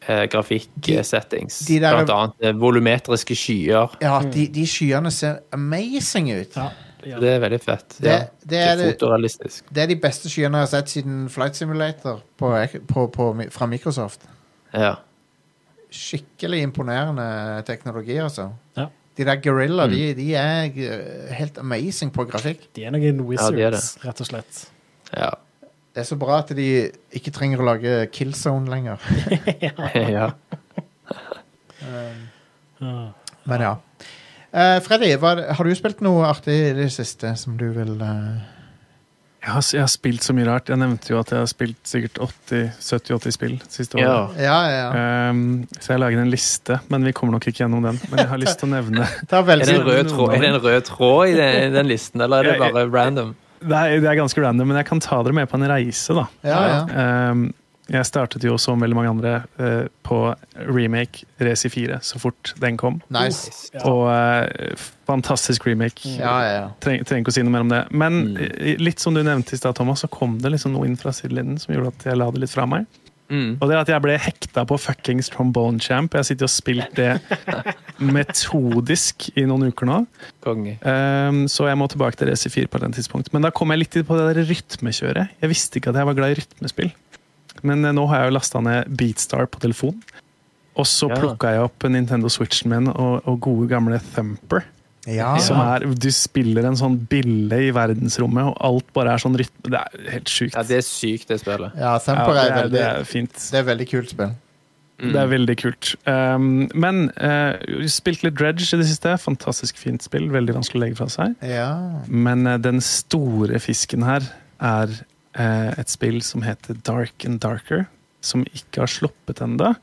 [SPEAKER 3] eh, grafikksettings.
[SPEAKER 1] de der-
[SPEAKER 3] Blant annet eh, volumetriske skyer.
[SPEAKER 1] Ja, de, de skyene ser amazing ut.
[SPEAKER 2] Mm. Ja, ja.
[SPEAKER 3] Det er veldig fett.
[SPEAKER 1] Det-
[SPEAKER 3] ja.
[SPEAKER 1] det er det-
[SPEAKER 3] fotorealistisk.
[SPEAKER 1] Det er de beste skyene jeg har sett siden Flight Simulator på, på, på, fra Microsoft.
[SPEAKER 3] Ja.
[SPEAKER 1] Skikkelig imponerende teknologi, altså.
[SPEAKER 2] Ja.
[SPEAKER 1] De der Gorilla, de, de er eh, helt amazing på grafikk.
[SPEAKER 2] De er noen wizards,
[SPEAKER 3] de er
[SPEAKER 2] rett og slett.
[SPEAKER 3] Ja.
[SPEAKER 1] Det er så bra at de ikke trenger å lage Killzone lenger.
[SPEAKER 3] ja.
[SPEAKER 2] Ja.
[SPEAKER 1] Men ja. Eh, Freddy, hva, har du spilt noe artig i det siste som du vil eh,
[SPEAKER 4] Jeg har, jeg har spilt så mye rart. Jeg nevnte jo at jeg har spilt sikkert 80 70-80 spill siste året.
[SPEAKER 3] ja.
[SPEAKER 1] Ja, ja. ja.
[SPEAKER 4] Ehm, så jeg lager en liste, men vi kommer nok ikke gjennom den. Men jeg har lyst til å nevne
[SPEAKER 1] Ta
[SPEAKER 3] Er det en rød tråd, er det en rød tråd i den, den listen, eller er det
[SPEAKER 4] Jeg-
[SPEAKER 3] bare random?
[SPEAKER 4] det er, det er ganske random, men jeg kan ta dere med på en reise, da.
[SPEAKER 1] Ja, ja.
[SPEAKER 4] Ehm, jeg startet jo som veldig mange andre eh, på remake Resi 4 så fort den kom.
[SPEAKER 1] Nice.
[SPEAKER 2] Ja.
[SPEAKER 4] Og eh, fantastisk remake.
[SPEAKER 1] Ja, Mm. ja, ja.
[SPEAKER 4] Treng, trenger ikke å si noe mer om det. Men eh, litt som du nevnte i stad, Thomas, så kom det liksom noe inn fra sidelinjen som gjorde at jeg la det litt fra meg.
[SPEAKER 3] Mm.
[SPEAKER 4] Og det er at jeg ble hekta på fuckings Trombone Champ. Jeg sitter og har spilt det metodisk i noen uker nå.
[SPEAKER 3] Konge.
[SPEAKER 4] Ehm, så jeg må tilbake til Resi 4 på den tidspunkt. Men da kom jeg litt på det der rytmekjøret. Jeg visste ikke at jeg var glad i rytmespill. Men eh, nå har jeg jo lasta ned Beatstar på telefon. Og så
[SPEAKER 3] Ja.
[SPEAKER 4] plukket plukka jeg opp Nintendo Switchen min og, og gode gamle Thumper.
[SPEAKER 1] Ah, Ja.
[SPEAKER 4] Som er, Du spiller en sånn bille i verdensrommet, og alt bare er sånn rytme. Det er helt sjukt.
[SPEAKER 3] Ja, det er sykt, det spillet.
[SPEAKER 1] ja,
[SPEAKER 4] Ja,
[SPEAKER 1] Thumper
[SPEAKER 4] det
[SPEAKER 1] er
[SPEAKER 4] er, det
[SPEAKER 1] veldig
[SPEAKER 4] er fint.
[SPEAKER 1] Det er veldig kult spill.
[SPEAKER 4] Det
[SPEAKER 3] Mm.
[SPEAKER 4] er veldig kult. Um, men uh, spilt litt dredge i det siste. Fantastisk fint spill. Veldig vanskelig å legge fra seg.
[SPEAKER 1] Ja.
[SPEAKER 4] Men eh, den store fisken her er eh, et spill som heter Dark and Darker. Som ikke har sluppet ennå,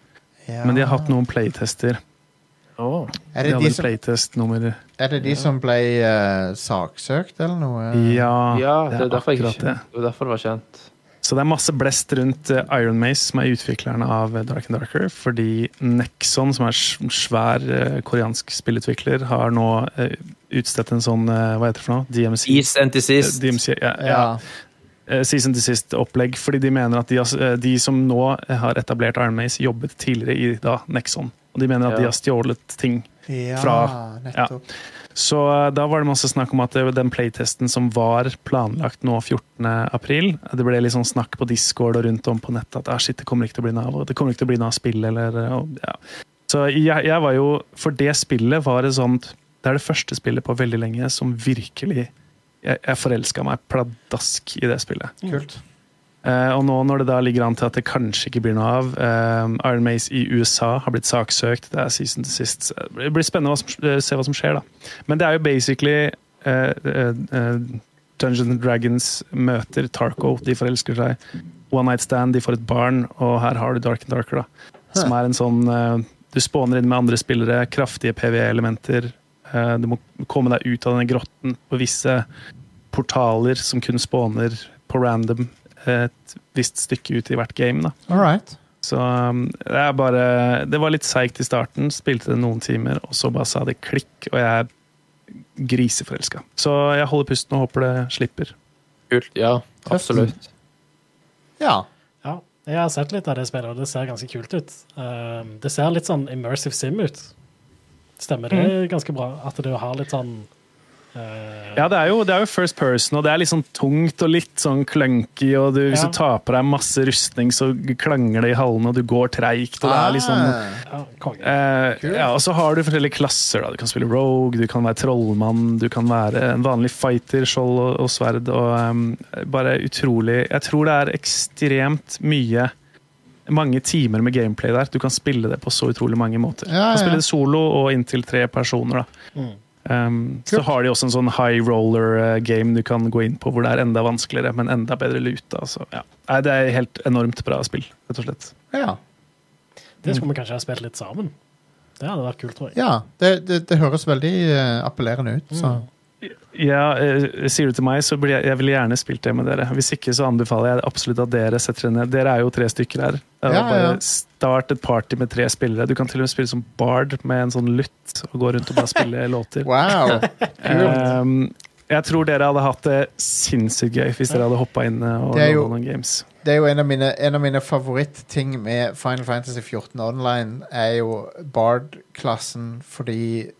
[SPEAKER 1] ja.
[SPEAKER 4] men de har hatt noen playtester.
[SPEAKER 1] Er
[SPEAKER 4] De
[SPEAKER 1] det
[SPEAKER 4] hadde
[SPEAKER 1] de
[SPEAKER 4] en
[SPEAKER 1] som,
[SPEAKER 4] playtest nummer
[SPEAKER 1] er det de som ble eh, saksøkt, eller noe?
[SPEAKER 4] Ja,
[SPEAKER 3] Ja, Ah, det er derfor jeg
[SPEAKER 4] akkurat
[SPEAKER 3] ikke
[SPEAKER 4] det.
[SPEAKER 3] Det var derfor det var kjent.
[SPEAKER 4] Så det er masse blest rundt eh, Iron Maze, som er utvikleren av eh, Dark and Darker, fordi Nexon, som er sv- svær eh, koreansk spillutvikler, har nå eh, utstedt en sånn eh, Hva heter det for noe? DMC?
[SPEAKER 3] East and Desist.
[SPEAKER 4] DMC ja, ja.
[SPEAKER 1] Ja.
[SPEAKER 4] eh, season to sist-opplegg, fordi de mener at de, har s- eh, de som nå har etablert Iron Maze, jobbet tidligere i da, Nexon. Og de mener at
[SPEAKER 3] Ja.
[SPEAKER 4] de har stjålet ting.
[SPEAKER 1] Ja,
[SPEAKER 4] Fra-
[SPEAKER 1] nettopp.
[SPEAKER 4] Så eh, da var det masse snakk om at eh, den playtesten som var planlagt nå 14. april, eh, det ble litt sånn snakk på Discord og rundt om på nettet at ah, shit, det kommer ikke til å bli noe av, og det kommer ikke til å bli noe av spill, eller eh, og, ja. Så jeg, jeg var jo For det spillet var et sånt Det er det første spillet på veldig lenge som virkelig Jeg, jeg forelska meg pladask i det spillet.
[SPEAKER 1] Kult.
[SPEAKER 4] Eh, og nå når det da ligger an til at det kanskje ikke blir noe av eh, Iron Maze i USA har blitt saksøkt, det er season til sist. så Det blir spennende å hva som- eh, se hva som skjer, da. Men det er jo basically eh, eh, eh, Dungeons and Dragons møter Tarko, de forelsker seg. One Night Stand, de får et barn, og her har du Dark and Darker, da. Som er en sånn eh, Du spawner inn med andre spillere, kraftige PVE-elementer. eh, du må komme deg ut av denne grotten på visse portaler som kun spawner på random et visst stykke ut i hvert game. Da.
[SPEAKER 1] All right.
[SPEAKER 4] Så um, det er bare Det var litt seigt i starten, spilte det noen timer, og så bare sa det klikk, og jeg er griseforelska. Så jeg holder pusten og håper det slipper.
[SPEAKER 3] Kult. Ja, absolutt.
[SPEAKER 1] Ja.
[SPEAKER 2] Ja, jeg har sett litt av det spillet, og det ser ganske kult ut. Um, det ser litt sånn immersive sim ut. Stemmer det ganske bra? At det har litt sånn eh,
[SPEAKER 4] Ja, det er, jo, det er jo first person, og det er litt sånn tungt og litt sånn clunky, og du, hvis
[SPEAKER 2] Ja.
[SPEAKER 4] du tar på deg masse rustning, så klanger det i hallene, og du går treigt, og det er litt sånn
[SPEAKER 1] Ah.
[SPEAKER 2] ja, konge.
[SPEAKER 4] Eh, ja, og så har du forskjellige klasser. Da. Du kan spille rogue, du kan være trollmann, du kan være en vanlig fighter, skjold og, og sverd. Og ehm, bare utrolig Jeg tror det er ekstremt mye mange timer med gameplay der. Du kan spille det på så utrolig mange måter.
[SPEAKER 1] Ja, ja, ja.
[SPEAKER 4] Du kan
[SPEAKER 1] Mm.
[SPEAKER 4] spille det solo og inntil tre personer. Da. Ehm, så har de også en sånn high roller-game du kan gå inn på, hvor det er enda vanskeligere, men enda bedre luta. Så, ja. Nei, det er helt enormt bra spill, rett og slett.
[SPEAKER 1] Ja.
[SPEAKER 2] Det skulle vi kanskje ha spilt litt sammen. Det hadde vært kult, tror jeg.
[SPEAKER 1] Mm. ja. Det, det, det høres veldig eh, appellerende ut. Så.
[SPEAKER 4] Mm. Ja, eh, Sier du til meg, så blir jeg, jeg ville gjerne spilt det med dere. Hvis ikke, så anbefaler jeg absolutt at dere setter dere ned. Dere er jo tre stykker her. Det er
[SPEAKER 1] Ja,
[SPEAKER 4] bare
[SPEAKER 1] ja.
[SPEAKER 4] Start et party med tre spillere. Du kan til og med spille som bard med en sånn lytt og gå rundt og bare spille låter.
[SPEAKER 1] Wow!
[SPEAKER 4] Ehm, jeg tror dere hadde hatt det sinnssykt gøy hvis dere hadde hoppa inn eh, og
[SPEAKER 1] Det er
[SPEAKER 4] laga
[SPEAKER 1] jo-
[SPEAKER 4] noen games.
[SPEAKER 1] Det er jo en av mine, en av mine favorittting med Final Fantasy 14 Online, er jo Bard-klassen, fordi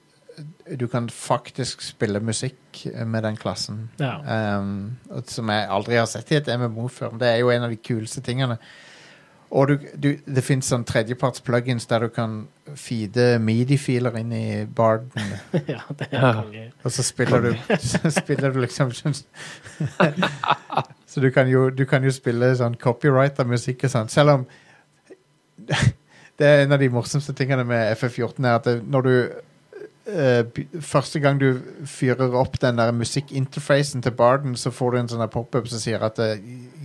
[SPEAKER 1] du kan faktisk spille musikk med den klassen.
[SPEAKER 2] Ja.
[SPEAKER 1] Um, og som jeg aldri har sett i et MMO før. men Det er jo en av de kuleste tingene. Og du, du, det fins sånn tredjeparts plugins der du kan feede midi-filer inn i barden,
[SPEAKER 2] ja, det er konge.
[SPEAKER 1] og så spiller du, så spiller du liksom Så du kan jo, du kan jo spille sånn copyrighta musikk og sånn, selv om det er en av de morsomste tingene med FF14 er at det, når du eh, by- Første gang du fyrer opp den der musikkinterfacen til Barden, så får du en sånn her pop-up som sier at eh,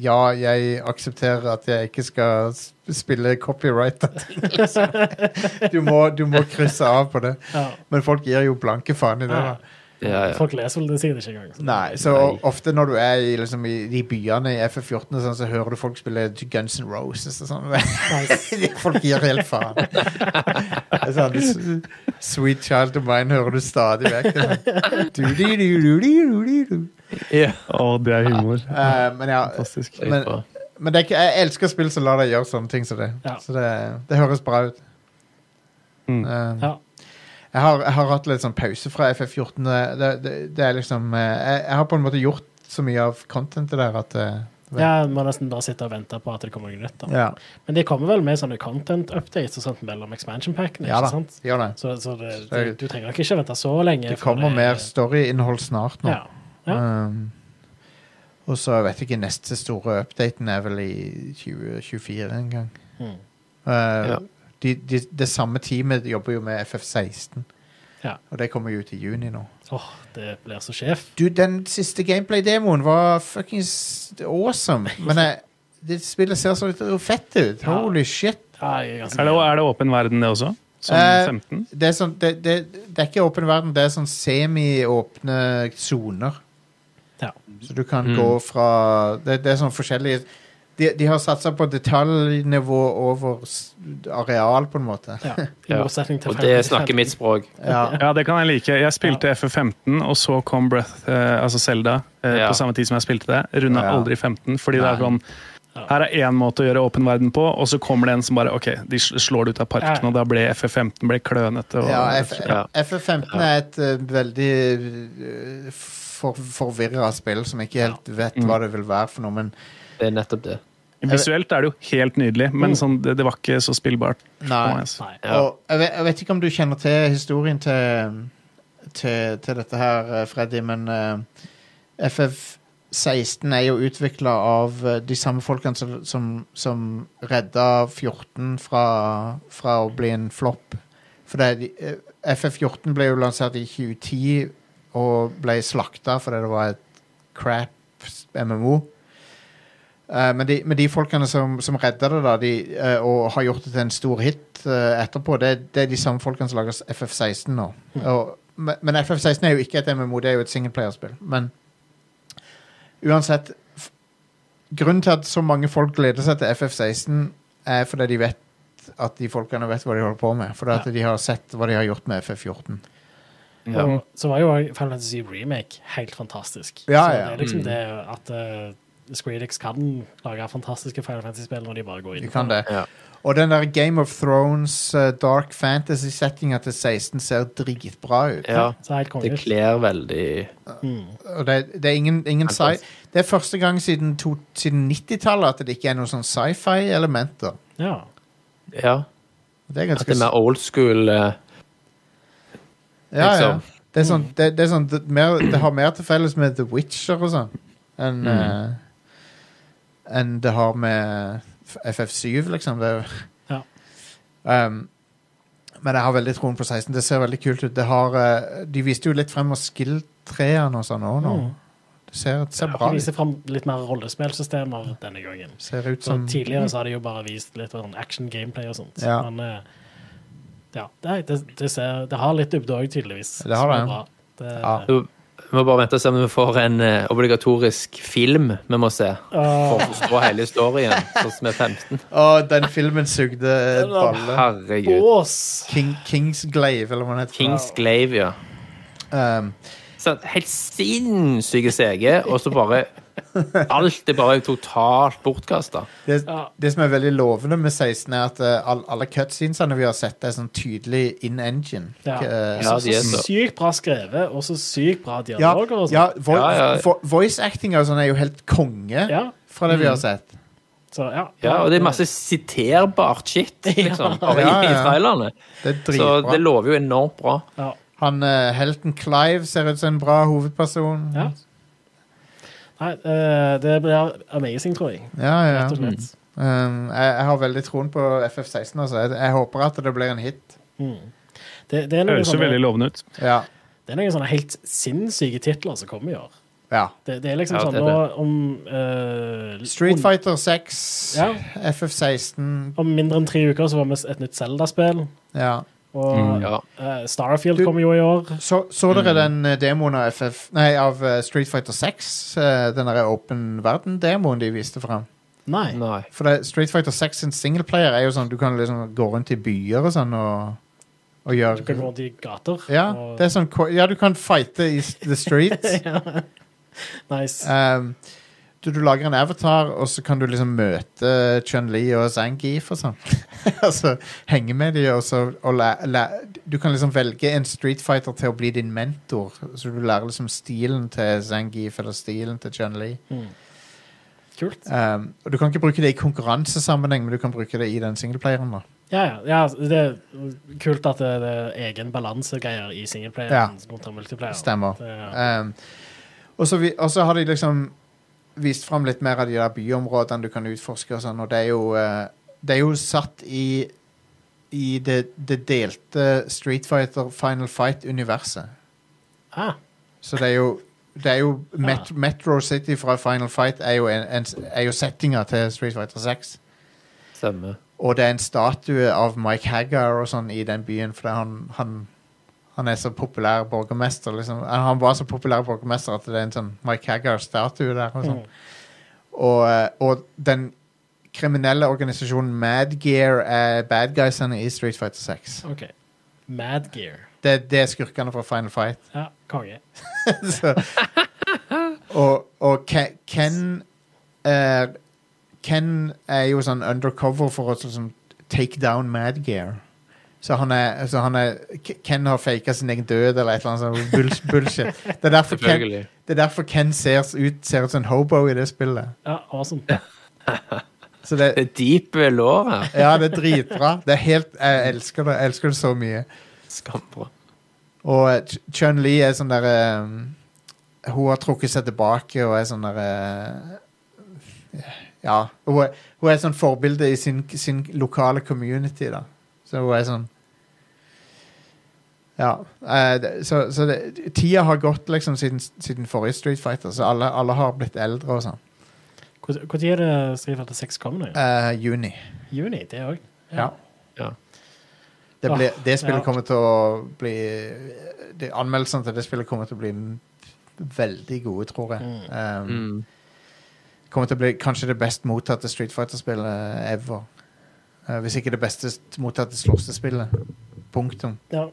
[SPEAKER 1] ja, jeg aksepterer at jeg ikke skal s- spille copyrighta ting. liksom. Du må, du må krysse av på det.
[SPEAKER 2] Ja.
[SPEAKER 1] Men folk gir jo blanke faen i det. da.
[SPEAKER 3] Ja, ja.
[SPEAKER 2] Folk leser vel det sikkert ikke engang. så-
[SPEAKER 1] Nei, så ofte når du er i, liksom, i de byene i FF14, og sånn, så hører du folk spille Guns N' Roses og sånn. folk gir helt faen. Det er sånn, s- Sweet Child of Mine hører du stadig vekk. Det er sånn, du-di-du-du-di-du-di-du.
[SPEAKER 3] ja.
[SPEAKER 4] Å, det er humor.
[SPEAKER 1] Eh, men ja,
[SPEAKER 4] Fantastisk.
[SPEAKER 3] Det er
[SPEAKER 1] men,
[SPEAKER 3] bra.
[SPEAKER 1] men det er ikke, jeg elsker spill som lar deg gjøre sånne ting som det.
[SPEAKER 2] Ja.
[SPEAKER 1] Så det, det høres bra ut.
[SPEAKER 4] Mm.
[SPEAKER 1] Eh,
[SPEAKER 2] Ja.
[SPEAKER 1] jeg har, jeg har hatt litt sånn pause fra FF14. Det, det, det er liksom eh, jeg, jeg har på en måte gjort så mye av contentet der at eh,
[SPEAKER 2] Ja, må nesten bare sitte og vente på at det kommer noe nytt. da.
[SPEAKER 1] Ja,
[SPEAKER 2] Men det kommer vel med sånne content updates og sånt mellom expansion packene,
[SPEAKER 1] ja
[SPEAKER 2] ikke
[SPEAKER 1] da.
[SPEAKER 2] sant?
[SPEAKER 1] Gjør det.
[SPEAKER 2] Så, så det, du, du trenger nok ikke vente så lenge.
[SPEAKER 1] Det
[SPEAKER 2] før
[SPEAKER 1] kommer
[SPEAKER 2] er-
[SPEAKER 1] mer storyinnhold snart nå.
[SPEAKER 2] Ja. ja.
[SPEAKER 1] Um, og så vet jeg ikke Neste store updaten er vel i 2024 en gang.
[SPEAKER 2] Mm.
[SPEAKER 1] Uh, de, de, det samme teamet jobber jo med FF16,
[SPEAKER 2] Ja.
[SPEAKER 1] og det kommer jo ut i juni nå.
[SPEAKER 2] Åh, det blir så sjef.
[SPEAKER 1] Du, den siste gameplay-demoen var fuckings awesome. Men jeg, det spillet ser så litt fett ut.
[SPEAKER 2] Ja.
[SPEAKER 1] Holy shit.
[SPEAKER 2] Ja, jeg er ganske-
[SPEAKER 4] Er det, er det åpen verden, det også? Som
[SPEAKER 1] Eh,
[SPEAKER 4] 15?
[SPEAKER 1] Det er, sånn, det, det, det er ikke åpen verden, det er sånn semi-åpne soner.
[SPEAKER 2] Ja.
[SPEAKER 3] Mm.
[SPEAKER 1] Så du kan gå fra det, det er sånn forskjellige de, de har satsa på detaljnivå over s- areal, på en måte.
[SPEAKER 2] Ja, I
[SPEAKER 3] Ja.
[SPEAKER 2] motsetning til
[SPEAKER 3] Og det snakker mitt språk.
[SPEAKER 1] Ja.
[SPEAKER 4] Ja, det kan jeg like. Jeg spilte FF15, og så kom Breath, eh, altså Zelda eh,
[SPEAKER 3] Ja.
[SPEAKER 4] på samme tid som jeg spilte det. Runda
[SPEAKER 1] Ja.
[SPEAKER 4] aldri 15, fordi det er
[SPEAKER 3] Nei.
[SPEAKER 4] sånn her er én måte å gjøre åpen verden på, og så kommer det en som bare OK, de sl- slår det ut av parken,
[SPEAKER 2] Ja.
[SPEAKER 4] og da ble FF15 ble klønete. Og,
[SPEAKER 1] Ja, F
[SPEAKER 3] Ja.
[SPEAKER 1] FF15 er et eh, veldig eh, for, forvirra spill som ikke helt vet
[SPEAKER 3] Mm.
[SPEAKER 1] hva det vil være for noe, men
[SPEAKER 3] Det er nettopp det.
[SPEAKER 4] Visuelt er det jo helt nydelig, men sånn, det, det var ikke så spillbart. for
[SPEAKER 1] Nei.
[SPEAKER 4] meg, altså.
[SPEAKER 2] Nei.
[SPEAKER 3] Ja.
[SPEAKER 1] Og jeg vet, jeg vet ikke om du kjenner til historien til, til, til dette her, eh, Freddy, men eh, FF16 er jo utvikla av eh, de samme folkene som, som, som redda 14 fra, fra å bli en flopp. For det, er de- eh, FF14 ble jo lansert i 2010 og ble slakta fordi det var et crap MMO. Eh, men, de, men de folkene som, som redda det, da, de, eh, og har gjort det til en stor hit eh, etterpå, det, det er de samme folkene som lager FF16 nå.
[SPEAKER 3] Mm.
[SPEAKER 1] Og, men men FF16 er jo ikke et MMO, det er jo et singleplayerspill. Men uansett f- Grunnen til at så mange folk gleder seg til FF16, er fordi de vet at de folkene vet hva de holder på med. Fordi at
[SPEAKER 2] Ja.
[SPEAKER 1] de har sett hva de har gjort med FF14.
[SPEAKER 3] Ja.
[SPEAKER 2] Og så var jo også Final Fantasy Remake helt fantastisk.
[SPEAKER 1] Ja, ja.
[SPEAKER 2] så det er
[SPEAKER 3] Mm.
[SPEAKER 2] liksom det at uh, Square Enix kan lage fantastiske Final Fantasy-spill når de bare går inn.
[SPEAKER 1] De kan det.
[SPEAKER 3] Ja.
[SPEAKER 1] Og den der Game of Thrones eh, dark fantasy-settinga til 16 ser dritbra ut.
[SPEAKER 3] Ja.
[SPEAKER 2] Så helt
[SPEAKER 3] Det
[SPEAKER 2] konge.
[SPEAKER 3] kler veldig
[SPEAKER 1] Og det, det er ingen, ingen sci Det er første gang siden, to- siden 90-tallet at det ikke er noen sånn sci-fi-elementer.
[SPEAKER 2] Ja.
[SPEAKER 3] Ja.
[SPEAKER 1] Det er
[SPEAKER 3] At
[SPEAKER 1] ganske
[SPEAKER 3] det er mer old school eh,
[SPEAKER 1] ja, ja.
[SPEAKER 3] liksom.
[SPEAKER 1] Det, er sånn, det, det, er sånn, det, mer, det har mer til felles med The Witcher og sånn enn
[SPEAKER 3] Mm.
[SPEAKER 1] eh, enn det har med F- FF7, liksom. Det, er-
[SPEAKER 2] Ja.
[SPEAKER 1] Um, men jeg har veldig troen på 16. Det ser veldig kult ut. Det har, eh, de viste jo litt frem av skill-treene og sånn òg nå. Det ser, det ser bra
[SPEAKER 2] Mm. De
[SPEAKER 1] ut.
[SPEAKER 2] viser fram litt mer rollespillsystemer denne gangen.
[SPEAKER 1] Ser ut
[SPEAKER 2] Så
[SPEAKER 1] som
[SPEAKER 3] Mm.
[SPEAKER 2] tidligere så har de jo bare vist litt sånn action gameplay og sånt.
[SPEAKER 1] Sånn- Ja.
[SPEAKER 2] Men eh, ja, det, det, det, ser, det har litt dybde òg, tydeligvis.
[SPEAKER 1] Det har
[SPEAKER 2] som er
[SPEAKER 1] det.
[SPEAKER 2] bra. det
[SPEAKER 1] Ja.
[SPEAKER 3] Vi må bare vente og se om vi får en eh, obligatorisk film vi må se for å forstå hele historien, sånn som er 15.
[SPEAKER 1] Å, den filmen sugde et balle.
[SPEAKER 3] Herregud.
[SPEAKER 2] Bås!
[SPEAKER 1] King, Kingsglaive, eller hva den heter.
[SPEAKER 3] Kings Glaive, ja.
[SPEAKER 1] Um,
[SPEAKER 3] Sånn, helt sinnssyke CG, og så bare Alt er bare totalt bortkasta.
[SPEAKER 1] det,
[SPEAKER 2] Ja.
[SPEAKER 1] det som er veldig lovende med 16, er at eh, all, alle cutscenesene vi har sett, er sånn tydelig in engine.
[SPEAKER 2] Ja.
[SPEAKER 1] Eh,
[SPEAKER 3] Ja,
[SPEAKER 2] Så,
[SPEAKER 3] de er
[SPEAKER 2] så
[SPEAKER 3] så-
[SPEAKER 2] sykt bra skrevet, og så sykt bra
[SPEAKER 1] ja,
[SPEAKER 2] dialoger og sånt.
[SPEAKER 1] ja, vo
[SPEAKER 3] Ja, ja.
[SPEAKER 1] vo voice acting og sånn er jo helt konge
[SPEAKER 2] Ja.
[SPEAKER 1] fra det vi
[SPEAKER 3] Mm.
[SPEAKER 1] har sett.
[SPEAKER 2] Så, ja.
[SPEAKER 3] Ja, og det er masse siterbart shit, liksom, bare
[SPEAKER 1] Ja,
[SPEAKER 3] i
[SPEAKER 1] ja.
[SPEAKER 3] trailerne.
[SPEAKER 1] Det er
[SPEAKER 3] Så
[SPEAKER 1] dritbra.
[SPEAKER 3] det lover jo enormt bra.
[SPEAKER 2] Ja.
[SPEAKER 1] Han eh, helten Clive ser ut som en bra hovedperson.
[SPEAKER 2] Ja. Nei, eh, det blir amazing, tror jeg.
[SPEAKER 1] ja. ja.
[SPEAKER 2] Rett og slett.
[SPEAKER 3] Mm.
[SPEAKER 1] Um, jeg, jeg har veldig troen på FF16, altså. Jeg, jeg håper at det blir en hit.
[SPEAKER 2] Det, det, er
[SPEAKER 4] Det
[SPEAKER 2] noen
[SPEAKER 4] høres jo veldig
[SPEAKER 2] sånne,
[SPEAKER 4] lovende ut.
[SPEAKER 1] Ja.
[SPEAKER 2] det er noen sånne helt sinnssyke titler som kommer i år.
[SPEAKER 1] ja.
[SPEAKER 2] Det, det er liksom
[SPEAKER 3] Ja,
[SPEAKER 2] sånn
[SPEAKER 3] det er
[SPEAKER 2] nå
[SPEAKER 3] det.
[SPEAKER 2] om eh,
[SPEAKER 1] Street
[SPEAKER 2] om-
[SPEAKER 1] Fighter 6,
[SPEAKER 2] Ja.
[SPEAKER 1] FF16
[SPEAKER 2] Om mindre enn tre uker så får vi et nytt Zelda-spill.
[SPEAKER 1] Ja.
[SPEAKER 2] Og
[SPEAKER 3] Mm, Ja.
[SPEAKER 2] eh, Starfield
[SPEAKER 1] Du-
[SPEAKER 2] kommer jo i år.
[SPEAKER 1] Så, så
[SPEAKER 2] Mm.
[SPEAKER 1] dere den eh, demoen av, FF, nei, av eh, Street Fighter 6? eh, Den der Open Verden-demoen de viste fram?
[SPEAKER 2] Nei.
[SPEAKER 3] Nei.
[SPEAKER 1] For det, Street Fighter 6 sin singleplayer er jo sånn du kan liksom gå rundt i byer og sånn og, og
[SPEAKER 2] Du kan gå
[SPEAKER 1] gjøre
[SPEAKER 2] rundt i gater.
[SPEAKER 1] ja,
[SPEAKER 2] og,
[SPEAKER 1] det er sånn, ko- ja, du kan fighte i s- the streets.
[SPEAKER 2] nice.
[SPEAKER 1] Um, du, du lager en avatar, og så kan du liksom møte Chun-Li og Zangief og sånn. og så henge med dem, og så og læ, læ, Du kan liksom velge en Street Fighter til å bli din mentor, så du lærer liksom stilen til Zangief eller stilen til Chun-Li.
[SPEAKER 2] Kult.
[SPEAKER 1] Um, og du kan ikke bruke det i konkurransesammenheng, men du kan bruke det i den singleplayeren. da.
[SPEAKER 2] Ja, ja, ja. altså, Det er kult at det det er egen balansegreier i
[SPEAKER 1] Ja.
[SPEAKER 2] singelplayeren kontra multiplayer.
[SPEAKER 1] Stemmer.
[SPEAKER 2] Det, er-
[SPEAKER 1] Um, og så vi- og så har de liksom vist fram litt mer av de der byområdene du kan utforske og sånn, og det er jo eh, Det er jo satt i i det, det delte Street Fighter Final Fight-universet.
[SPEAKER 2] ah,
[SPEAKER 1] Så det er jo det er jo Met Metro City fra Final Fight er jo, en, en, er jo settinga til Street Fighter 6.
[SPEAKER 3] Stemmer.
[SPEAKER 1] Og det er en statue av Mike Haggar og sånn i den byen, fordi han, han, han er så populær borgermester. Liksom. Eh, Han var så populær borgermester at det er en sånn Mike Haggar-statue der. Og, sånn. og, eh, og den kriminelle organisasjonen Mad Gear er bad guysene i Street Fighter 6.
[SPEAKER 2] OK. Mad Gear.
[SPEAKER 1] Det, det er skurkene fra Final Fight.
[SPEAKER 2] Ja, konge.
[SPEAKER 1] Så, og og Ke- Ken eh, Ken er jo sånn undercover for å sånn, take down Mad Gear. Så han er, så han er Ke- Ken har faka sin egen død eller et eller annet sånt bulls, bullshit. Det er derfor Ken,
[SPEAKER 3] Selvfølgelig.
[SPEAKER 1] det er derfor Ken ser ut, ser ut som en hobo i det spillet.
[SPEAKER 2] Ja, awesome.
[SPEAKER 1] Så det,
[SPEAKER 3] Det er deep lår her.
[SPEAKER 1] ja, det er dritbra. Det er helt, jeg elsker det. Jeg elsker det så mye.
[SPEAKER 3] Skambra.
[SPEAKER 1] Og eh, Ch- Chun-Li er sånn der eh, Hun har trukket seg tilbake og er sånn der eh, Ja. Hun er, hun er sånn forbilde i sin, sin lokale community, da. Så hun er sånn Ja. eh, det- så så det, tida har gått liksom siden, siden forrige Street Fighter, så alle, alle har blitt eldre og sånn.
[SPEAKER 2] Hvor- Hvor tid er det Street Fighter 6 kommer? nå?
[SPEAKER 1] Eh, juni.
[SPEAKER 2] Juni, det òg.
[SPEAKER 1] Ja.
[SPEAKER 3] Ja.
[SPEAKER 1] Det, ble,
[SPEAKER 2] Åh,
[SPEAKER 1] det spillet
[SPEAKER 2] ja.
[SPEAKER 1] kommer til å bli det, Anmeldelsene til det spillet kommer til å bli m- veldig gode, tror jeg. Um,
[SPEAKER 3] Mm.
[SPEAKER 1] Kommer til å bli kanskje det best mottatte Street Fighter-spillet ever. Eh, hvis ikke det beste st- mottatte slåssespillet. Punktum.
[SPEAKER 2] Ja.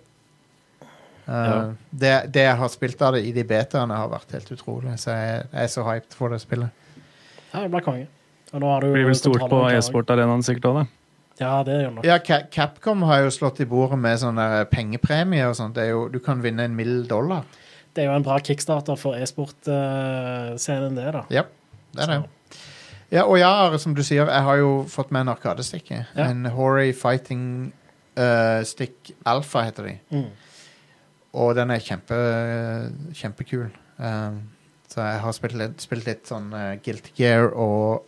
[SPEAKER 1] Eh, det, det jeg har spilt av det i de betaene, har vært helt utrolig. Så jeg, jeg er så hyped for det spillet.
[SPEAKER 2] ja, det blir konge. Og nå har du
[SPEAKER 4] Blir vel stort på
[SPEAKER 2] kontrollen klar.
[SPEAKER 4] e-sportarenaen sikkert òg, det.
[SPEAKER 2] Ja, det gjør det nok.
[SPEAKER 1] Ja, Ca Capcom har jo slått i bordet med sånne der pengepremie og sånt. Det er jo, du kan vinne en mild dollar.
[SPEAKER 2] Det er jo en bra kickstarter for e-sport-scenen, det, da.
[SPEAKER 1] Ja, det er det. Ja, og ja, Are, som du sier, jeg har jo fått med en arkadestikke.
[SPEAKER 2] Ja.
[SPEAKER 1] En Horry Fighting eh, Stick Alpha heter de.
[SPEAKER 2] Mm.
[SPEAKER 1] Og den er kjempe, kjempekul. Um, så jeg har spilt litt, spilt litt sånn eh, Guilty Gear og,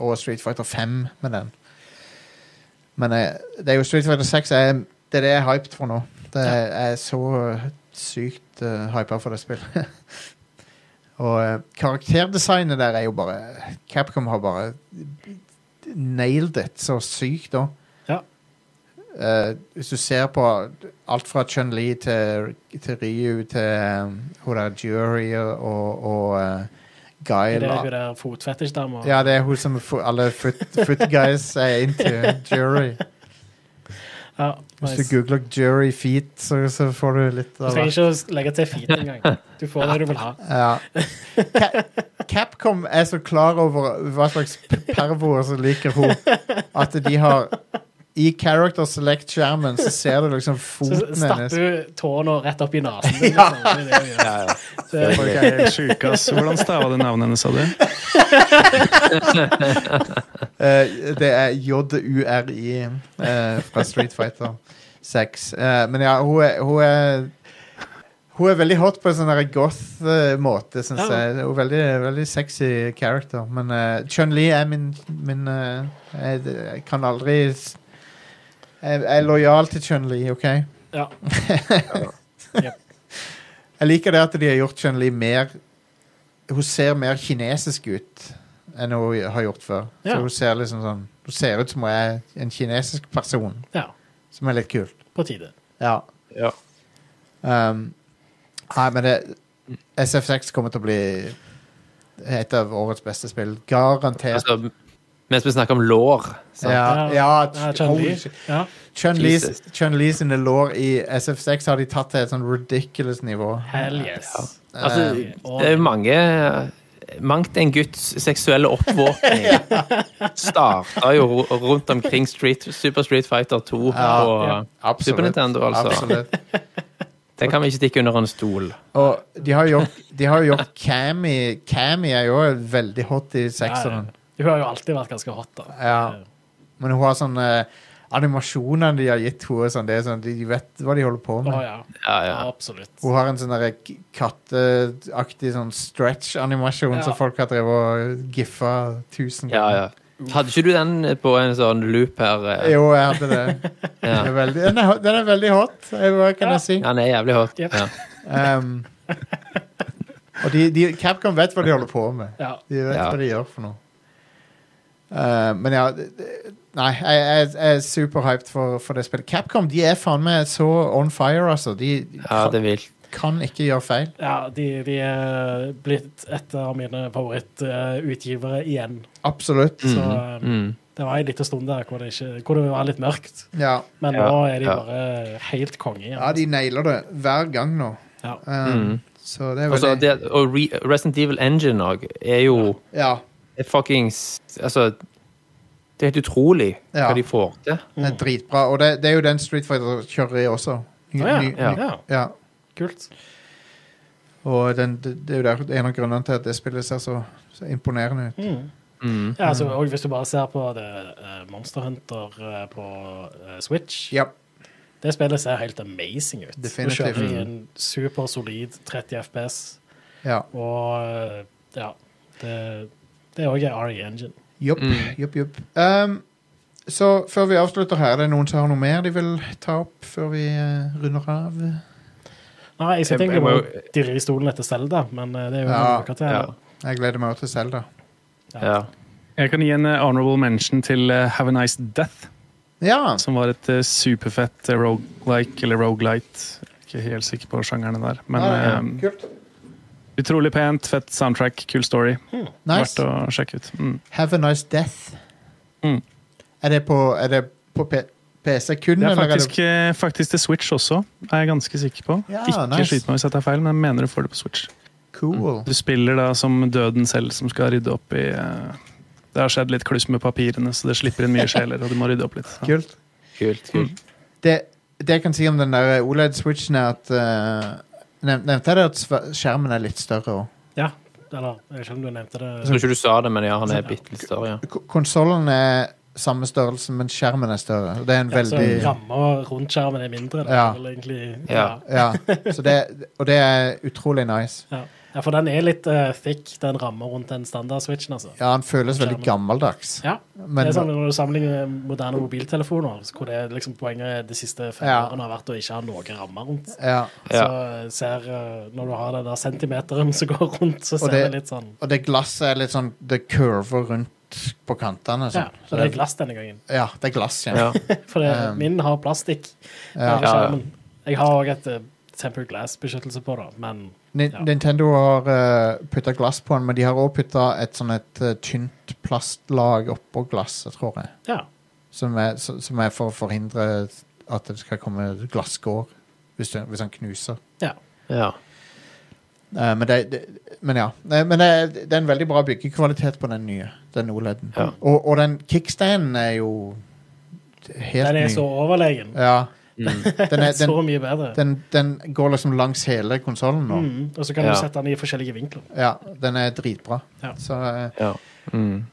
[SPEAKER 1] og Street Fighter 5 med den. Men eh, det er jo Street Fighter 6 er, det er det jeg er hyped for nå. Det er, Jeg er så sykt uh, hypa for det spillet. og eh, karakterdesignet der er jo bare Capcom har bare nailed it så sykt, da.
[SPEAKER 2] Ja.
[SPEAKER 1] Eh, hvis du ser på alt fra Chun-Li til, til Ryu til um, hun der Jury og, og, og eh,
[SPEAKER 2] Det
[SPEAKER 1] Guile
[SPEAKER 2] er jo der fotfetisj-dama.
[SPEAKER 1] Ja, det er hun som fo- alle foot, foot guys er into. Jury.
[SPEAKER 2] Ja,
[SPEAKER 1] Hvis
[SPEAKER 2] nice.
[SPEAKER 1] du googler Jury feet, så, så får du litt
[SPEAKER 2] Du
[SPEAKER 1] av
[SPEAKER 2] trenger ikke å legge til feet engang. Du får det du vil ha.
[SPEAKER 1] Ja. Ca Capcom er så klar over hva slags p- pervoer som liker hun, at de har I character select-skjermen så ser du liksom
[SPEAKER 2] Så
[SPEAKER 1] foten
[SPEAKER 2] stakk
[SPEAKER 1] hennes.
[SPEAKER 2] du tåna rett opp i nesen. din, Liksom. Det er det du gjør.
[SPEAKER 3] Ja, ja.
[SPEAKER 2] Det-
[SPEAKER 4] Folk er helt sjuke, ass. Hvordan stava du navnet hennes, sa du?
[SPEAKER 1] Eh, det er J-U-R-I eh, fra Street Fighter 6. Eh, men ja, hun er, hun er hun er veldig hot på en sånn der goth eh, måte, syns
[SPEAKER 2] Ja.
[SPEAKER 1] jeg. Hun er veldig, veldig sexy character. Men eh, Chun-Li er min, min eh, jeg, jeg kan aldri s- Jeg, jeg er lojal til Chun-Li, OK? Jeg
[SPEAKER 2] Ja.
[SPEAKER 1] liker det at de har gjort Chun-Li mer Hun ser mer kinesisk ut enn hun har gjort før.
[SPEAKER 2] Ja.
[SPEAKER 1] Så hun ser liksom sånn Hun ser ut som hun er en kinesisk person,
[SPEAKER 2] ja.
[SPEAKER 1] som er litt kult.
[SPEAKER 2] På tide.
[SPEAKER 1] Ja.
[SPEAKER 3] Ja.
[SPEAKER 1] Um, nei, men det SF6 kommer til å bli et av årets beste spill. Garantert.
[SPEAKER 3] Altså, mens vi snakker om lår sant?
[SPEAKER 1] Ja,
[SPEAKER 2] Ja,
[SPEAKER 1] ja,
[SPEAKER 2] Chun-Li.
[SPEAKER 1] holy shit.
[SPEAKER 2] Ja.
[SPEAKER 1] Chun-Li
[SPEAKER 3] Jesus.
[SPEAKER 1] Chun-Li sine lår i SF6 har de tatt til et sånn ridiculous nivå. Eh,
[SPEAKER 2] Hell yes.
[SPEAKER 3] altså, Det er mange Mangt en gutts seksuelle oppvåkning starta jo ro- rundt omkring Street, Super Street Fighter 2 på
[SPEAKER 1] Ja.
[SPEAKER 3] Super Nintendo, altså.
[SPEAKER 1] Absolutt.
[SPEAKER 3] Den kan vi ikke stikke under en stol.
[SPEAKER 1] Og de har jo gjort, de har jo gjort Cammy Cammy er jo veldig hot i
[SPEAKER 2] Ja, ja.
[SPEAKER 1] sekseren.
[SPEAKER 2] Hun har jo alltid vært ganske hot, da.
[SPEAKER 1] Ja. Men hun har sånn eh, Animasjonene de har gitt henne, sånn, det er sånn, de vet hva de holder på
[SPEAKER 2] Å
[SPEAKER 1] med.
[SPEAKER 2] ja.
[SPEAKER 3] Ja, ja.
[SPEAKER 2] Absolutt.
[SPEAKER 1] Hun har en sånn derre k- katteaktig sånn stretch-animasjon
[SPEAKER 2] Ja.
[SPEAKER 1] som folk har drevet og giffa tusen
[SPEAKER 3] ja, ja. Hadde ikke du den på en sånn loop her? eh?
[SPEAKER 1] Jo, jeg hadde det.
[SPEAKER 3] Ja.
[SPEAKER 1] Den er veldig, den, er, hot- den er veldig hot, eh, hva kan jeg si.
[SPEAKER 3] Ja, Den er jævlig hot.
[SPEAKER 2] Yep.
[SPEAKER 3] Ja.
[SPEAKER 1] Um, og de, de, Capcom vet hva de holder på med.
[SPEAKER 2] Ja.
[SPEAKER 1] De vet
[SPEAKER 3] Ja.
[SPEAKER 1] hva de gjør for noe. Eh, men ja det- det- Nei, jeg, jeg, jeg er superhyped for, for det spillet. Capcom de er faen meg så on fire, altså. De de
[SPEAKER 3] ja,
[SPEAKER 1] kan,
[SPEAKER 3] det er vilt.
[SPEAKER 1] kan ikke gjøre feil.
[SPEAKER 2] Ja, de, de er blitt et av mine favorittutgivere igjen.
[SPEAKER 1] Absolutt.
[SPEAKER 2] Så um,
[SPEAKER 3] Mm.
[SPEAKER 2] Det var en liten stund der hvor det, ikke, hvor det var litt mørkt.
[SPEAKER 1] Ja.
[SPEAKER 2] Men
[SPEAKER 3] Ja,
[SPEAKER 2] nå er de
[SPEAKER 3] ja.
[SPEAKER 2] bare helt konge igjen.
[SPEAKER 1] ja, de nailer det hver gang nå.
[SPEAKER 2] Ja.
[SPEAKER 1] Um, Så det er
[SPEAKER 3] Altså,
[SPEAKER 1] veldig
[SPEAKER 3] det, Mm. og Re Resident Evil Engine òg er jo
[SPEAKER 1] Ja.
[SPEAKER 3] er fuckings Altså, det er helt utrolig
[SPEAKER 1] Ja.
[SPEAKER 3] hva de får til.
[SPEAKER 1] Det er dritbra. Og det, det er jo den Street Fighter kjører i også. Ny-
[SPEAKER 2] Å, ja.
[SPEAKER 1] ny-
[SPEAKER 2] Ja.
[SPEAKER 1] ny-
[SPEAKER 2] ja,
[SPEAKER 1] ja.
[SPEAKER 2] kult.
[SPEAKER 1] Og den, det, det er jo der, en av grunnene til at det spillet ser så, så imponerende ut.
[SPEAKER 3] Mm.
[SPEAKER 2] Ja, altså,
[SPEAKER 1] Mm.
[SPEAKER 2] og hvis du bare ser på det, eh, Monster Hunter eh, på eh, Switch
[SPEAKER 1] Ja.
[SPEAKER 2] Det spillet ser helt amazing ut.
[SPEAKER 1] Definitivt.
[SPEAKER 2] Du kjører i en supersolid 30 FPS,
[SPEAKER 1] ja.
[SPEAKER 2] og eh, ja Det, det er òg RE E Engine.
[SPEAKER 1] Jopp,
[SPEAKER 4] Mm.
[SPEAKER 1] jopp, jopp. Um, så før vi avslutter her, er det noen som har noe mer de vil ta opp før vi eh, runder av?
[SPEAKER 2] Nei, jeg sitter
[SPEAKER 3] Jeg-
[SPEAKER 2] egentlig
[SPEAKER 3] jeg må
[SPEAKER 2] bare og dirrer i stolen etter Selda, men eh, det er jo
[SPEAKER 1] Ja,
[SPEAKER 2] noe til.
[SPEAKER 3] Ja.
[SPEAKER 1] Jeg gleder meg også til Selda.
[SPEAKER 3] Ja.
[SPEAKER 4] Jeg kan gi en eh, honorable mention til eh, Have a Nice Death,
[SPEAKER 1] Ja.
[SPEAKER 4] som var et eh, superfett eh, roguelike, eller roguelite. Ikke helt sikker på sjangerne der, men
[SPEAKER 1] Ah, ja.
[SPEAKER 4] eh,
[SPEAKER 1] Kult.
[SPEAKER 4] utrolig pent, fett soundtrack, kul story. Verdt
[SPEAKER 1] Nice.
[SPEAKER 4] å sjekke ut. Mm.
[SPEAKER 1] Have a nice death.
[SPEAKER 4] Mm.
[SPEAKER 1] Er det på, er det på P PC kun,
[SPEAKER 4] Det er
[SPEAKER 1] eller er
[SPEAKER 4] faktisk,
[SPEAKER 1] det
[SPEAKER 4] eh, faktisk til Switch også, er jeg ganske sikker på.
[SPEAKER 1] Ja,
[SPEAKER 4] Ikke
[SPEAKER 1] nice.
[SPEAKER 4] skyt meg hvis jeg tar feil, men jeg mener du får det på Switch.
[SPEAKER 1] cool?
[SPEAKER 4] Du spiller da som døden selv som skal rydde opp i eh, Det har skjedd litt kluss med papirene, så det slipper inn mye sjeler, og du må rydde opp litt. Ja.
[SPEAKER 1] Kult.
[SPEAKER 3] Kult,
[SPEAKER 1] Mm.
[SPEAKER 3] kult.
[SPEAKER 1] Det, det jeg kan si om den der OLED-switchen, er at eh, nev- Nevnte jeg det at sv- skjermen er litt større òg?
[SPEAKER 2] Ja, eller jeg vet ikke om du nevnte det.
[SPEAKER 3] Jeg tror ikke du sa det, men ja, han er bitte litt større. Ja.
[SPEAKER 1] Konsollen er samme størrelse, men skjermen er større. og Det er en
[SPEAKER 2] Ja, så
[SPEAKER 1] veldig
[SPEAKER 2] Ramma rundt skjermen Altså, er mindre. Det er
[SPEAKER 1] Ja.
[SPEAKER 2] vel egentlig, ja.
[SPEAKER 3] Ja.
[SPEAKER 1] Ja, så det, og det er utrolig nice.
[SPEAKER 2] Ja. ja, for den er litt eh, thick, den ramma rundt den standard-switchen, altså.
[SPEAKER 1] Ja, han føles veldig gammeldags.
[SPEAKER 2] Ja.
[SPEAKER 1] Men-
[SPEAKER 2] det er sånn Når du sammenligner moderne mobiltelefoner, så hvor det er liksom poenget de siste fem
[SPEAKER 1] Ja.
[SPEAKER 2] årene har vært å ikke ha noen rammer rundt,
[SPEAKER 1] Ja,
[SPEAKER 3] Ja.
[SPEAKER 2] så ser eh, Når du har den der centimeteren som går rundt, så ser det,
[SPEAKER 1] det-
[SPEAKER 2] litt sånn
[SPEAKER 1] og det glasset er litt sånn Det kurver rundt på kantene. Sånn.
[SPEAKER 2] Ja, så det er glass denne gangen.
[SPEAKER 1] Ja, det er glass, ja.
[SPEAKER 3] Ja.
[SPEAKER 2] For det,
[SPEAKER 1] Um,
[SPEAKER 2] min har plastikk.
[SPEAKER 1] Ja.
[SPEAKER 2] Jeg har skjermen. Jeg har òg et eh, tempered glass-beskyttelse på det, men
[SPEAKER 1] Ni-
[SPEAKER 2] Ja.
[SPEAKER 1] Nintendo har uh, putta glass på den, men de har òg putta et sånn et eh, tynt plastlag oppå glasset, tror jeg.
[SPEAKER 2] ja.
[SPEAKER 1] Som er, s- som er for å forhindre at det skal komme glasskår hvis, det- hvis han knuser.
[SPEAKER 2] ja.
[SPEAKER 3] Ja.
[SPEAKER 1] Eh, men, det, det, men ja. Nei, Men det, det er en veldig bra byggekvalitet på den nye. Den OLED-en.
[SPEAKER 3] Ja.
[SPEAKER 1] Og, og den kickstanden er jo helt
[SPEAKER 2] Den er
[SPEAKER 1] ny.
[SPEAKER 2] så overlegen.
[SPEAKER 1] Ja.
[SPEAKER 3] Mm.
[SPEAKER 1] Den, er,
[SPEAKER 2] så
[SPEAKER 1] den,
[SPEAKER 2] mye bedre.
[SPEAKER 1] den, den går liksom langs hele konsollen nå.
[SPEAKER 2] Mm, og så kan
[SPEAKER 3] Ja.
[SPEAKER 2] du sette den i forskjellige vinkler.
[SPEAKER 1] Ja, den er dritbra.
[SPEAKER 2] Ja.
[SPEAKER 1] Så eh,
[SPEAKER 3] ja. Mm.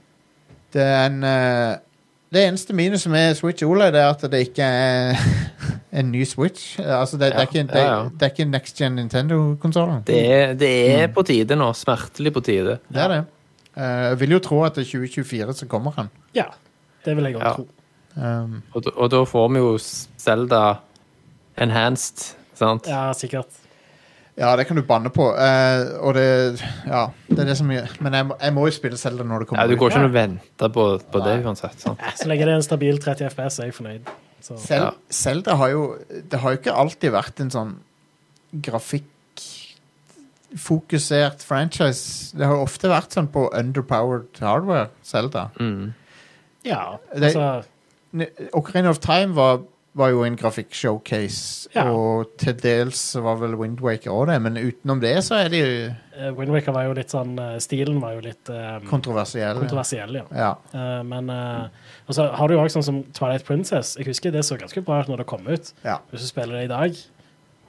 [SPEAKER 1] det er en eh, Det eneste minuset med Switch OLED er at det ikke er en ny Switch. Eh, Altså, det, det, er,
[SPEAKER 3] Ja,
[SPEAKER 1] ikke, det,
[SPEAKER 3] ja, ja.
[SPEAKER 1] det er ikke next gen Nintendo-konsollen.
[SPEAKER 3] Det, er, det er på tide nå. Smertelig på tide.
[SPEAKER 1] Det er det. Eh, jeg vil jo tro at det er 2024 så kommer han.
[SPEAKER 2] Ja, det vil jeg òg
[SPEAKER 3] Ja.
[SPEAKER 2] tro.
[SPEAKER 1] Um,
[SPEAKER 3] Og, da- og da får vi jo Selda enhanced, sant?
[SPEAKER 2] Ja, sikkert.
[SPEAKER 1] Ja, det kan du banne på. eh, og det Ja, det er det som gjør Men jeg må, jeg må jo spille selv det når det kommer
[SPEAKER 3] Ja, du går
[SPEAKER 1] ut.
[SPEAKER 3] ikke an å vente på, på det uansett. Sant?
[SPEAKER 2] Så lenge det er en stabil 30 FPS, er jeg fornøyd. Så,
[SPEAKER 1] Selv,
[SPEAKER 3] Ja.
[SPEAKER 1] selv det har jo Det har jo ikke alltid vært en sånn grafikkfokusert franchise. Det har jo ofte vært sånn på underpowered hardware, Zelda.
[SPEAKER 3] Mm.
[SPEAKER 2] ja,
[SPEAKER 1] Det-
[SPEAKER 2] altså
[SPEAKER 1] N- Ocarina of Time var, var jo en grafikkshowcase,
[SPEAKER 2] Ja.
[SPEAKER 1] og til dels var vel Windwaker òg det, men utenom det så er de jo
[SPEAKER 2] Windwaker eh, var jo litt sånn eh, Stilen var jo litt eh,
[SPEAKER 1] kontroversielle.
[SPEAKER 2] kontroversiell, ja.
[SPEAKER 1] ja.
[SPEAKER 2] Eh, men eh, Og så har du jo òg sånn som Twilight Princess. Jeg husker det så ganske bra ut når det kom ut.
[SPEAKER 1] Ja.
[SPEAKER 2] Hvis du spiller det i dag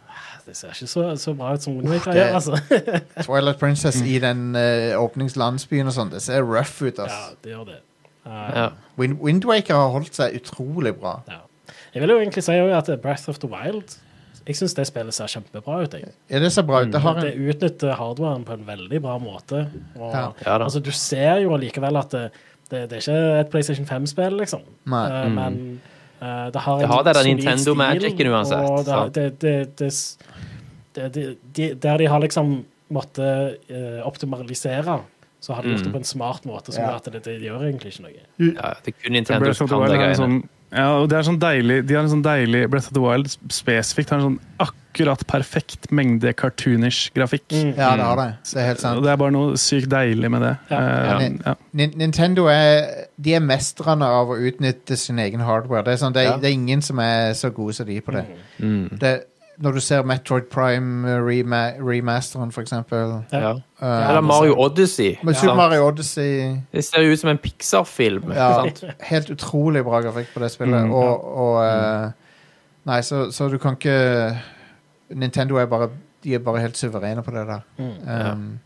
[SPEAKER 2] ah, Det ser ikke så, så bra ut som Windwaker
[SPEAKER 1] det-
[SPEAKER 2] gjør, altså.
[SPEAKER 1] Twilight Princess
[SPEAKER 4] Mm.
[SPEAKER 1] i den eh, åpningslandsbyen og sånn. Det ser rough ut,
[SPEAKER 2] ja,
[SPEAKER 1] ass.
[SPEAKER 2] det gjør det. Eh,
[SPEAKER 3] Ja.
[SPEAKER 1] Wind Windwaker har holdt seg utrolig bra.
[SPEAKER 2] ja. Jeg vil jo egentlig si jo at Breath of the Wild Jeg syns det spillet ser kjempebra ut. Jeg.
[SPEAKER 1] Ja, det ser bra ut. Det har
[SPEAKER 2] Det
[SPEAKER 1] en
[SPEAKER 2] utnytter hardwaren på en veldig bra måte. Og,
[SPEAKER 1] Ja.
[SPEAKER 3] Ja da.
[SPEAKER 2] altså, du ser jo allikevel at det, det, det er ikke et PlayStation 5-spill, liksom.
[SPEAKER 1] Nei.
[SPEAKER 2] Eh, Men eh, det har
[SPEAKER 3] Mm. Det har det der
[SPEAKER 2] solid
[SPEAKER 3] Nintendo
[SPEAKER 2] stil,
[SPEAKER 3] Magicen uansett,
[SPEAKER 2] og Det,
[SPEAKER 3] sant?
[SPEAKER 2] det, det, det, s- det, det, de, der de har liksom måttet eh, optimalisere, så
[SPEAKER 3] Mm.
[SPEAKER 2] har de gjort det på en smart måte som
[SPEAKER 1] Ja.
[SPEAKER 2] gjør at det, det gjør egentlig ikke noe.
[SPEAKER 3] Ja, det er kun Nintendo
[SPEAKER 4] Breath
[SPEAKER 3] som
[SPEAKER 4] of the
[SPEAKER 3] kan
[SPEAKER 4] Wild
[SPEAKER 3] det
[SPEAKER 4] er en
[SPEAKER 3] greiene.
[SPEAKER 4] sånn Ja, og det er sånn deilig, De har en sånn deilig Breath of the Wild spesifikt har en sånn akkurat perfekt mengde cartoonish grafikk.
[SPEAKER 1] Ja, det har det. Det er helt sant.
[SPEAKER 4] Og det er bare noe sykt deilig med det.
[SPEAKER 2] Ja.
[SPEAKER 4] Eh,
[SPEAKER 1] Enig.
[SPEAKER 4] ja.
[SPEAKER 1] Nin- Nintendo er, de er mestrene av å utnytte sin egen hardware. Det er, sånn, det, er-
[SPEAKER 2] Ja.
[SPEAKER 1] det er ingen som er så gode som de på det.
[SPEAKER 4] Mm.
[SPEAKER 1] det når du ser Metroid Prime eh, rema remasteren, for eksempel.
[SPEAKER 3] Ja.
[SPEAKER 1] Eh,
[SPEAKER 3] Eller Mario Odyssey.
[SPEAKER 1] men Super
[SPEAKER 3] sant?
[SPEAKER 1] Mario Odyssey
[SPEAKER 3] Det ser jo ut som en Pixar-film.
[SPEAKER 1] ja,
[SPEAKER 3] sant?
[SPEAKER 1] Helt utrolig bra grafikk på det spillet. og og eh, Nei, så, så du kan ikke Nintendo er bare De er bare helt suverene på det der. Um,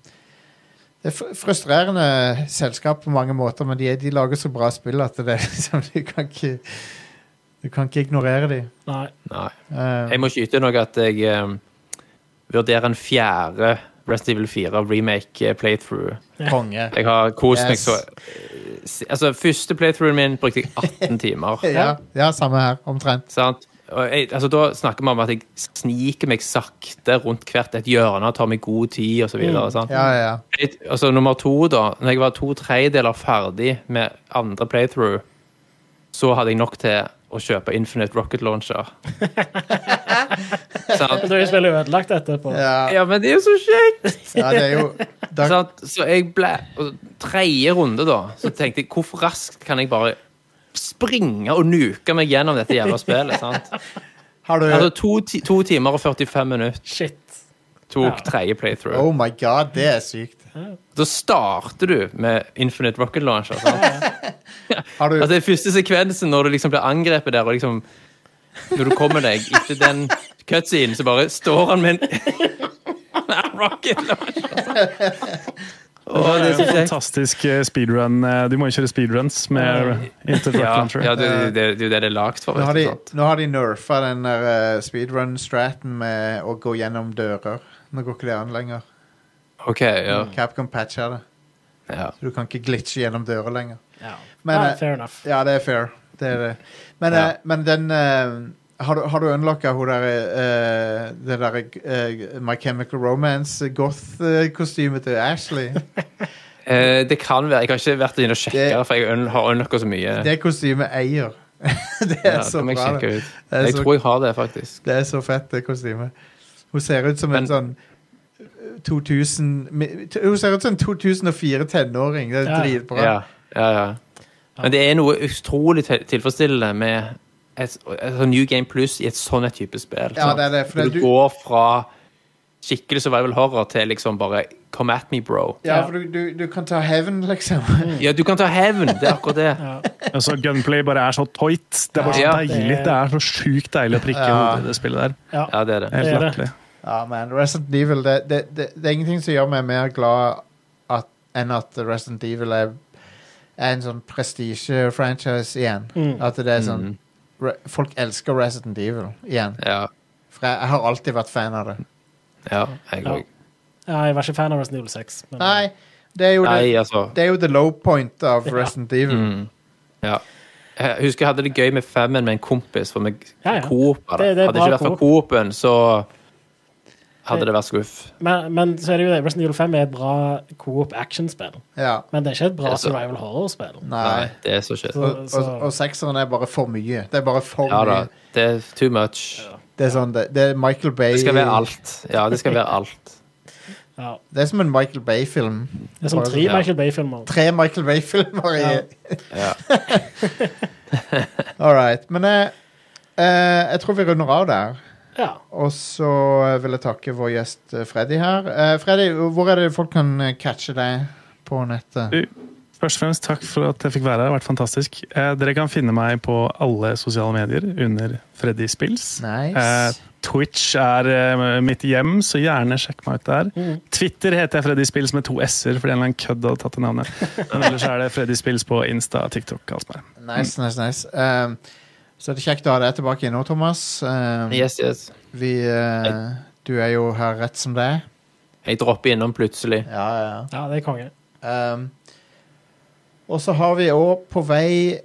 [SPEAKER 1] det er fr frustrerende selskap på mange måter, men de, er- de lager så bra spill at det er liksom Du kan ikke Du kan ikke ignorere Eh, dem.
[SPEAKER 2] Nei.
[SPEAKER 3] Nei. Jeg må skyte noe at jeg eh, vurderer en fjerde Resident Evil 4 remake eh, playthrough.
[SPEAKER 1] konge.
[SPEAKER 3] Jeg har kost meg
[SPEAKER 1] Yes.
[SPEAKER 3] så Altså, første playthroughen min brukte jeg 18 timer.
[SPEAKER 1] Ja, ja, samme her. Omtrent.
[SPEAKER 3] Sant? Og jeg, altså, da snakker vi om at jeg sniker meg sakte rundt hvert et hjørne, tar meg god tid osv.
[SPEAKER 1] Mm. Ja, ja, ja.
[SPEAKER 3] Altså, nummer to, da. Når jeg var to tredjedeler ferdig med andre playthrough, så hadde jeg nok til å kjøpe Infinite Rocket Launcher. sant?
[SPEAKER 2] Jeg tror jeg spiller ødelagt etterpå.
[SPEAKER 1] Ja,
[SPEAKER 3] Ja, men det er jo så kjekt!
[SPEAKER 1] ja det er jo da,
[SPEAKER 3] Sant? Så jeg ble og Tredje runde, da, så tenkte jeg hvor raskt kan jeg bare springe og nuke meg gjennom dette jævla spillet? sant?
[SPEAKER 1] Har
[SPEAKER 3] Altså
[SPEAKER 1] du
[SPEAKER 3] to, ti to timer og 45 minutter
[SPEAKER 2] Shit.
[SPEAKER 3] tok tredje playthrough.
[SPEAKER 1] Oh my god, det er sykt.
[SPEAKER 3] Da starter du med Infinite Rocket Launcher. Sant?
[SPEAKER 1] Har du
[SPEAKER 3] Altså, den første sekvensen når du liksom blir angrepet der, og liksom Når du kommer deg etter den cutscenen, så bare står han med en rocket launcher. Åh,
[SPEAKER 4] Det
[SPEAKER 3] det
[SPEAKER 4] er
[SPEAKER 3] er
[SPEAKER 4] jo
[SPEAKER 3] så kjekt.
[SPEAKER 4] fantastisk eh, speedrun. eh, Du må jo kjøre speedruns med Inter Rock
[SPEAKER 3] Ja,
[SPEAKER 4] Launcher.
[SPEAKER 3] ja det, det, det er jo det det er lagd for.
[SPEAKER 1] Nå har,
[SPEAKER 3] Vet du,
[SPEAKER 1] de,
[SPEAKER 3] sant?
[SPEAKER 1] nå har de nerfa den der eh, speedrun-straten med å gå gjennom dører. Nå går ikke det an lenger.
[SPEAKER 3] OK, ja.
[SPEAKER 1] Capcom patcher det.
[SPEAKER 3] ja.
[SPEAKER 1] Du kan ikke glitche gjennom dører lenger.
[SPEAKER 2] Ja.
[SPEAKER 1] Men,
[SPEAKER 2] Nei,
[SPEAKER 1] eh,
[SPEAKER 2] fair enough.
[SPEAKER 1] Ja, det er fair. Det er det. Men, eh, men den eh, Har du, har du unlocka hun der eh, Det derre My Chemical Romance-goth-kostymet til Ashley?
[SPEAKER 3] Eh, det kan være Jeg har ikke vært inne og sjekka,
[SPEAKER 1] Det-
[SPEAKER 3] for jeg un- har unlocka så mye.
[SPEAKER 1] Det kostymet eier. det
[SPEAKER 3] Ja,
[SPEAKER 1] er så
[SPEAKER 3] det må jeg
[SPEAKER 1] bra.
[SPEAKER 3] sjekke
[SPEAKER 1] Det.
[SPEAKER 3] ut.
[SPEAKER 1] er
[SPEAKER 3] Jeg
[SPEAKER 1] så-
[SPEAKER 3] tror jeg har det, faktisk.
[SPEAKER 1] det er så fett, det kostymet. Hun ser ut som
[SPEAKER 3] Men-
[SPEAKER 1] en sånn 2000 mi- t- Hun ser ut som en 2004-tenåring. Det er
[SPEAKER 2] Ja.
[SPEAKER 1] dritbra.
[SPEAKER 3] Ja, ja, ja. Men det er noe utrolig til- tilfredsstillende med et, et, sånn New Game Plus i et sånn et type spill.
[SPEAKER 1] Ja,
[SPEAKER 3] sant?
[SPEAKER 1] det er det, for
[SPEAKER 3] Når
[SPEAKER 1] det-
[SPEAKER 3] du
[SPEAKER 1] du-
[SPEAKER 3] går fra skikkelig survival horror til liksom bare Come at me, bro.
[SPEAKER 1] Ja, for du, du, du kan ta hevn, liksom.
[SPEAKER 3] Ja, du kan ta hevn! Det er akkurat det.
[SPEAKER 4] Altså, Gunplay bare er så toit. Det er bare så
[SPEAKER 3] Ja.
[SPEAKER 4] deilig. Det er så sjukt deilig å prikke hodet i det spillet der.
[SPEAKER 3] Ja, det er det.
[SPEAKER 4] Helt
[SPEAKER 2] Det er det.
[SPEAKER 4] latterlig.
[SPEAKER 1] Ja, men Resident Evil det, det, det, det er ingenting som gjør meg mer glad at, enn at Resident Evil er, er en sånn prestisje-franchise igjen. At det er sånn
[SPEAKER 3] Mm.
[SPEAKER 1] re, Folk elsker Resident Evil igjen.
[SPEAKER 3] Ja,
[SPEAKER 1] For jeg, jeg har alltid vært fan av det.
[SPEAKER 3] ja jeg
[SPEAKER 2] Ja.
[SPEAKER 3] òg.
[SPEAKER 2] Ja, jeg var ikke fan av Resident Evil 6. Men,
[SPEAKER 1] Nei, det er jo det.
[SPEAKER 3] Nei, altså.
[SPEAKER 1] Det er jo the low point av Resident Evil.
[SPEAKER 3] Mm. Ja. Jeg husker jeg hadde det gøy med femmen med en kompis, for vi
[SPEAKER 2] Ja, ja.
[SPEAKER 3] Coop hadde
[SPEAKER 2] Det- det er
[SPEAKER 3] Hadde det ikke
[SPEAKER 2] bra
[SPEAKER 3] vært for Coop-en, så hadde det vært skuff.
[SPEAKER 2] men, men så er det jo det. Resident Evil 5 er et bra coop actionspill.
[SPEAKER 1] Ja.
[SPEAKER 2] Men det er ikke et bra
[SPEAKER 3] Det er så-
[SPEAKER 2] survival horror-spill.
[SPEAKER 1] Nei.
[SPEAKER 3] Nei, det er så shit.
[SPEAKER 1] Og,
[SPEAKER 2] Så-
[SPEAKER 1] og, og sekseren er bare for mye. Det er bare for
[SPEAKER 3] Ja da.
[SPEAKER 1] mye.
[SPEAKER 3] Det er too much.
[SPEAKER 1] Det er sånn, det, det er Michael Bay
[SPEAKER 3] Det skal være alt. Ja, det skal være alt.
[SPEAKER 2] Ja.
[SPEAKER 1] Det er som en Michael Bay-film.
[SPEAKER 2] Det er som
[SPEAKER 1] Bare-
[SPEAKER 2] tre
[SPEAKER 3] Ja.
[SPEAKER 2] Michael Bay-filmer.
[SPEAKER 1] Tre Michael Bay-filmer i
[SPEAKER 2] Ja.
[SPEAKER 3] Ja.
[SPEAKER 1] All right. Men eh, eh, jeg tror vi runder av der.
[SPEAKER 2] Ja.
[SPEAKER 1] Og så eh, vil jeg takke vår gjest eh, Freddy her. Eh, Freddy, hvor er det folk kan eh, catche deg på nettet?
[SPEAKER 4] Du, Først og fremst takk for at jeg fikk være her. Det har vært fantastisk. Eh, dere kan finne meg på alle sosiale medier under Freddy Spills.
[SPEAKER 1] Nice.
[SPEAKER 4] Eh, Twitch er eh, mitt hjem, så gjerne sjekk meg ut der. Twitter heter jeg Freddy Spills med to s-er, fordi en eller annen kødd hadde tatt det navnet. Men ellers er det Freddy Spills på Insta, TikTok og alt som er.
[SPEAKER 1] Nice, nice, nice. Eh, så det er kjekt å ha deg tilbake nå, Thomas. Eh,
[SPEAKER 3] Yes, yes.
[SPEAKER 1] Vi eh, Du er jo her rett som det er.
[SPEAKER 3] Jeg dropper innom plutselig.
[SPEAKER 1] Ja, ja.
[SPEAKER 2] ja, det er konge.
[SPEAKER 1] Um, og så har vi òg på vei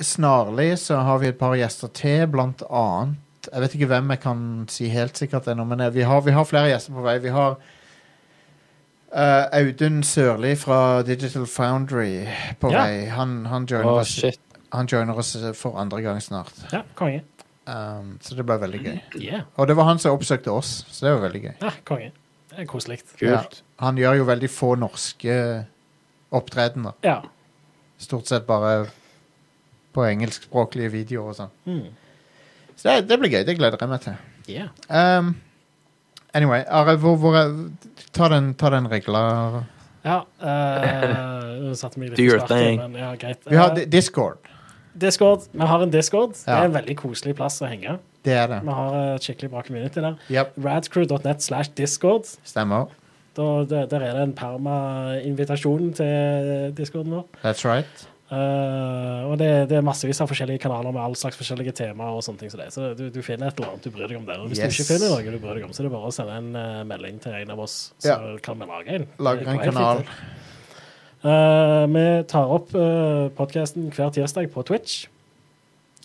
[SPEAKER 1] snarlig så har vi et par gjester til, blant annet Jeg vet ikke hvem jeg kan si helt sikkert ennå, men eh, vi har, vi har flere gjester på vei. Vi har eh, Audun Sørli fra Digital Foundry på
[SPEAKER 2] Ja.
[SPEAKER 1] vei. Han, han
[SPEAKER 3] Å,
[SPEAKER 1] joiner oss.
[SPEAKER 3] shit.
[SPEAKER 1] han joiner oss for andre gang snart.
[SPEAKER 2] Ja, konge.
[SPEAKER 1] Um, så det ble veldig gøy.
[SPEAKER 2] Yeah.
[SPEAKER 1] Og det var han som oppsøkte oss, så det var veldig gøy.
[SPEAKER 2] Ja, konge. Det er koselig.
[SPEAKER 1] Ja. Han gjør jo veldig få norske opptredener.
[SPEAKER 2] Ja.
[SPEAKER 1] Stort sett bare på engelskspråklige videoer og sånn.
[SPEAKER 2] Mm.
[SPEAKER 1] Så det, det blir gøy. Det gleder jeg meg til.
[SPEAKER 2] Yeah.
[SPEAKER 1] Um, anyway, Are, hvor, hvor er- ta, den, ta den regla
[SPEAKER 2] Ja. eh, nå satte meg litt
[SPEAKER 3] Do your
[SPEAKER 2] på sparket,
[SPEAKER 3] thing.
[SPEAKER 2] Men, ja, greit.
[SPEAKER 1] Vi har
[SPEAKER 2] Eh,
[SPEAKER 1] di- Discord.
[SPEAKER 2] Discord. Vi har en Discord. Det
[SPEAKER 1] Ja.
[SPEAKER 2] er en veldig koselig plass å henge.
[SPEAKER 1] Det er det.
[SPEAKER 2] Vi har et skikkelig bra community der.
[SPEAKER 1] Yep,
[SPEAKER 2] Radcrew.net slash discord.
[SPEAKER 1] stemmer.
[SPEAKER 2] Da, der, der er det en perma-invitasjon til discorden vår.
[SPEAKER 1] That's right.
[SPEAKER 2] Eh, og det, det er massevis av forskjellige kanaler med all slags forskjellige temaer og sånne ting som det. Så du, du finner et eller annet du bryr deg om der. Og hvis
[SPEAKER 1] Yes.
[SPEAKER 2] du ikke finner noe du bryr deg om, så er det bare å sende en eh, melding til en av oss, så
[SPEAKER 1] Ja.
[SPEAKER 2] kan vi lage en.
[SPEAKER 1] Lager
[SPEAKER 2] Det
[SPEAKER 1] en
[SPEAKER 2] går helt
[SPEAKER 1] kanal.
[SPEAKER 2] fint, det. Eh, vi tar opp uh, podkasten hver tirsdag på Twitch.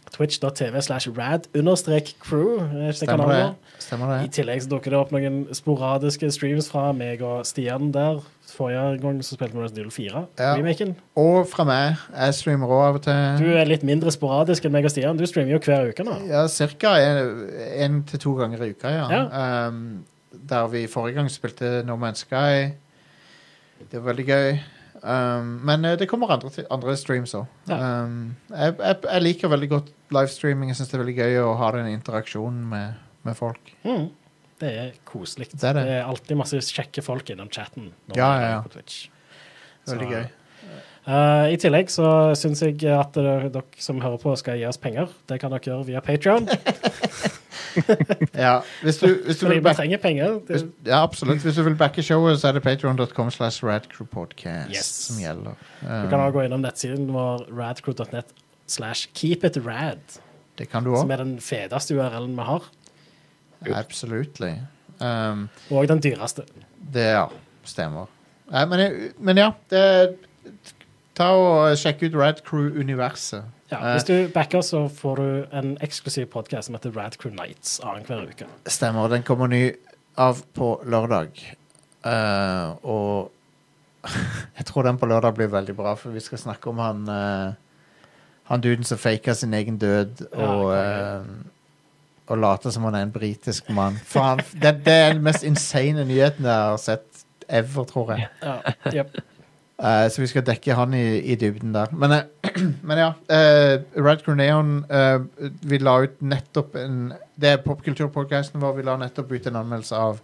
[SPEAKER 2] Twitch.tv slash rad understrek crew. eh, hvis det er
[SPEAKER 1] Stemmer
[SPEAKER 2] kanalen
[SPEAKER 1] det.
[SPEAKER 2] vår.
[SPEAKER 1] Stemmer
[SPEAKER 2] I
[SPEAKER 1] det.
[SPEAKER 2] tillegg så dukker det opp noen sporadiske streams fra meg og Stian der. Forrige gang så spilte vi Resident Evil 4,
[SPEAKER 1] Ja.
[SPEAKER 2] remaken.
[SPEAKER 1] Og fra meg. Jeg streamer òg av og
[SPEAKER 2] Du
[SPEAKER 1] til.
[SPEAKER 2] er litt mindre sporadisk enn meg og Stian. Du streamer jo hver uke nå.
[SPEAKER 1] Ja, Cirka én til to ganger i uka, ja. Um, der vi forrige gang spilte No Man's Sky. Det var veldig gøy. Um, men eh, det kommer andre, til- andre streams òg.
[SPEAKER 2] Ja.
[SPEAKER 1] Um, jeg, jeg, jeg liker veldig godt livestreaming. Jeg syns det er veldig gøy å ha den interaksjonen med, med folk.
[SPEAKER 2] Mm. Det er koselig.
[SPEAKER 1] Det er det.
[SPEAKER 2] det er alltid masse kjekke folk innom chatten. når
[SPEAKER 1] Ja,
[SPEAKER 2] man er
[SPEAKER 1] ja, ja.
[SPEAKER 2] på Twitch.
[SPEAKER 1] Veldig
[SPEAKER 2] Så-
[SPEAKER 1] gøy.
[SPEAKER 2] Eh, I tillegg så syns jeg at dere, dere som hører på, skal gi oss penger. Det kan dere gjøre via Patreon.
[SPEAKER 1] Ja, hvis du, hvis du
[SPEAKER 2] Fordi
[SPEAKER 1] vil
[SPEAKER 2] vi
[SPEAKER 1] back,
[SPEAKER 2] trenger penger.
[SPEAKER 1] hvis,
[SPEAKER 2] Det,
[SPEAKER 1] ja, absolutt. Hvis du vil backe showet, så er det patreon.com slash radcrewpodcast
[SPEAKER 2] Yes.
[SPEAKER 1] som gjelder.
[SPEAKER 2] du kan også gå innom nettsiden vår radcrew.net slash keepitrad,
[SPEAKER 1] Det kan du
[SPEAKER 2] som
[SPEAKER 1] òg.
[SPEAKER 2] er den fedeste URL-en vi har.
[SPEAKER 1] Absolutt. Um,
[SPEAKER 2] Og den dyreste.
[SPEAKER 1] det, ja. Stemmer. Nei, men, men ja, det, ta og sjekk ut Radcrew-universet.
[SPEAKER 2] Ja,
[SPEAKER 1] Eh.
[SPEAKER 2] hvis du backer, oss, så får du en eksklusiv podkast som heter Radcrew Nights annenhver uke.
[SPEAKER 1] Stemmer. Den kommer ny av på lørdag. Eh, og jeg tror den på lørdag blir veldig bra, for vi skal snakke om han eh, Han duden som faka sin egen død
[SPEAKER 2] Ja,
[SPEAKER 1] og
[SPEAKER 2] konge.
[SPEAKER 1] eh, og later som han er en britisk mann. Faen, det, det er den mest insane nyheten jeg har sett ever, tror jeg.
[SPEAKER 2] Ja, jep.
[SPEAKER 1] Eh, så vi skal dekke han i, i dybden der. Men, eh, men ja. eh, Red Crew Neon eh, Vi la ut nettopp en Det er popkulturpodkasten vår. Vi la nettopp ut en anmeldelse av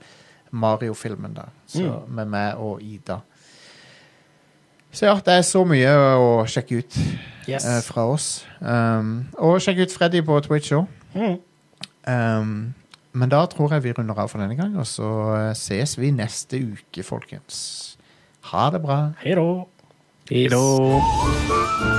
[SPEAKER 1] Mario-filmen der. Så, Med meg og Ida. Så ja, det er så mye å sjekke ut
[SPEAKER 2] Yes.
[SPEAKER 1] eh, fra oss. Um, og sjekk ut Freddy på Twitch òg.
[SPEAKER 2] Mm.
[SPEAKER 1] Um, men da tror jeg vi runder av for denne gang, og så eh, ses vi neste uke, folkens. Ha det bra.
[SPEAKER 2] Hei da.
[SPEAKER 3] Peace.
[SPEAKER 4] Hello.
[SPEAKER 5] Four,